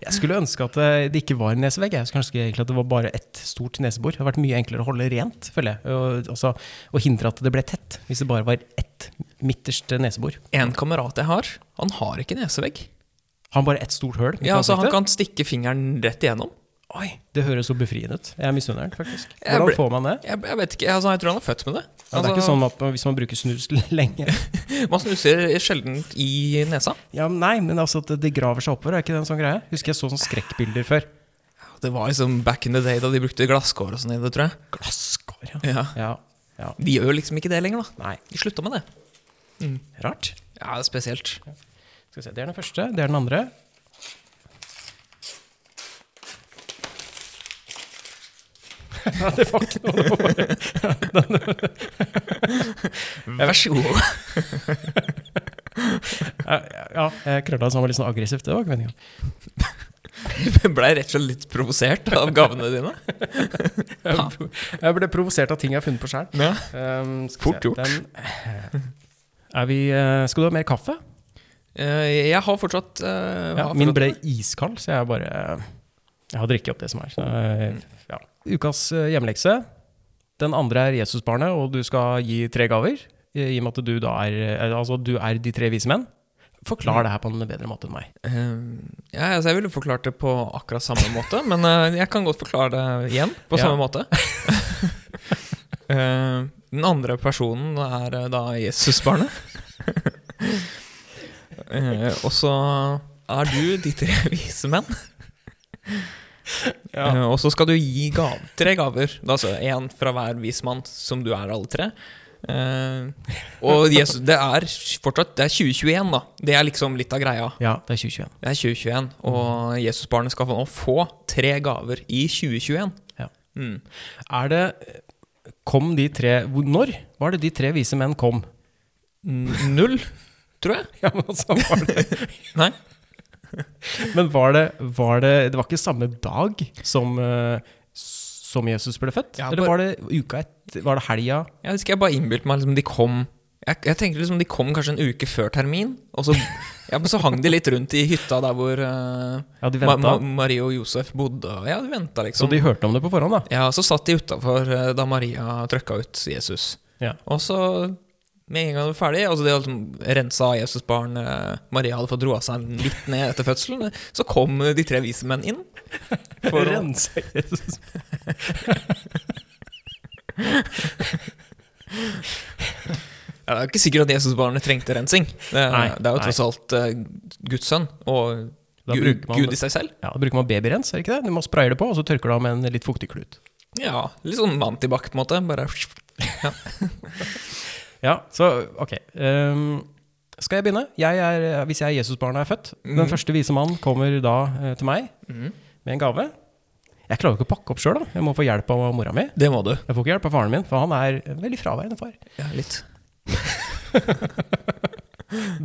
[SPEAKER 2] Jeg skulle ønske at eh, det ikke var en nesevegg. Jeg skulle ønske egentlig at det var bare ett stort nesebor. Det hadde vært mye enklere å holde rent, føler jeg. Og, altså, og hindre at det ble tett, hvis det bare var ett midterste nesebor.
[SPEAKER 3] En kamerat jeg har, han har ikke nesevegg.
[SPEAKER 2] Har han bare ett stort høl? midt i
[SPEAKER 3] Ja, altså Han
[SPEAKER 2] ansiktet?
[SPEAKER 3] kan stikke fingeren rett igjennom.
[SPEAKER 2] Oi, det høres så befriende ut. Jeg misunner den faktisk.
[SPEAKER 3] Jeg
[SPEAKER 2] Hvordan
[SPEAKER 3] ble-
[SPEAKER 2] får man det?
[SPEAKER 3] Jeg, jeg vet ikke, altså, jeg tror han er sånn- født med det.
[SPEAKER 2] Ja, det er
[SPEAKER 3] Altså,
[SPEAKER 2] ikke sånn at man- hvis man bruker snus lenge
[SPEAKER 3] Man snuser sjelden i nesa.
[SPEAKER 2] Ja, men Nei, men altså at det- det graver seg oppover, er ikke det en sånn greie? Husker jeg så sånne skrekkbilder før.
[SPEAKER 3] Det var liksom back in the day da de brukte glasskår og sånn i det, tror jeg.
[SPEAKER 2] Glasskår, ja.
[SPEAKER 3] Ja.
[SPEAKER 2] ja. Ja.
[SPEAKER 3] De gjør jo liksom ikke det lenger, da.
[SPEAKER 2] Nei,
[SPEAKER 3] De slutta med det.
[SPEAKER 2] rart.
[SPEAKER 3] Ja, det er spesielt.
[SPEAKER 2] Skal vi se, Det er den første. Det er den andre. Nei, det var ikke noe. det var bare-
[SPEAKER 3] Vær så god.
[SPEAKER 2] Ja, jeg krølla som var litt sånn aggressivt. Det var ikke meningen.
[SPEAKER 3] Blei rett og slett litt provosert av gavene dine.
[SPEAKER 2] Jeg ble provosert av ting jeg har funnet på sjøl.
[SPEAKER 3] Ja.
[SPEAKER 2] Um, skal vi
[SPEAKER 3] Fort
[SPEAKER 2] se,
[SPEAKER 3] gjort.
[SPEAKER 2] den- Er vi, eh, skal du ha mer kaffe?
[SPEAKER 3] Jeg har fortsatt eh,
[SPEAKER 2] Ja,
[SPEAKER 3] har
[SPEAKER 2] min
[SPEAKER 3] fortsatt-
[SPEAKER 2] ble iskald, så jeg bare Jeg har drukket opp det som er. Så, eh, ja. Ukas eh, hjemmelekse. Den andre er Jesusbarnet, og du skal gi tre gaver. I i og med at du da er eh, Altså, du er de tre vise menn. Forklar det her på en bedre måte enn meg.
[SPEAKER 3] Eh, ja, altså jeg ville forklart det på akkurat samme måte, men eh, jeg kan godt forklare det igjen på
[SPEAKER 2] Ja.
[SPEAKER 3] samme måte. Eh, den andre personen er eh, da Jesusbarnet. Eh, og så er du de tre vise menn. Eh, og så skal du gi gav, tre gaver. Da, Altså én fra hver vis mann, som du er alle tre. Eh, og Jesus, det er fortsatt Det er 2021, da. Det er liksom litt av greia.
[SPEAKER 2] Ja, det er 2021.
[SPEAKER 3] Det er 2021, og Jesusbarnet skal nå få tre gaver i 2021.
[SPEAKER 2] Ja.
[SPEAKER 3] Mm.
[SPEAKER 2] Er det eh, Kom de tre hvor- Når var det de tre vise menn kom?
[SPEAKER 3] N- Null, tror jeg.
[SPEAKER 2] Ja, Men altså, var det,
[SPEAKER 3] Nei.
[SPEAKER 2] men var det, var det Det var ikke samme dag som, eh, som Jesus ble født?
[SPEAKER 3] Ja,
[SPEAKER 2] Eller
[SPEAKER 3] bare-
[SPEAKER 2] var det uka etter? Var det helga?
[SPEAKER 3] Jeg husker jeg bare innbilte meg liksom de kom jeg, jeg tenkte liksom de kom kanskje en uke før termin, og så, ja, men så hang de litt rundt i hytta der hvor eh,
[SPEAKER 2] Ja, de
[SPEAKER 3] Ma
[SPEAKER 2] ventet.
[SPEAKER 3] Ma Marie og Josef bodde. og Ja, de venta
[SPEAKER 2] Så
[SPEAKER 3] liksom.
[SPEAKER 2] de hørte om det på forhånd, da?
[SPEAKER 3] Ja, så satt de utafor da Maria trøkka ut Jesus.
[SPEAKER 2] Ja.
[SPEAKER 3] Og så, med en gang det var ferdig, altså det å liksom rensa av Jesus barn eh, Maria hadde fått roa seg litt ned etter fødselen, så kom eh, de tre vise menn inn. For å-
[SPEAKER 2] rense Jesus.
[SPEAKER 3] Ja, det er jo ikke sikkert at Jesusbarnet trengte rensing. Det, er-
[SPEAKER 2] Nei,
[SPEAKER 3] det er jo
[SPEAKER 2] nei.
[SPEAKER 3] tross alt eh, Guds sønn, og
[SPEAKER 2] Da
[SPEAKER 3] Gud,
[SPEAKER 2] bruker man
[SPEAKER 3] Gud i seg selv.
[SPEAKER 2] Ja, Da bruker man babyrens, er det ikke det? Du må spraye det på, og så tørker du av med en litt fuktig klut.
[SPEAKER 3] Ja, Litt sånn mantibac, på en måte. Bare
[SPEAKER 2] Ja, så ok. ehm, skal jeg begynne? Jeg er, hvis jeg er Jesusbarnet er født,
[SPEAKER 3] Mm.
[SPEAKER 2] den første vise mann kommer da eh, til meg
[SPEAKER 3] Mhm.
[SPEAKER 2] med en gave. Jeg klarer jo ikke å pakke opp sjøl, da. Jeg må få hjelp av mora mi.
[SPEAKER 3] Det må du.
[SPEAKER 2] Jeg får ikke hjelp av faren min, for han er en veldig fraværende far.
[SPEAKER 3] Ja, litt.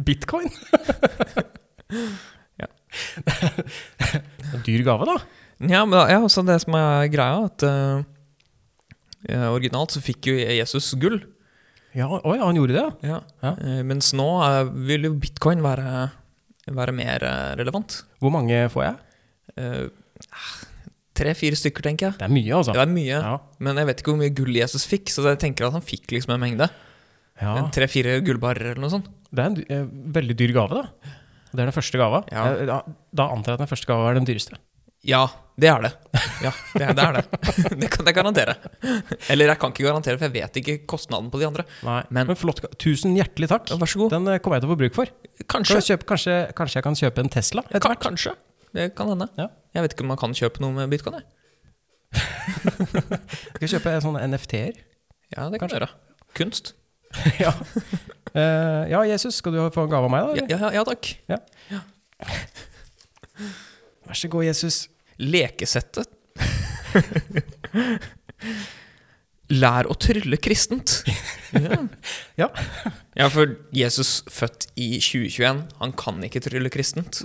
[SPEAKER 2] Bitcoin!
[SPEAKER 3] Ja.
[SPEAKER 2] Dyr gave, da.
[SPEAKER 3] Ja, men da- ja, også det som er greia, at eh, eh, originalt så fikk jo Jesus gull.
[SPEAKER 2] Ja, Oi, han gjorde det, ja.
[SPEAKER 3] Ja.
[SPEAKER 2] Ja.
[SPEAKER 3] Eh, mens nå eh, vil jo bitcoin være, være mer eh, relevant. Eh, ah,
[SPEAKER 2] Hvor mange får jeg?
[SPEAKER 3] Tre-fire stykker, tenker jeg.
[SPEAKER 2] Det er mye, altså.
[SPEAKER 3] Det er mye,
[SPEAKER 2] Ja.
[SPEAKER 3] men jeg vet ikke hvor mye gull Jesus fikk, så jeg tenker at han fikk liksom en mengde.
[SPEAKER 2] Ja.
[SPEAKER 3] En Tre-fire gullbarer eller noe sånt.
[SPEAKER 2] Det er en dy- eh, veldig dyr gave, da. Det er den første gava.
[SPEAKER 3] Ja.
[SPEAKER 2] Eh, Da, da antar jeg at den første gava er den dyreste.
[SPEAKER 3] Ja, det er det. Ja, det er det. Er det. det kan jeg garantere. Eller jeg kan ikke garantere, for jeg vet ikke kostnaden på de andre.
[SPEAKER 2] Nei,
[SPEAKER 3] Men-
[SPEAKER 2] men, flott. Tusen hjertelig takk.
[SPEAKER 3] Ja, Vær så god.
[SPEAKER 2] Den eh, kommer jeg til å få bruk for. Kan
[SPEAKER 3] Kanskje.
[SPEAKER 2] jeg kjøpe, kanskje, kanskje jeg kan kjøpe en Tesla?
[SPEAKER 3] Ka- Kanskje. Det kan hende.
[SPEAKER 2] Ja.
[SPEAKER 3] Jeg vet ikke om man kan kjøpe noe med bitcoin. jeg.
[SPEAKER 2] Skal jeg kjøpe sånne NFT-er?
[SPEAKER 3] Ja, det kan du gjøre. Kunst.
[SPEAKER 2] ja. Eh, ja, Jesus, skal du få en gave av meg, da?
[SPEAKER 3] Ja,
[SPEAKER 2] eller?
[SPEAKER 3] ja, ja takk.
[SPEAKER 2] Vær så god, Jesus.
[SPEAKER 3] Lekesettet. Lær å trylle kristent. Ja.
[SPEAKER 2] Ja.
[SPEAKER 3] ja, for Jesus, født i 2021, han kan ikke trylle kristent.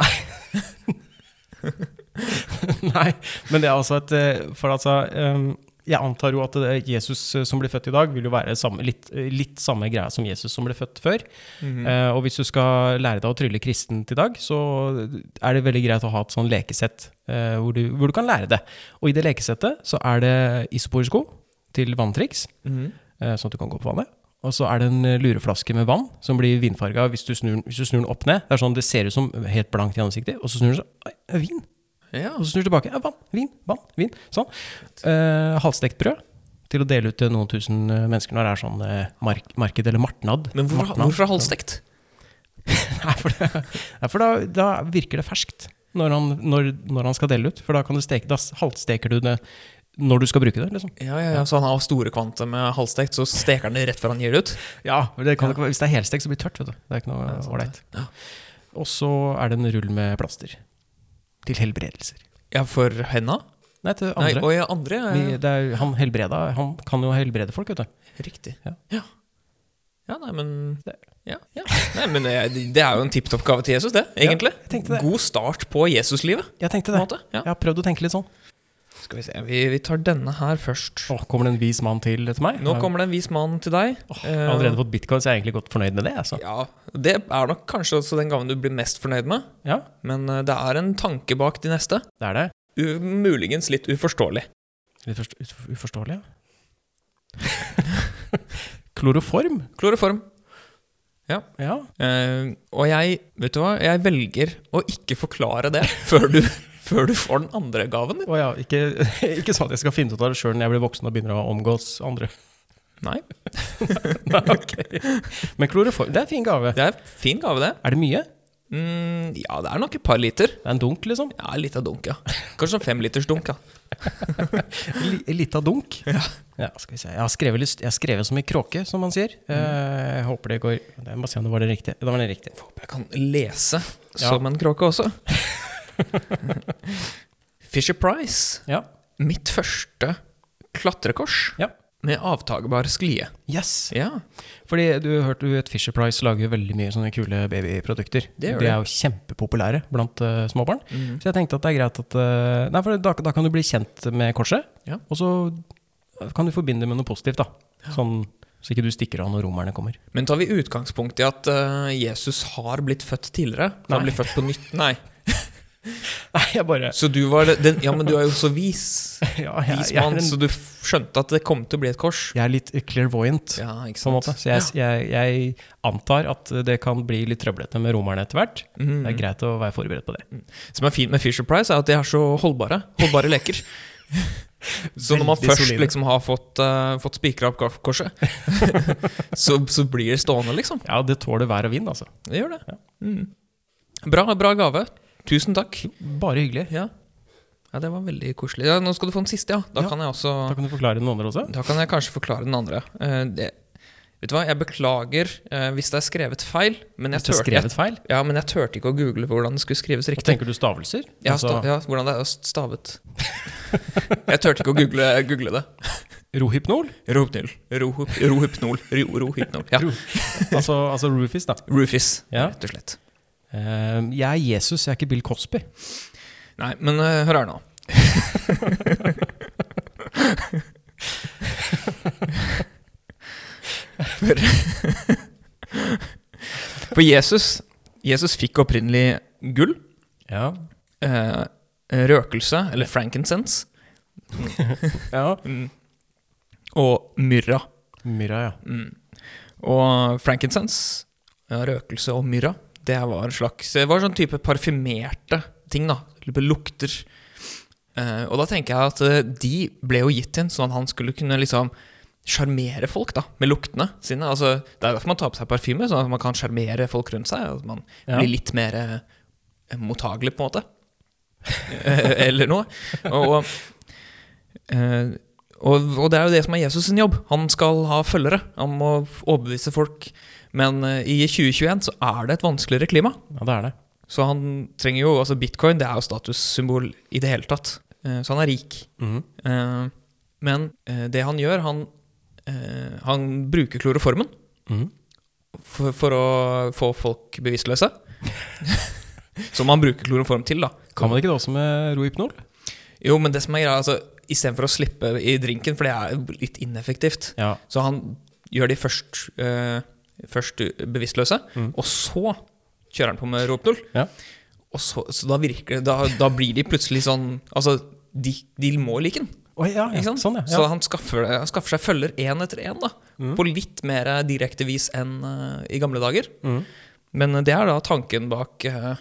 [SPEAKER 2] Nei, men det er altså et eh, For altså eh, Jeg antar jo at det er Jesus eh, som blir født i dag, vil jo være samme, litt, eh, litt samme greia som Jesus som ble født før. Eh, og hvis du skal lære deg å trylle kristent i dag, så er det veldig greit å ha et sånn lekesett eh, hvor, du, hvor du kan lære det. Og i det lekesettet så er det isoporisko til vanntriks,
[SPEAKER 3] Mhm.
[SPEAKER 2] eh, sånn at du kan gå på vannet. Og så er det en eh, lureflaske med vann som blir vinfarga hvis du snur, den- hvis du snur den opp ned. Det er sånn det ser ut som helt blankt i ansiktet, og så snur du så Oi, vin!
[SPEAKER 3] Ja.
[SPEAKER 2] Og så snur du tilbake. Ja, vann, vin, vann, vin. Sånn. Eh, halvstekt brød til å dele ut til noen tusen eh, mennesker når det er sånn eh, mark marked eller martnad.
[SPEAKER 3] Men hvorfor,
[SPEAKER 2] Martnad.
[SPEAKER 3] hvorfor halvstekt?
[SPEAKER 2] Nei, for, det, nei, for da, da virker det ferskt når han, når, når han skal dele ut. For da kan du steke, da s- halvsteker du det når du skal bruke det. liksom.
[SPEAKER 3] Ja, ja, ja, Så han har store kvanter med halvstekt, så steker han det rett før han gir det ut?
[SPEAKER 2] Ja, for det kan ikke være- Hvis det er helstekt, så blir det tørt. vet du. Det er ikke noe ålreit. Og så er det en rull med plaster. Til helbredelser.
[SPEAKER 3] Ja, for henda?
[SPEAKER 2] Nei, til
[SPEAKER 3] Nei,
[SPEAKER 2] andre.
[SPEAKER 3] og i andre ja,
[SPEAKER 2] Vi, det er, han helbreda, han kan jo helbrede folk, vet du.
[SPEAKER 3] Riktig.
[SPEAKER 2] Ja.
[SPEAKER 3] Ja. ja, nei, men
[SPEAKER 2] Det-
[SPEAKER 3] ja. ja. Nei, men eh, det, det er jo en tipp topp gave til Jesus, det, egentlig.
[SPEAKER 2] jeg tenkte det.
[SPEAKER 3] God start på Jesuslivet.
[SPEAKER 2] Jeg tenkte
[SPEAKER 3] på en
[SPEAKER 2] det.
[SPEAKER 3] måte. Ja.
[SPEAKER 2] Jeg har prøvd å tenke litt sånn.
[SPEAKER 3] Skal vi se, vi, vi tar denne her først.
[SPEAKER 2] Åh, kommer det en vis mann til til meg?
[SPEAKER 3] Nå kommer det en vis mann til deg. Eh,
[SPEAKER 2] Jeg har allerede fått bitcoin, så jeg er egentlig godt fornøyd med det. Altså.
[SPEAKER 3] Ja, Det er nok kanskje også den gaven du blir mest fornøyd med,
[SPEAKER 2] Ja,
[SPEAKER 3] men eh, det er en tanke bak de neste.
[SPEAKER 2] det er det.
[SPEAKER 3] U muligens litt uforståelig.
[SPEAKER 2] Litt forst- ut- uforståelig, ja. Kloroform?
[SPEAKER 3] Kloroform.
[SPEAKER 2] Ja.
[SPEAKER 3] Eh, og jeg, vet du hva, jeg velger å ikke forklare det før du, før du får den andre gaven.
[SPEAKER 2] Å ja, ikke, ikke sånn at jeg skal finne ut av det sjøl når jeg blir voksen og begynner å omgås andre.
[SPEAKER 3] Nei,
[SPEAKER 2] Nei, ok. Men kloroform, det er en fin gave.
[SPEAKER 3] det er fin gave, det.
[SPEAKER 2] Er det mye?
[SPEAKER 3] Mm, ja, det er nok et par liter.
[SPEAKER 2] Det er en dunk, liksom.
[SPEAKER 3] Ja, litt av dunk, ja. Kanskje sånn femliters dunk, ja.
[SPEAKER 2] Li- Lita dunk. Ja. skal vi se. Jeg har skrevet, litt, jeg har skrevet som i kråke, som man sier. Eh, jeg håper det går Jeg må se om det var det riktige. Det var det riktige.
[SPEAKER 3] Jeg kan lese
[SPEAKER 2] Ja.
[SPEAKER 3] som en kråke også. Fisher Price.
[SPEAKER 2] Ja.
[SPEAKER 3] Mitt første klatrekors
[SPEAKER 2] ja.
[SPEAKER 3] med avtagebar sklie.
[SPEAKER 2] Yes.
[SPEAKER 3] Ja.
[SPEAKER 2] Fordi du hørte jo at Fisher Price lager jo veldig mye sånne kule babyprodukter.
[SPEAKER 3] Det Mm. gjør
[SPEAKER 2] de
[SPEAKER 3] de.
[SPEAKER 2] er jo kjempepopulære blant eh, småbarn. Så jeg tenkte at det er greit at eh, Nei, for da, da kan du bli kjent med korset,
[SPEAKER 3] Ja.
[SPEAKER 2] og så kan du forbinde det med noe positivt, da. Sånn, så ikke du stikker av når romerne kommer.
[SPEAKER 3] Men tar vi utgangspunkt i at eh, Jesus har blitt født tidligere? Han
[SPEAKER 2] Nei.
[SPEAKER 3] blir født på nytt? Nei.
[SPEAKER 2] Nei, jeg bare
[SPEAKER 3] Så du var den Ja, men du er jo så vis.
[SPEAKER 2] ja, jeg,
[SPEAKER 3] Vis
[SPEAKER 2] jeg, er
[SPEAKER 3] mann, så
[SPEAKER 2] en,
[SPEAKER 3] du f- skjønte at det kom til å bli et kors?
[SPEAKER 2] jeg er litt clairvoyant,
[SPEAKER 3] Ja, ikke
[SPEAKER 2] på en måte. Så jeg,
[SPEAKER 3] Ja.
[SPEAKER 2] jeg, jeg antar at det kan bli litt trøblete med romerne etter hvert. Det
[SPEAKER 3] Mm.
[SPEAKER 2] er greit å være forberedt på det.
[SPEAKER 3] som er fint med Fisher Price, er at de er så holdbare. Holdbare leker. Så når man
[SPEAKER 2] Veldig
[SPEAKER 3] først
[SPEAKER 2] solide.
[SPEAKER 3] liksom har fått, uh, fått spikra opp korset, så, så blir det stående, liksom.
[SPEAKER 2] Ja, det tåler vær og vind, altså.
[SPEAKER 3] Det gjør det. Mm. Bra, bra gave. Tusen takk.
[SPEAKER 2] Bare hyggelig.
[SPEAKER 3] Ja. ja, det var veldig koselig. Ja, nå skal du få den siste, ja. Da
[SPEAKER 2] Ja.
[SPEAKER 3] kan jeg også
[SPEAKER 2] Da kan du forklare noen andre også.
[SPEAKER 3] Da kan jeg kanskje forklare den andre. Eh, det, vet du hva, jeg beklager eh, hvis det er skrevet feil, men jeg
[SPEAKER 2] Hvis det er
[SPEAKER 3] turte jeg,
[SPEAKER 2] skrevet feil?
[SPEAKER 3] ja, men jeg turte ikke å google hvordan det skulle skrives
[SPEAKER 2] Og
[SPEAKER 3] riktig.
[SPEAKER 2] tenker du stavelser?
[SPEAKER 3] Ja,
[SPEAKER 2] altså,
[SPEAKER 3] sta, ja, hvordan det er stavet. jeg turte ikke å google, google det.
[SPEAKER 2] Rohypnol?
[SPEAKER 3] Rohypnol. Rohyp- Rohypnol. Ro- Rohypnol. Ja.
[SPEAKER 2] Ro- altså, altså Rufus, da.
[SPEAKER 3] Rufus,
[SPEAKER 2] Ja.
[SPEAKER 3] rett og slett.
[SPEAKER 2] Ehm, jeg er Jesus, jeg er ikke Bill Cosby.
[SPEAKER 3] Nei, men eh, hør her nå. For, for Jesus Jesus fikk opprinnelig gull,
[SPEAKER 2] Ja.
[SPEAKER 3] eh, røkelse, eller frankincense,
[SPEAKER 2] ja.
[SPEAKER 3] og myrra.
[SPEAKER 2] Myra, ja.
[SPEAKER 3] Mm. Og frankincense, ja, røkelse og myrra, det var en slags Det var sånn type parfymerte ting, da. Lukter. Eh, og da tenker jeg at eh, de ble jo gitt til en sånn at han skulle kunne liksom sjarmere folk da, med luktene sine. Altså, det er derfor man tar på seg parfyme, sånn at man kan sjarmere folk rundt seg. At man
[SPEAKER 2] Ja.
[SPEAKER 3] blir litt mer eh, mottagelig, på en måte. Eh, Eller noe. Og, og, eh, og, og det er jo det som er Jesus sin jobb. Han skal ha følgere. Han må overbevise folk. Men eh, i 2021 så er det et vanskeligere klima.
[SPEAKER 2] Ja, det er det.
[SPEAKER 3] Så han trenger jo, altså bitcoin det er jo statussymbol i det hele tatt. Eh, Så han er rik.
[SPEAKER 2] Mhm.
[SPEAKER 3] Eh, Men eh, det han gjør, han, eh, han bruker kloroformen
[SPEAKER 2] Mhm.
[SPEAKER 3] for, for å få folk bevisstløse. Som han bruker kloroform til, da.
[SPEAKER 2] Kan man ikke det også med Rohypnol?
[SPEAKER 3] Jo, men det som er greia, altså, istedenfor å slippe i drinken, for det er litt ineffektivt,
[SPEAKER 2] Ja.
[SPEAKER 3] så han gjør de først, eh, først bevisstløse,
[SPEAKER 2] Mhm.
[SPEAKER 3] og så kjører han på med Rohypnol.
[SPEAKER 2] Ja.
[SPEAKER 3] Og så, så da virker det da, da blir de plutselig sånn Altså, de, de må like den.
[SPEAKER 2] Oi, ja, ja.
[SPEAKER 3] Ikke sant?
[SPEAKER 2] Sånn, ja. Mm.
[SPEAKER 3] Så
[SPEAKER 2] ja.
[SPEAKER 3] han skaffer, han skaffer seg følger én etter én, da. På litt mer direkte vis enn eh, i gamle dager.
[SPEAKER 2] Mhm.
[SPEAKER 3] Men eh, det er da tanken bak, eh,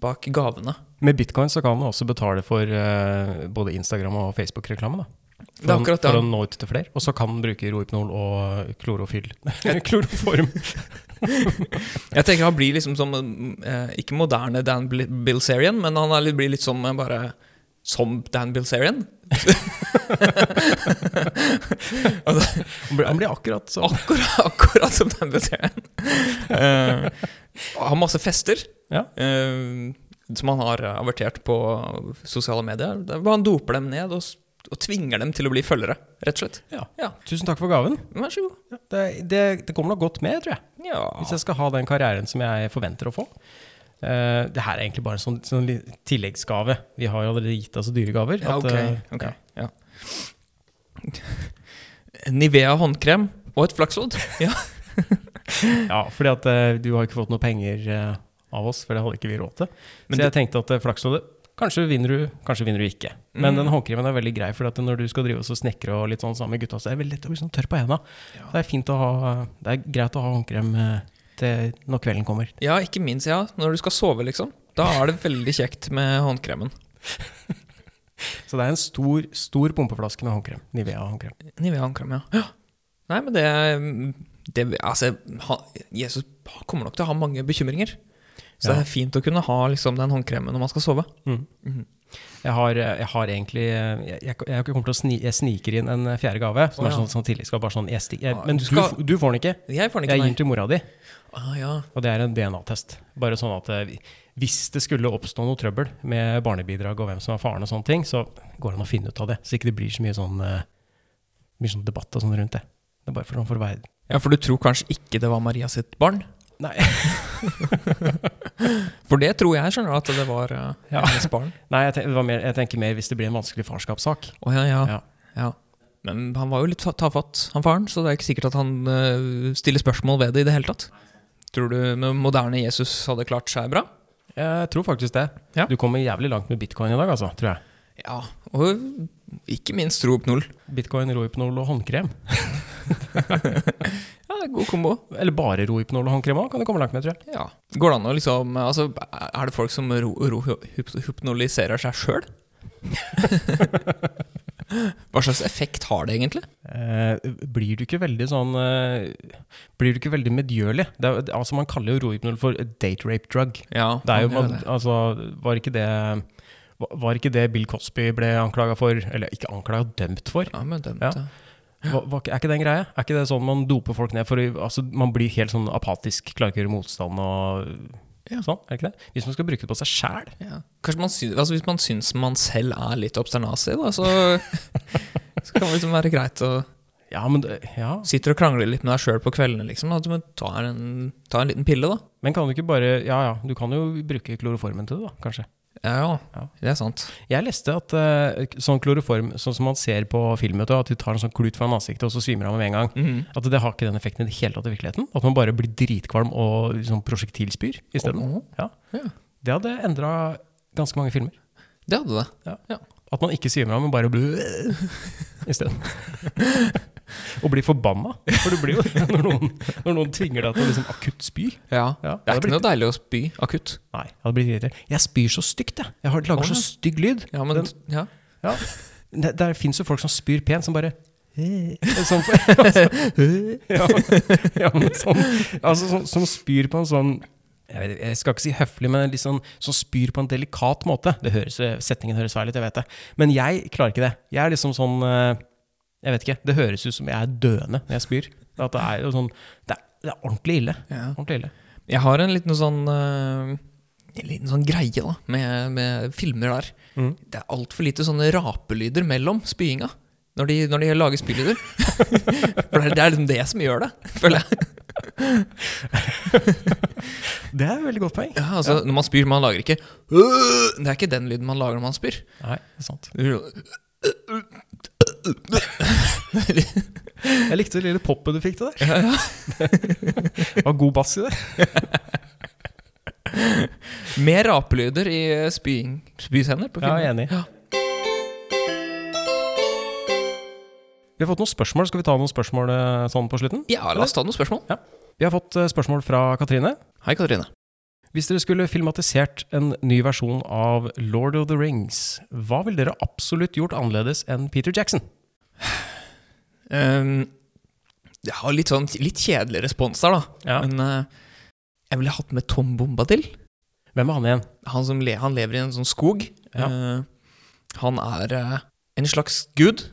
[SPEAKER 3] bak gavene.
[SPEAKER 2] Med bitcoin så kan man også betale for eh, både Instagram og Facebook-reklame. da. For,
[SPEAKER 3] Det er
[SPEAKER 2] å-
[SPEAKER 3] akkurat det.
[SPEAKER 2] for å nå ut til flere. Og så kan man bruke Rohypnol og klorofyll. Kloroform.
[SPEAKER 3] Jeg tenker han blir liksom som eh, Ikke moderne Dan Bil- Bilzerian, men han er litt, blir litt som eh, bare Som Dan Bilzerian.
[SPEAKER 2] Han blir, han blir akkurat sånn.
[SPEAKER 3] Akkurat, akkurat som Dan Bilzerian. Eh, har masse fester
[SPEAKER 2] Ja.
[SPEAKER 3] eh, som han har eh, avertert på sosiale medier. Der hvor han doper dem ned og, s- og tvinger dem til å bli følgere, rett og slett.
[SPEAKER 2] Ja.
[SPEAKER 3] Ja,
[SPEAKER 2] Tusen takk for gaven.
[SPEAKER 3] Vær så god.
[SPEAKER 2] Ja, Det, det, det kommer nok godt med, tror jeg.
[SPEAKER 3] Ja.
[SPEAKER 2] Hvis jeg skal ha den karrieren som jeg forventer å få. Eh, det her er egentlig bare en sånn, sånn li- tilleggsgave. Vi har jo allerede gitt oss dyre gaver.
[SPEAKER 3] Ja,
[SPEAKER 2] at,
[SPEAKER 3] ok,
[SPEAKER 2] eh,
[SPEAKER 3] ok,
[SPEAKER 2] ja.
[SPEAKER 3] ja. Nivea håndkrem og et flakslodd. Ja.
[SPEAKER 2] Ja, fordi at eh, du har ikke fått noe penger eh, av oss, for det hadde ikke vi råd til.
[SPEAKER 3] Men
[SPEAKER 2] så jeg tenkte at uh, flaksloddet Kanskje vinner du, kanskje vinner du ikke. Men
[SPEAKER 3] Mm.
[SPEAKER 2] den håndkremen er veldig grei, for at når du skal drive oss og snekre og litt sånn sammen med gutta, så er det veldig lett å bli sånn tørr på henda.
[SPEAKER 3] Ja.
[SPEAKER 2] Det er fint å ha eh, Det er greit å ha håndkrem eh, til når kvelden kommer.
[SPEAKER 3] Ja, ikke minst, ja. Når du skal sove, liksom. Da er det veldig kjekt med håndkremen.
[SPEAKER 2] Så det er en stor, stor pumpeflaske med håndkrem. Nivea håndkrem.
[SPEAKER 3] Nivea håndkrem, ja. ja. Nei, men det, mm, det Altså, ha, Jesus kommer nok til å ha mange bekymringer. Så
[SPEAKER 2] Ja.
[SPEAKER 3] det er fint å kunne ha liksom, den håndkremen når man skal sove.
[SPEAKER 2] Jeg har, jeg har egentlig Jeg, jeg, jeg kommer til å sni, jeg sniker inn en fjerde gave. Som
[SPEAKER 3] Å,
[SPEAKER 2] er
[SPEAKER 3] ja.
[SPEAKER 2] sånn, sånn tilleggsgave. Bare sånn jeg, sti- jeg,
[SPEAKER 3] Ja,
[SPEAKER 2] Men
[SPEAKER 3] du
[SPEAKER 2] du,
[SPEAKER 3] skal-
[SPEAKER 2] f- du får den ikke.
[SPEAKER 3] Jeg får
[SPEAKER 2] Jeg
[SPEAKER 3] den ikke,
[SPEAKER 2] gir den til mora di.
[SPEAKER 3] nei. Ah, ja.
[SPEAKER 2] Og det er en DNA-test. Bare sånn at eh, hvis det skulle oppstå noe trøbbel med barnebidrag og hvem som er faren, og sånne ting, så går det an å finne ut av det. Så ikke det blir så mye sånn, eh, mye sånn debatt og sånn rundt det. Det er bare for, for å være
[SPEAKER 3] ja, for du tror kanskje ikke det var Maria sitt barn?
[SPEAKER 2] Nei.
[SPEAKER 3] For det tror jeg, skjønner du, at det var eh,
[SPEAKER 2] Ja.
[SPEAKER 3] hennes barn.
[SPEAKER 2] Nei, jeg, ten- det var mer, jeg tenker mer hvis det blir en vanskelig farskapssak.
[SPEAKER 3] Å ja, ja.
[SPEAKER 2] Ja.
[SPEAKER 3] ja. Men han var jo litt fa- tafatt, han faren, så det er ikke sikkert at han eh, stiller spørsmål ved det i det hele tatt. Tror du med moderne Jesus hadde klart seg bra?
[SPEAKER 2] Jeg tror faktisk det.
[SPEAKER 3] Ja.
[SPEAKER 2] Du kommer jævlig langt med bitcoin i dag, altså, tror jeg.
[SPEAKER 3] Ja, og ikke minst Rohypnol.
[SPEAKER 2] Bitcoin, rohypnol og håndkrem.
[SPEAKER 3] Ja, god kombo.
[SPEAKER 2] Eller bare rohypnol og håndkrem òg, kan du komme langt med, tror jeg.
[SPEAKER 3] Ja. Går det an å liksom altså, Er det folk som ro, ro, hyp, hypnoliserer seg sjøl? Hva slags effekt har det egentlig?
[SPEAKER 2] Eh, blir du ikke veldig sånn eh, Blir du ikke veldig medgjørlig? Det er, det- altså, man kaller jo rohypnol for a date rape drug.
[SPEAKER 3] Ja,
[SPEAKER 2] Det er jo,
[SPEAKER 3] han gjør
[SPEAKER 2] man,
[SPEAKER 3] det.
[SPEAKER 2] altså, var ikke det var- var ikke det Bill Cosby ble anklaga for, eller ikke anklaga, dømt for?
[SPEAKER 3] ja, men den,
[SPEAKER 2] Ja. Var, var, ikke- er ikke det en greie? Er ikke det sånn man doper folk ned for å- altså, Man blir helt sånn apatisk, klarer ikke å gjøre motstand og
[SPEAKER 3] Ja.
[SPEAKER 2] sånn? Er det ikke det? Hvis man skal bruke det på seg sjæl?
[SPEAKER 3] ja. Kanskje man syns, altså, Hvis man syns man selv er litt obsternasig, da, så, så kan det liksom være greit å
[SPEAKER 2] Ja, men det- ja.
[SPEAKER 3] Sitter og krangler litt med deg sjøl på kveldene, liksom. Da, men ta, en, ta en liten pille, da.
[SPEAKER 2] Men kan du ikke bare Ja ja, du kan jo bruke kloroformen til det, da, kanskje?
[SPEAKER 3] Ja, ja.
[SPEAKER 2] Ja.
[SPEAKER 3] Det er sant.
[SPEAKER 2] Jeg leste at eh, sånn kloroform, sånn som man ser på film, vet du, at de tar en sånn klut fra ansiktet, og så svimer han med en gang.
[SPEAKER 3] Mhm.
[SPEAKER 2] At det har ikke den effekten i det hele tatt i virkeligheten. At man bare blir dritkvalm og liksom, prosjektilspyr isteden.
[SPEAKER 3] Åh,
[SPEAKER 2] Ja.
[SPEAKER 3] Ja.
[SPEAKER 2] Det hadde endra ganske mange filmer.
[SPEAKER 3] Det hadde det.
[SPEAKER 2] At man ikke svimer av, men bare blir isteden. og blir forbanna. For du blir jo det når noen, når noen tvinger deg til å liksom akutt spy.
[SPEAKER 3] Ja.
[SPEAKER 2] Ja,
[SPEAKER 3] Det
[SPEAKER 2] da
[SPEAKER 3] er ikke
[SPEAKER 2] blir-
[SPEAKER 3] noe deilig å spy akutt.
[SPEAKER 2] Nei, jeg hadde blitt irritert. Jeg spyr så stygt, jeg. Jeg har-
[SPEAKER 3] Å,
[SPEAKER 2] lager
[SPEAKER 3] ja.
[SPEAKER 2] så stygg lyd.
[SPEAKER 3] Ja, men,
[SPEAKER 2] Den-
[SPEAKER 3] ja.
[SPEAKER 2] Det, der fins jo folk som spyr pent, som bare sånn, ja, ja, men sånn, altså, sånn, Som spyr på en sånn jeg, vet, jeg skal ikke si høflig, men litt sånn, som spyr på en delikat måte. Det høres, setningen høres feil ut, jeg vet det. Men jeg klarer ikke det. Jeg er liksom sånn eh, Jeg vet ikke. Det høres ut som jeg er døende når jeg spyr. At det er jo sånn Det er, det er ordentlig ille.
[SPEAKER 3] Ja.
[SPEAKER 2] Ordentlig ille.
[SPEAKER 3] Jeg har en liten sånn eh, En liten sånn greie da med, med filmer der.
[SPEAKER 2] Mm.
[SPEAKER 3] Det er altfor lite sånne rapelyder mellom spyinga. Når de, når de lager spylyder. For det er, det er liksom det som gjør det, føler jeg.
[SPEAKER 2] Det er et veldig godt poeng.
[SPEAKER 3] Ja, altså, Når man spyr, man lager ikke Det er ikke den lyden man lager når man spyr.
[SPEAKER 2] Nei, det er sant. Jeg likte det lille poppet du fikk til der.
[SPEAKER 3] Ja, ja.
[SPEAKER 2] Det var god bass i det.
[SPEAKER 3] Mer rapelyder i eh, spying, spyscener på
[SPEAKER 2] Ja,
[SPEAKER 3] film.
[SPEAKER 2] jeg er enig.
[SPEAKER 3] Ja.
[SPEAKER 2] Vi har fått noen spørsmål. Skal vi ta noen spørsmål eh, sånn på slutten?
[SPEAKER 3] Ja, la oss ta noen spørsmål.
[SPEAKER 2] Vi har fått eh, spørsmål fra Katrine.
[SPEAKER 3] Hei, Katrine.
[SPEAKER 2] Hvis dere skulle filmatisert en ny versjon av Lord of the Rings, hva ville dere absolutt gjort annerledes enn Peter Jackson?
[SPEAKER 3] Ehm, jeg har litt sånn litt kjedelig respons der, da.
[SPEAKER 2] Ja.
[SPEAKER 3] Men eh, jeg ville hatt med Tom Bombadil.
[SPEAKER 2] Hvem er han igjen?
[SPEAKER 3] Han, som le, han lever i en sånn skog.
[SPEAKER 2] Ja.
[SPEAKER 3] Eh, han er eh, en slags gud.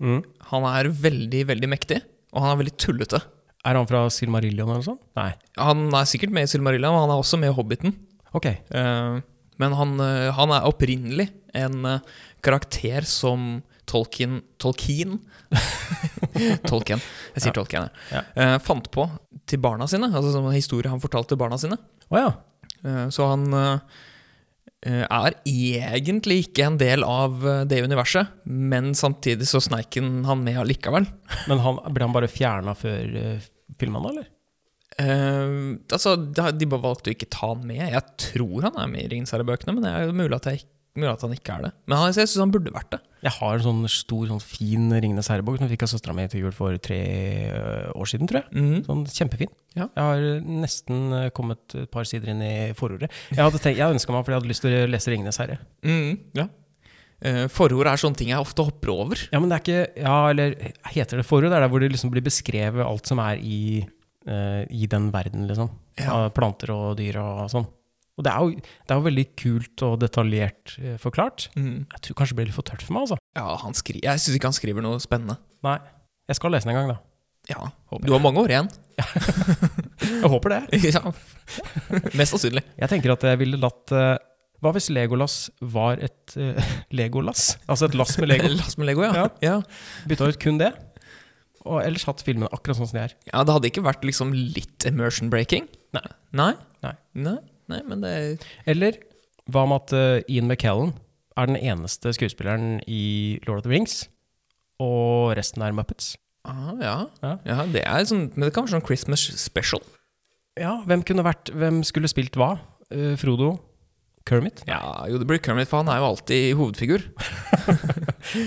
[SPEAKER 2] Mm.
[SPEAKER 3] Han er veldig, veldig mektig, og han er veldig tullete.
[SPEAKER 2] Er han fra Silmarillion eller noe sånt? Nei.
[SPEAKER 3] Han er sikkert med i Silmarillion, og han er også med i Hobbiten.
[SPEAKER 2] Ok.
[SPEAKER 3] Eh, men han, eh, han er opprinnelig en eh, karakter som Tolkien Tolkien? Tolkien. Jeg sier
[SPEAKER 2] Ja.
[SPEAKER 3] Tolkien, jeg. Eh, fant på til barna sine. Altså som en historie han fortalte til barna sine.
[SPEAKER 2] Å ja.
[SPEAKER 3] Eh, Så han eh, eh, er egentlig ikke en del av eh, det universet, men samtidig så sneik han han med allikevel.
[SPEAKER 2] Men han, ble han bare fjerna før uh, filmen, da, eller?
[SPEAKER 3] Eh, altså, da- de bare valgte å ikke ta han med. Jeg tror han er med i Ringens herre-bøkene, men det er jo mulig at, jeg, ikk- mulig at han ikke er det. Men han, jeg syns han burde vært det.
[SPEAKER 2] Jeg har en sånn stor, sånn fin Ringenes herre-bok som jeg fikk av søstera mi til jul for tre eh, år siden, tror jeg.
[SPEAKER 3] Mm.
[SPEAKER 2] Sånn kjempefin.
[SPEAKER 3] Ja.
[SPEAKER 2] Jeg har eh, nesten eh, kommet et par sider inn i forordet. Jeg hadde, tenkt, jeg ønska meg fordi jeg hadde lyst til å lese 'Ringenes herre'.
[SPEAKER 3] Mm, ja. Eh, forord er sånne ting jeg ofte hopper over.
[SPEAKER 2] Ja, men det er ikke Ja, eller heter det forord? Det er der hvor det liksom blir beskrevet alt som er i, eh, i den verden, liksom.
[SPEAKER 3] Ja.
[SPEAKER 2] Av planter og dyr og sånn. Og det er jo, det er jo veldig kult og detaljert eh, forklart.
[SPEAKER 3] Mm.
[SPEAKER 2] Jeg tror kanskje det blir litt for tørt for meg, altså.
[SPEAKER 3] Ja, han skri jeg syns ikke han skriver noe spennende.
[SPEAKER 2] Nei. Jeg skal lese den en gang, da.
[SPEAKER 3] Ja, Du har mange år igjen.
[SPEAKER 2] Jeg håper det.
[SPEAKER 3] ja. Mest sannsynlig.
[SPEAKER 2] Jeg tenker at jeg ville latt eh, Hva hvis Legolas var et eh, Legolass? Altså et lass med Lego?
[SPEAKER 3] Lass med Lego, ja.
[SPEAKER 2] Ja.
[SPEAKER 3] ja. ja.
[SPEAKER 2] Bytta ut kun det. Og ellers hatt filmene akkurat sånn som de er.
[SPEAKER 3] Det hadde ikke vært liksom litt immersion breaking.
[SPEAKER 2] Nei.
[SPEAKER 3] Nei?
[SPEAKER 2] Nei.
[SPEAKER 3] Nei, Nei, men det
[SPEAKER 2] Eller hva med at eh, Ian McKellen er den eneste skuespilleren i Lord of the Rings, og resten er Muppets?
[SPEAKER 3] ah, ja.
[SPEAKER 2] Ja.
[SPEAKER 3] ja. det er sånn Men det kan være sånn Christmas special.
[SPEAKER 2] Ja, hvem kunne vært Hvem skulle spilt hva? Eh, Frodo? Kermit?
[SPEAKER 3] Ja, jo, det blir Kermit, for han er jo alltid hovedfigur.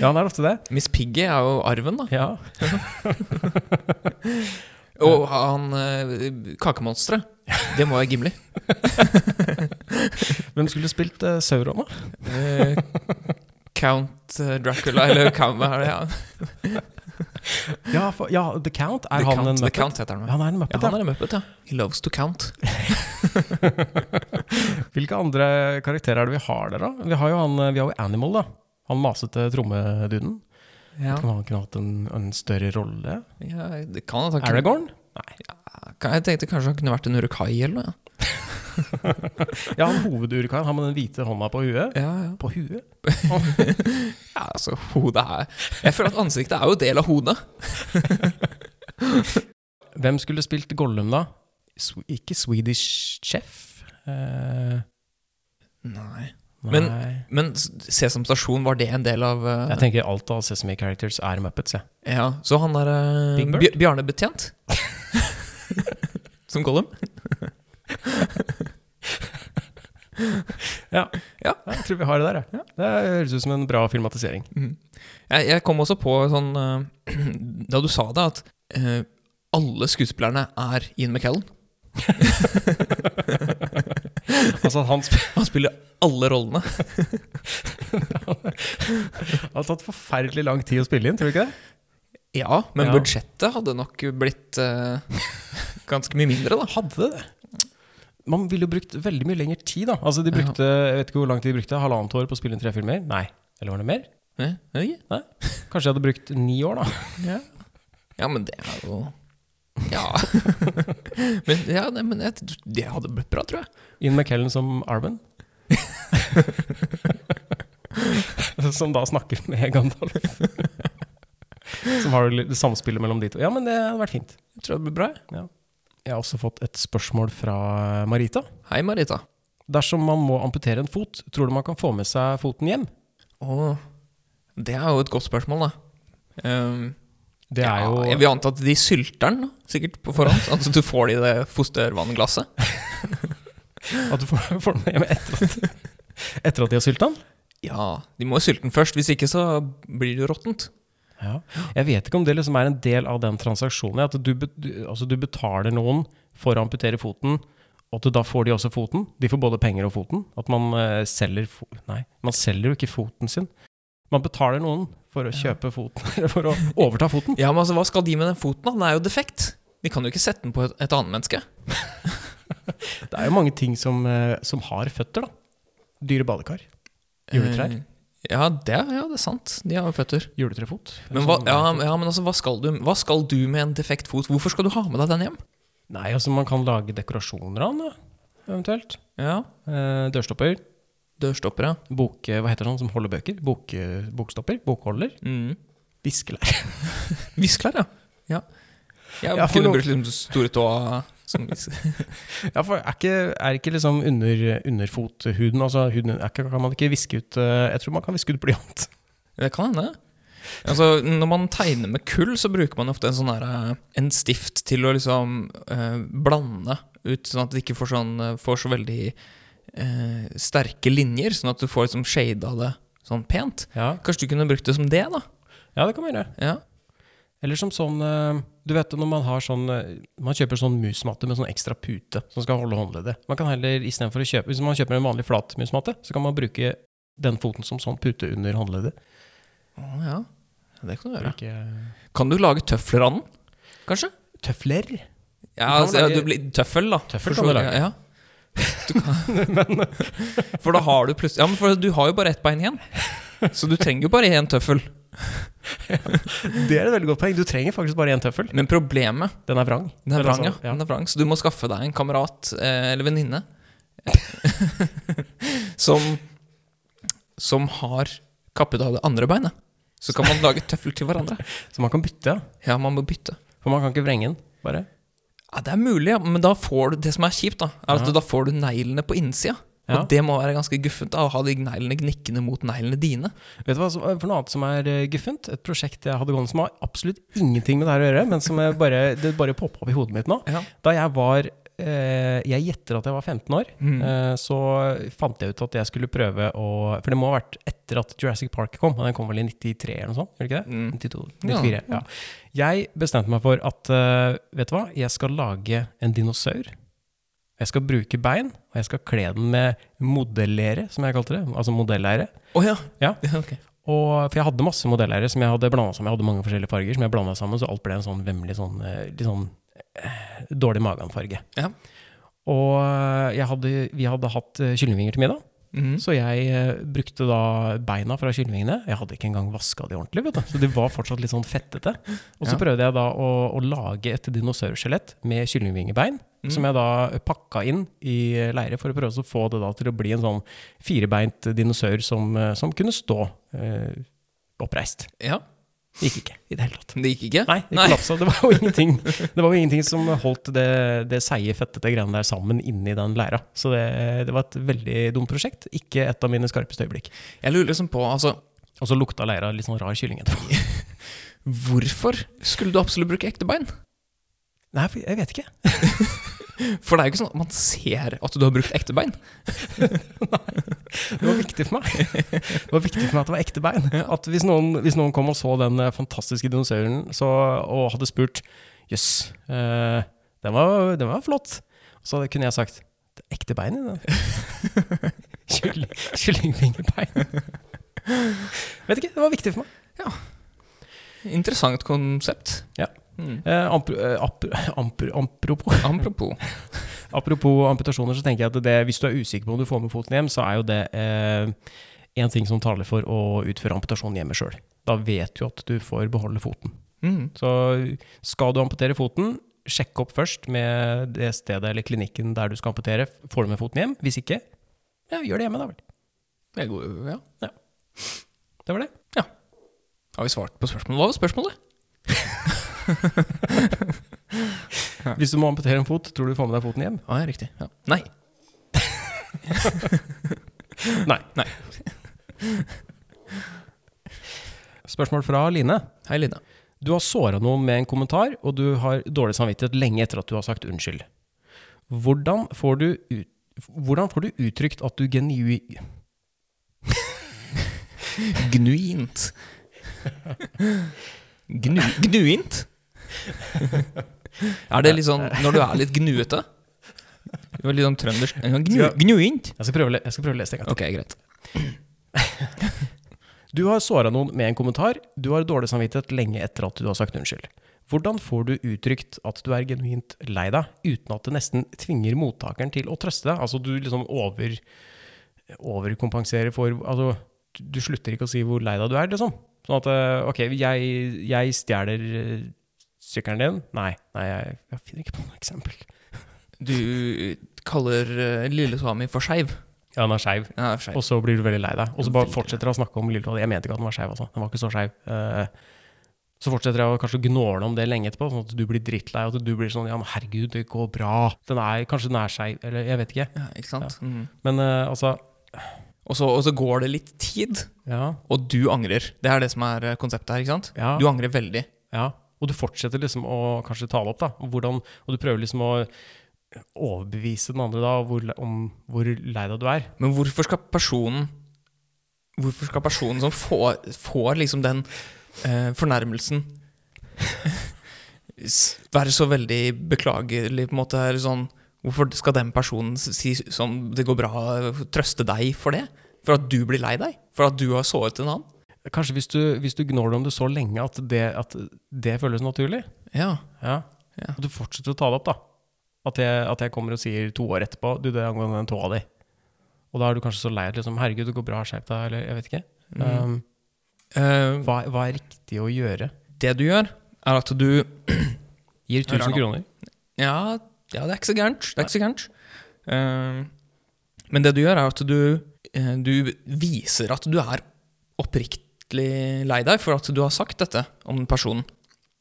[SPEAKER 2] Ja, han er ofte det.
[SPEAKER 3] Miss Piggy er jo arven, da.
[SPEAKER 2] Ja.
[SPEAKER 3] Og han eh, kakemonsteret. Det må være Gimli.
[SPEAKER 2] Hvem skulle spilt eh, Sauron, da?
[SPEAKER 3] Eh, Count eh, Dracula, eller Count, hva er det? Ja.
[SPEAKER 2] Ja, for, ja The Count? Er
[SPEAKER 3] The
[SPEAKER 2] han
[SPEAKER 3] Count,
[SPEAKER 2] en
[SPEAKER 3] The
[SPEAKER 2] Muppet?
[SPEAKER 3] Count heter han.
[SPEAKER 2] Ja,
[SPEAKER 3] vel.
[SPEAKER 2] han er en
[SPEAKER 3] Ja,
[SPEAKER 2] Muppet,
[SPEAKER 3] han
[SPEAKER 2] ja.
[SPEAKER 3] er en Muppet, ja. He loves to count.
[SPEAKER 2] Hvilke andre karakterer er det vi har der, da? Vi har jo, han, eh, vi har jo Animal, da. Han masete trommeduden.
[SPEAKER 3] Ja.
[SPEAKER 2] Kan han kunne hatt en, en større rolle?
[SPEAKER 3] Ja, det kan at han kunne-
[SPEAKER 2] Aragorn?
[SPEAKER 3] Kan- Jeg tenkte kanskje han kunne vært en urukai eller noe.
[SPEAKER 2] Ja, han hovedurikaien. Han med den hvite hånda på huet.
[SPEAKER 3] Ja, ja.
[SPEAKER 2] På huet?
[SPEAKER 3] ja, altså, hodet er Jeg føler at ansiktet er jo del av hodet.
[SPEAKER 2] Hvem skulle spilt Gollum, da? Sw ikke Swedish Chef? Eh,
[SPEAKER 3] Nei.
[SPEAKER 2] nei.
[SPEAKER 3] Men- Men s- Sesam Stasjon, var det en del av eh,
[SPEAKER 2] jeg tenker alt av Sesame Characters er Muppets, jeg.
[SPEAKER 3] Ja, Så han er eh,
[SPEAKER 2] Big Bird?
[SPEAKER 3] Bj- Bjarne Betjent? Som Gollum?
[SPEAKER 2] Ja, jeg tror vi har det der, jeg. Det høres ut som en bra filmatisering.
[SPEAKER 3] Mhm. Jeg, jeg kom også på sånn eh, Da du sa det, at eh, alle skuespillerne er Ian McKellen.
[SPEAKER 2] Altså at han, sp-
[SPEAKER 3] Han spiller alle rollene.
[SPEAKER 2] det har tatt forferdelig lang tid å spille inn, tror du ikke det?
[SPEAKER 3] Ja, men
[SPEAKER 2] Ja.
[SPEAKER 3] budsjettet hadde nok blitt eh, ganske mye mindre, da.
[SPEAKER 2] Hadde det det? Man ville jo brukt veldig mye lengre tid, da. Altså de brukte, Jeg vet ikke hvor lang tid de brukte, halvannet år på å spille inn tre filmer? Nei. Eller var det mer?
[SPEAKER 3] Eh, oi.
[SPEAKER 2] Kanskje jeg hadde brukt ni år, da.
[SPEAKER 3] Ja. ja, men det er jo Ja. men ja, nei, men jeg, det hadde blitt bra, tror jeg.
[SPEAKER 2] Ian McKellen som Arwen. som da snakker med Gandalf. som har det litt- samspillet mellom de to. Ja, men det hadde vært fint.
[SPEAKER 3] jeg tror det ble bra. jeg.
[SPEAKER 2] Jeg har også fått et spørsmål fra Marita.
[SPEAKER 3] Hei, Marita.
[SPEAKER 2] Dersom man må amputere en fot, tror du man kan få med seg foten hjem?
[SPEAKER 3] Å, det er jo et godt spørsmål, da. Ehm,
[SPEAKER 2] Det er jo
[SPEAKER 3] ja, Jeg vil anta at de sylter den sikkert på forhånd. At du får det i det fostervannglasset.
[SPEAKER 2] at du får, får den hjem etter at, etter at de har sylta den.
[SPEAKER 3] Ja, de må jo sylte den først. Hvis ikke så blir det jo råttent.
[SPEAKER 2] Ja. Jeg vet ikke om det liksom er en del av den transaksjonen. At du, bet- du- altså du betaler noen for å amputere foten, og at du da får de også foten. De får både penger og foten. At man eh, selger fo Nei, man selger jo ikke foten sin. Man betaler noen for å kjøpe foten, eller for å overta foten.
[SPEAKER 3] Ja, men altså, Hva skal de med den foten? da? Den er jo defekt. De kan jo ikke sette den på et, et annet menneske.
[SPEAKER 2] Det er jo mange ting som, eh, som har føtter, da. Dyre badekar. Juletrær.
[SPEAKER 3] Eh, Ja, det, er- ja, det er sant. De har jo føtter.
[SPEAKER 2] Juletrefot.
[SPEAKER 3] Men, hva, ja, ja, men altså, hva skal, du, hva skal du med en defekt fot? Hvorfor skal du ha med deg den hjem?
[SPEAKER 2] Nei, altså man kan lage dekorasjoner av den, da. Eventuelt.
[SPEAKER 3] Ja,
[SPEAKER 2] Eh, dørstopper.
[SPEAKER 3] Dørstopper, ja.
[SPEAKER 2] Bok, hva heter det sånn som holder bøker? Bok, bokstopper? Bokholder?
[SPEAKER 3] Mm.
[SPEAKER 2] Viskelær.
[SPEAKER 3] Visklær, ja. Ja, ja,
[SPEAKER 2] Ja, for
[SPEAKER 3] Kunne
[SPEAKER 2] noe-
[SPEAKER 3] brukt liksom store tåa som vis-
[SPEAKER 2] Ja, for er ikke, er ikke liksom under, underfothuden altså huden, er ikke, Kan man ikke viske ut eh, Jeg tror man kan viske ut blyant.
[SPEAKER 3] Det kan hende. Altså, når man tegner med kull, så bruker man ofte en sånn her, eh, en stift til å liksom eh, blande ut, sånn at det ikke får, sånn, eh, får så veldig eh, sterke linjer, sånn at du får liksom shade av det sånn pent.
[SPEAKER 2] Ja.
[SPEAKER 3] Kanskje du kunne brukt det som det, da?
[SPEAKER 2] ja, det kan man gjøre.
[SPEAKER 3] Ja.
[SPEAKER 2] Eller som sånn eh, Du vet når man har sånn eh, Man kjøper sånn musmatte med sånn ekstra pute som skal holde håndleddet. Man kan heller, i stedet for å kjøpe Hvis man kjøper en vanlig flat musmatte, så kan man bruke den foten som sånn pute under håndleddet.
[SPEAKER 3] Å, ja. ja, det kan du gjøre.
[SPEAKER 2] Bruke
[SPEAKER 3] Kan du lage tøfler av den, kanskje?
[SPEAKER 2] eh, tøfler. Du kan
[SPEAKER 3] Ja, altså, ja,
[SPEAKER 2] lage-
[SPEAKER 3] du blir tøffel, da.
[SPEAKER 2] Tøffel
[SPEAKER 3] For så
[SPEAKER 2] kan du
[SPEAKER 3] vidt,
[SPEAKER 2] lage.
[SPEAKER 3] Ja. Du kan. For da har du plutselig Ja, men for du har jo bare ett bein igjen. Så du trenger jo bare én tøffel.
[SPEAKER 2] Det er et veldig godt poeng. Du trenger faktisk bare én tøffel.
[SPEAKER 3] Men problemet
[SPEAKER 2] Den er vrang.
[SPEAKER 3] Den er
[SPEAKER 2] Eller
[SPEAKER 3] vrang, ja.
[SPEAKER 2] altså, ja.
[SPEAKER 3] Den er vrang, så du må skaffe deg en kamerat eh, eller venninne som, som har kappet av det andre beinet. Så kan man lage tøffel til hverandre.
[SPEAKER 2] Så man kan bytte, ja.
[SPEAKER 3] Ja, man må bytte.
[SPEAKER 2] For man kan ikke vrenge den, bare.
[SPEAKER 3] Ja, Det er mulig, ja, men da får du, det som er kjipt, da, er at
[SPEAKER 2] Ja.
[SPEAKER 3] da får du neglene på innsida.
[SPEAKER 2] Ja.
[SPEAKER 3] Og det må være ganske guffent da, å ha de neglene gnikkende mot neglene dine.
[SPEAKER 2] Vet du hva som- for noe annet som er eh, guffent? Et prosjekt jeg hadde gående som har absolutt ingenting med det her å gjøre, men som jeg bare, det bare poppa opp i hodet mitt nå.
[SPEAKER 3] Ja.
[SPEAKER 2] Da jeg var eh, Jeg gjetter at jeg var 15 år.
[SPEAKER 3] Mm.
[SPEAKER 2] eh, så fant jeg ut at jeg skulle prøve å For det må ha vært etter at Jurassic Park kom. og Den kom vel i 93 eller noe sånt? Gjør det ikke det?
[SPEAKER 3] Mm.
[SPEAKER 2] 92,
[SPEAKER 3] Ja.
[SPEAKER 2] 94, ja. Jeg bestemte meg for at eh, Vet du hva? Jeg skal lage en dinosaur. Jeg skal bruke bein, og jeg skal kle den med modellere, som jeg kalte det. Altså modelleire.
[SPEAKER 3] Å ja.
[SPEAKER 2] Ja.
[SPEAKER 3] ok.
[SPEAKER 2] Og, for jeg hadde masse modelleiere som jeg hadde blanda sammen. Jeg hadde mange forskjellige farger som jeg blanda sammen, så alt ble en sånn vemmelig sånn, eh, litt sånn eh, dårlig magenfarge.
[SPEAKER 3] Ja.
[SPEAKER 2] Og eh, jeg hadde, vi hadde hatt eh, kyllingvinger til middag,
[SPEAKER 3] Mhm.
[SPEAKER 2] så jeg eh, brukte da beina fra kyllingvingene. Jeg hadde ikke engang vaska de ordentlig, vet du. så de var fortsatt litt sånn fettete. Og så
[SPEAKER 3] Ja.
[SPEAKER 2] prøvde jeg da å, å lage et dinosaurskjelett med kyllingvingebein.
[SPEAKER 3] Mm.
[SPEAKER 2] Som jeg da pakka inn i eh, leire for å prøve å få det da til å bli en sånn firbeint dinosaur som, eh, som kunne stå eh, oppreist.
[SPEAKER 3] ja.
[SPEAKER 2] Det gikk ikke i det hele tatt.
[SPEAKER 3] Det gikk ikke?
[SPEAKER 2] Nei, det kollapsa. Det var jo ingenting Det var jo ingenting som holdt det, det seige, fettete greiene der sammen inni den leira. Så det, det var et veldig dumt prosjekt. Ikke et av mine skarpeste øyeblikk.
[SPEAKER 3] Jeg lurer liksom på, altså
[SPEAKER 2] Og så lukta leira litt sånn rar kylling etterpå.
[SPEAKER 3] Hvorfor skulle du absolutt bruke ekte bein?
[SPEAKER 2] Nei, for jeg vet ikke.
[SPEAKER 3] For det er jo ikke sånn at man ser at du har brukt ekte bein.
[SPEAKER 2] Det var viktig for meg. Det var viktig for meg at det var ekte bein. At hvis noen, hvis noen kom og så den eh, fantastiske dinosauren så, og hadde spurt Jøss, eh, den, var, den var flott. Så hadde- kunne jeg sagt Det er ekte bein i den. Kylling- Kyllingfingerbein. Vet ikke, det var viktig for meg.
[SPEAKER 3] Interessant konsept.
[SPEAKER 2] Ja.
[SPEAKER 3] Mm.
[SPEAKER 2] Eh, ampro- eh, apro- ampro- apropos,
[SPEAKER 3] Apropos.
[SPEAKER 2] apropos amputasjoner, så tenker jeg at det, hvis du er usikker på om du får med foten hjem, så er jo det eh, en ting som taler for å utføre amputasjon hjemme sjøl. Da vet du at du får beholde foten.
[SPEAKER 3] Mm.
[SPEAKER 2] Så skal du amputere foten, sjekk opp først med det stedet eller klinikken der du skal amputere. Får du med foten hjem? Hvis ikke, ja, gjør det hjemme, da vel.
[SPEAKER 3] Det er god- Ja.
[SPEAKER 2] Det var det.
[SPEAKER 3] Har vi svart på spørsmålet? Hva var spørsmålet?
[SPEAKER 2] Hvis du må amputere en fot, tror du du får med deg foten hjem?
[SPEAKER 3] Ah, ja, riktig. Ja. Nei.
[SPEAKER 2] Nei. Spørsmål fra Line.
[SPEAKER 3] Hei, Lina.
[SPEAKER 2] Du har såra noen med en kommentar, og du har dårlig samvittighet lenge etter at du har sagt unnskyld. Hvordan får du, ut, hvordan får du uttrykt at du genu...
[SPEAKER 3] Gnuint. Gnu, gnuint? Er det litt sånn når du er litt gnuete? Du er litt sånn trøndersk gnu, Gnuint?
[SPEAKER 2] Jeg skal prøve, å le- jeg skal prøve å lese det en gang.
[SPEAKER 3] Ok, greit.
[SPEAKER 2] Du har såra noen med en kommentar. Du har dårlig samvittighet lenge etter at du har sagt unnskyld. Hvordan får du uttrykt at du er genuint lei deg, uten at det nesten tvinger mottakeren til å trøste deg? Altså, du liksom over, overkompenserer for Altså, du slutter ikke å si hvor lei deg du er, liksom. Sånn at eh, Ok, jeg, jeg stjeler eh, sykkelen din. Nei, nei, jeg, jeg finner ikke på noe eksempel.
[SPEAKER 3] Du kaller eh, lille Sami for skeiv.
[SPEAKER 2] Ja, han er skeiv.
[SPEAKER 3] Ja, skeiv.
[SPEAKER 2] Og så blir du veldig lei deg. Og så bare
[SPEAKER 3] Veldig.
[SPEAKER 2] fortsetter jeg å snakke om Lille Tolle. Jeg mente ikke at den var skeiv, altså. Den var ikke så skeiv. Eh, Så fortsetter jeg å kanskje gnåle om det lenge etterpå, sånn at du blir drittlei, og at du blir sånn ja, men herregud, det går bra. Den er, kanskje den er skeiv, eller jeg vet ikke.
[SPEAKER 3] Ja, ikke sant? Mm.
[SPEAKER 2] Men eh, altså
[SPEAKER 3] Og, så, og så går det litt tid,
[SPEAKER 2] Ja.
[SPEAKER 3] og du angrer. Det er det som er eh, konseptet her. ikke sant?
[SPEAKER 2] Ja.
[SPEAKER 3] Du angrer veldig.
[SPEAKER 2] ja. Og du fortsetter liksom å kanskje tale opp, da. om Hvordan, og du prøver liksom å overbevise den andre da hvor, le- om hvor lei deg du er.
[SPEAKER 3] Men hvorfor skal personen Hvorfor skal personen som får, får liksom den eh, fornærmelsen s- Være så veldig beklagelig på en måte eller sånn, Hvorfor skal den personen s- si som det går bra Trøste deg for det? For at du blir lei deg? For at du har såret en annen?
[SPEAKER 2] Kanskje hvis du, hvis du gnåler om det så lenge at det, at det føles naturlig.
[SPEAKER 3] Ja,
[SPEAKER 2] Ja.
[SPEAKER 3] Ja.
[SPEAKER 2] Og du fortsetter å ta det opp, da. At jeg, at jeg kommer og sier to år etterpå Du, det er angående den tåa di. Og da er du kanskje så lei at liksom, herregud, det går bra, skjerp deg, eller jeg vet ikke.
[SPEAKER 3] Mm.
[SPEAKER 2] Um,
[SPEAKER 3] Eh,
[SPEAKER 2] hva, hva er riktig å gjøre?
[SPEAKER 3] Det du gjør, er at du
[SPEAKER 2] Gir
[SPEAKER 3] Hør her
[SPEAKER 2] 1000
[SPEAKER 3] nå.
[SPEAKER 2] kroner.
[SPEAKER 3] Ja, ja, det er ikke så gærent. Det er ikke så gærent. Eh, men det du gjør, er at du, eh, du viser at du er oppriktig lei deg for at du har sagt dette om den personen.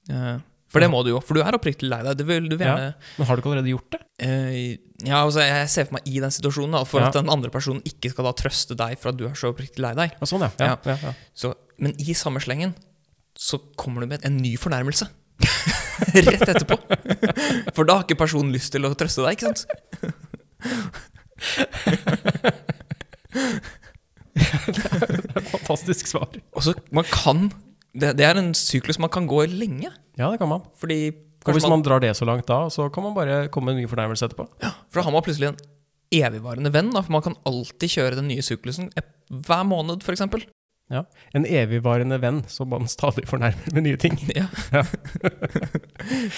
[SPEAKER 3] Eh, for det må du jo, for du er oppriktig lei deg. Det vil du
[SPEAKER 2] Ja.
[SPEAKER 3] gjerne
[SPEAKER 2] Men har du ikke allerede gjort det?
[SPEAKER 3] Eh, ja, altså Jeg ser for meg i den situasjonen, da, for
[SPEAKER 2] Ja.
[SPEAKER 3] at den andre personen ikke skal da trøste deg for at du er så oppriktig lei deg.
[SPEAKER 2] Ja, sånn, ja. ja, ja. ja,
[SPEAKER 3] Så, men i samme slengen så kommer du med en ny fornærmelse. Rett etterpå. For da har ikke personen lyst til å trøste deg, ikke sant?
[SPEAKER 2] Fantastisk svar.
[SPEAKER 3] Og så man kan det, det er en syklus man kan gå i lenge.
[SPEAKER 2] Ja, det kan man.
[SPEAKER 3] Fordi
[SPEAKER 2] Og hvis
[SPEAKER 3] kanskje man,
[SPEAKER 2] man drar det så langt da, så kan man bare komme med en ny fornærmelse etterpå.
[SPEAKER 3] for da har man plutselig en evigvarende venn, da, for man kan alltid kjøre den nye syklusen eh, hver måned, f.eks.
[SPEAKER 2] Ja. En evigvarende venn som man stadig fornærmer med nye ting.
[SPEAKER 3] Ja.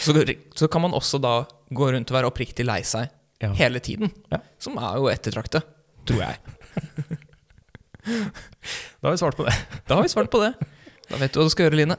[SPEAKER 3] så, så kan man også da gå rundt og være oppriktig lei seg
[SPEAKER 2] Ja.
[SPEAKER 3] hele tiden.
[SPEAKER 2] Ja.
[SPEAKER 3] Som er jo ettertraktet, tror jeg.
[SPEAKER 2] Da har vi svart på det.
[SPEAKER 3] Da har vi svart på det. Da vet du hva du skal gjøre, Line.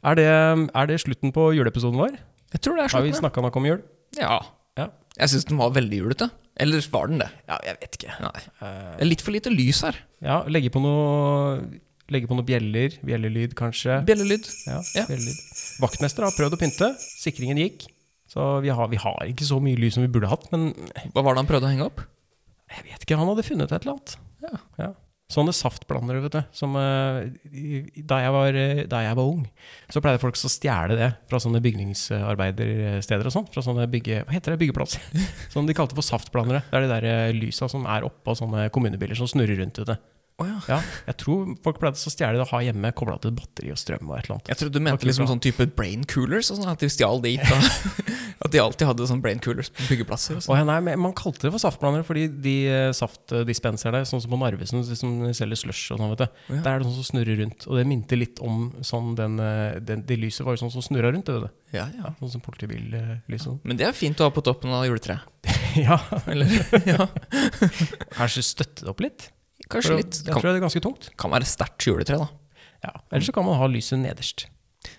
[SPEAKER 2] Er det, er det slutten på juleepisoden vår?
[SPEAKER 3] Jeg tror det er
[SPEAKER 2] Har vi
[SPEAKER 3] slutten.
[SPEAKER 2] snakka nok om jul?
[SPEAKER 3] Ja.
[SPEAKER 2] Ja.
[SPEAKER 3] Jeg syns den var veldig julete. Eller var den det?
[SPEAKER 2] Ja, jeg vet ikke. Eh.
[SPEAKER 3] Nei. Det er litt for lite lys her.
[SPEAKER 2] Ja, legge på noe Legge på noe bjeller, bjellelyd kanskje.
[SPEAKER 3] Bjellelyd.
[SPEAKER 2] Ja,
[SPEAKER 3] Ja.
[SPEAKER 2] bjellelyd. Vaktmester har prøvd å pynte. Sikringen gikk. Så vi har, vi har ikke så mye lys som vi burde hatt, men
[SPEAKER 3] Hva var det han prøvde å henge opp?
[SPEAKER 2] jeg vet ikke, han hadde funnet et eller annet.
[SPEAKER 3] Ja.
[SPEAKER 2] Sånne saftblandere, vet du. Som, eh, i- i- da, jeg var, eh, da jeg var ung, så pleide folk så å stjele det fra sånne bygningsarbeidersteder og sånn. Fra sånne bygge... Hva heter det? Byggeplasser. Som de kalte for saftblandere. Det er de der eh, lysa som er oppå sånne kommunebiler som snurrer rundt, vet du.
[SPEAKER 3] Å ja.
[SPEAKER 2] Ja, jeg tror folk pleide å stjele det å ha hjemme kobla til batteri og strøm og et eller annet.
[SPEAKER 3] Jeg trodde du mente liksom sånn type brain coolers. og Sånn, at de stjal de fra At At de alltid hadde sånn brain coolers på byggeplasser. Og sånn.
[SPEAKER 2] Å, ja, nei, men man kalte det for saftblandere fordi de eh, saftdispenserne, sånn som på Narvesen, de som selger slush og sånn, vet du.
[SPEAKER 3] Å, ja.
[SPEAKER 2] Der er det sånn som snurrer rundt. Og det minte litt om sånn den, eh, den Det lyset var jo sånn som snurra rundt, det vet du.
[SPEAKER 3] ja, ja.
[SPEAKER 2] Sånn som politibillyset. Sånn.
[SPEAKER 3] Men det er fint å ha på toppen av juletreet.
[SPEAKER 2] ja.
[SPEAKER 3] Eller, ja,
[SPEAKER 2] Kanskje støtte det opp litt? For
[SPEAKER 3] kanskje
[SPEAKER 2] å-
[SPEAKER 3] litt.
[SPEAKER 2] Jeg
[SPEAKER 3] Kan,
[SPEAKER 2] tror det er ganske tungt.
[SPEAKER 3] kan være sterkt juletre, da.
[SPEAKER 2] Ja. Eller så kan man ha lyset nederst.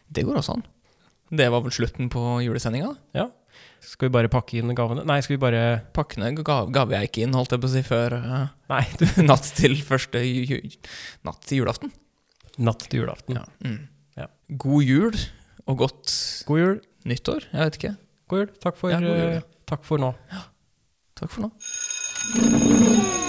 [SPEAKER 3] Det går også an. Det var vel slutten på julesendinga. da.
[SPEAKER 2] Ja. Skal vi bare pakke inn gavene? Nei, skal vi bare
[SPEAKER 3] Pakkene ga, ga jeg ikke inn, holdt jeg på å si, før eh,
[SPEAKER 2] Nei,
[SPEAKER 3] natt til første ju, ju, natt til julaften.
[SPEAKER 2] natt til julaften.
[SPEAKER 3] Ja. Mm.
[SPEAKER 2] Ja.
[SPEAKER 3] God jul og godt
[SPEAKER 2] God jul.
[SPEAKER 3] nyttår. Jeg vet ikke.
[SPEAKER 2] God jul. Takk for,
[SPEAKER 3] Ja, god jul, ja.
[SPEAKER 2] eh, Takk for nå.
[SPEAKER 3] Takk for nå.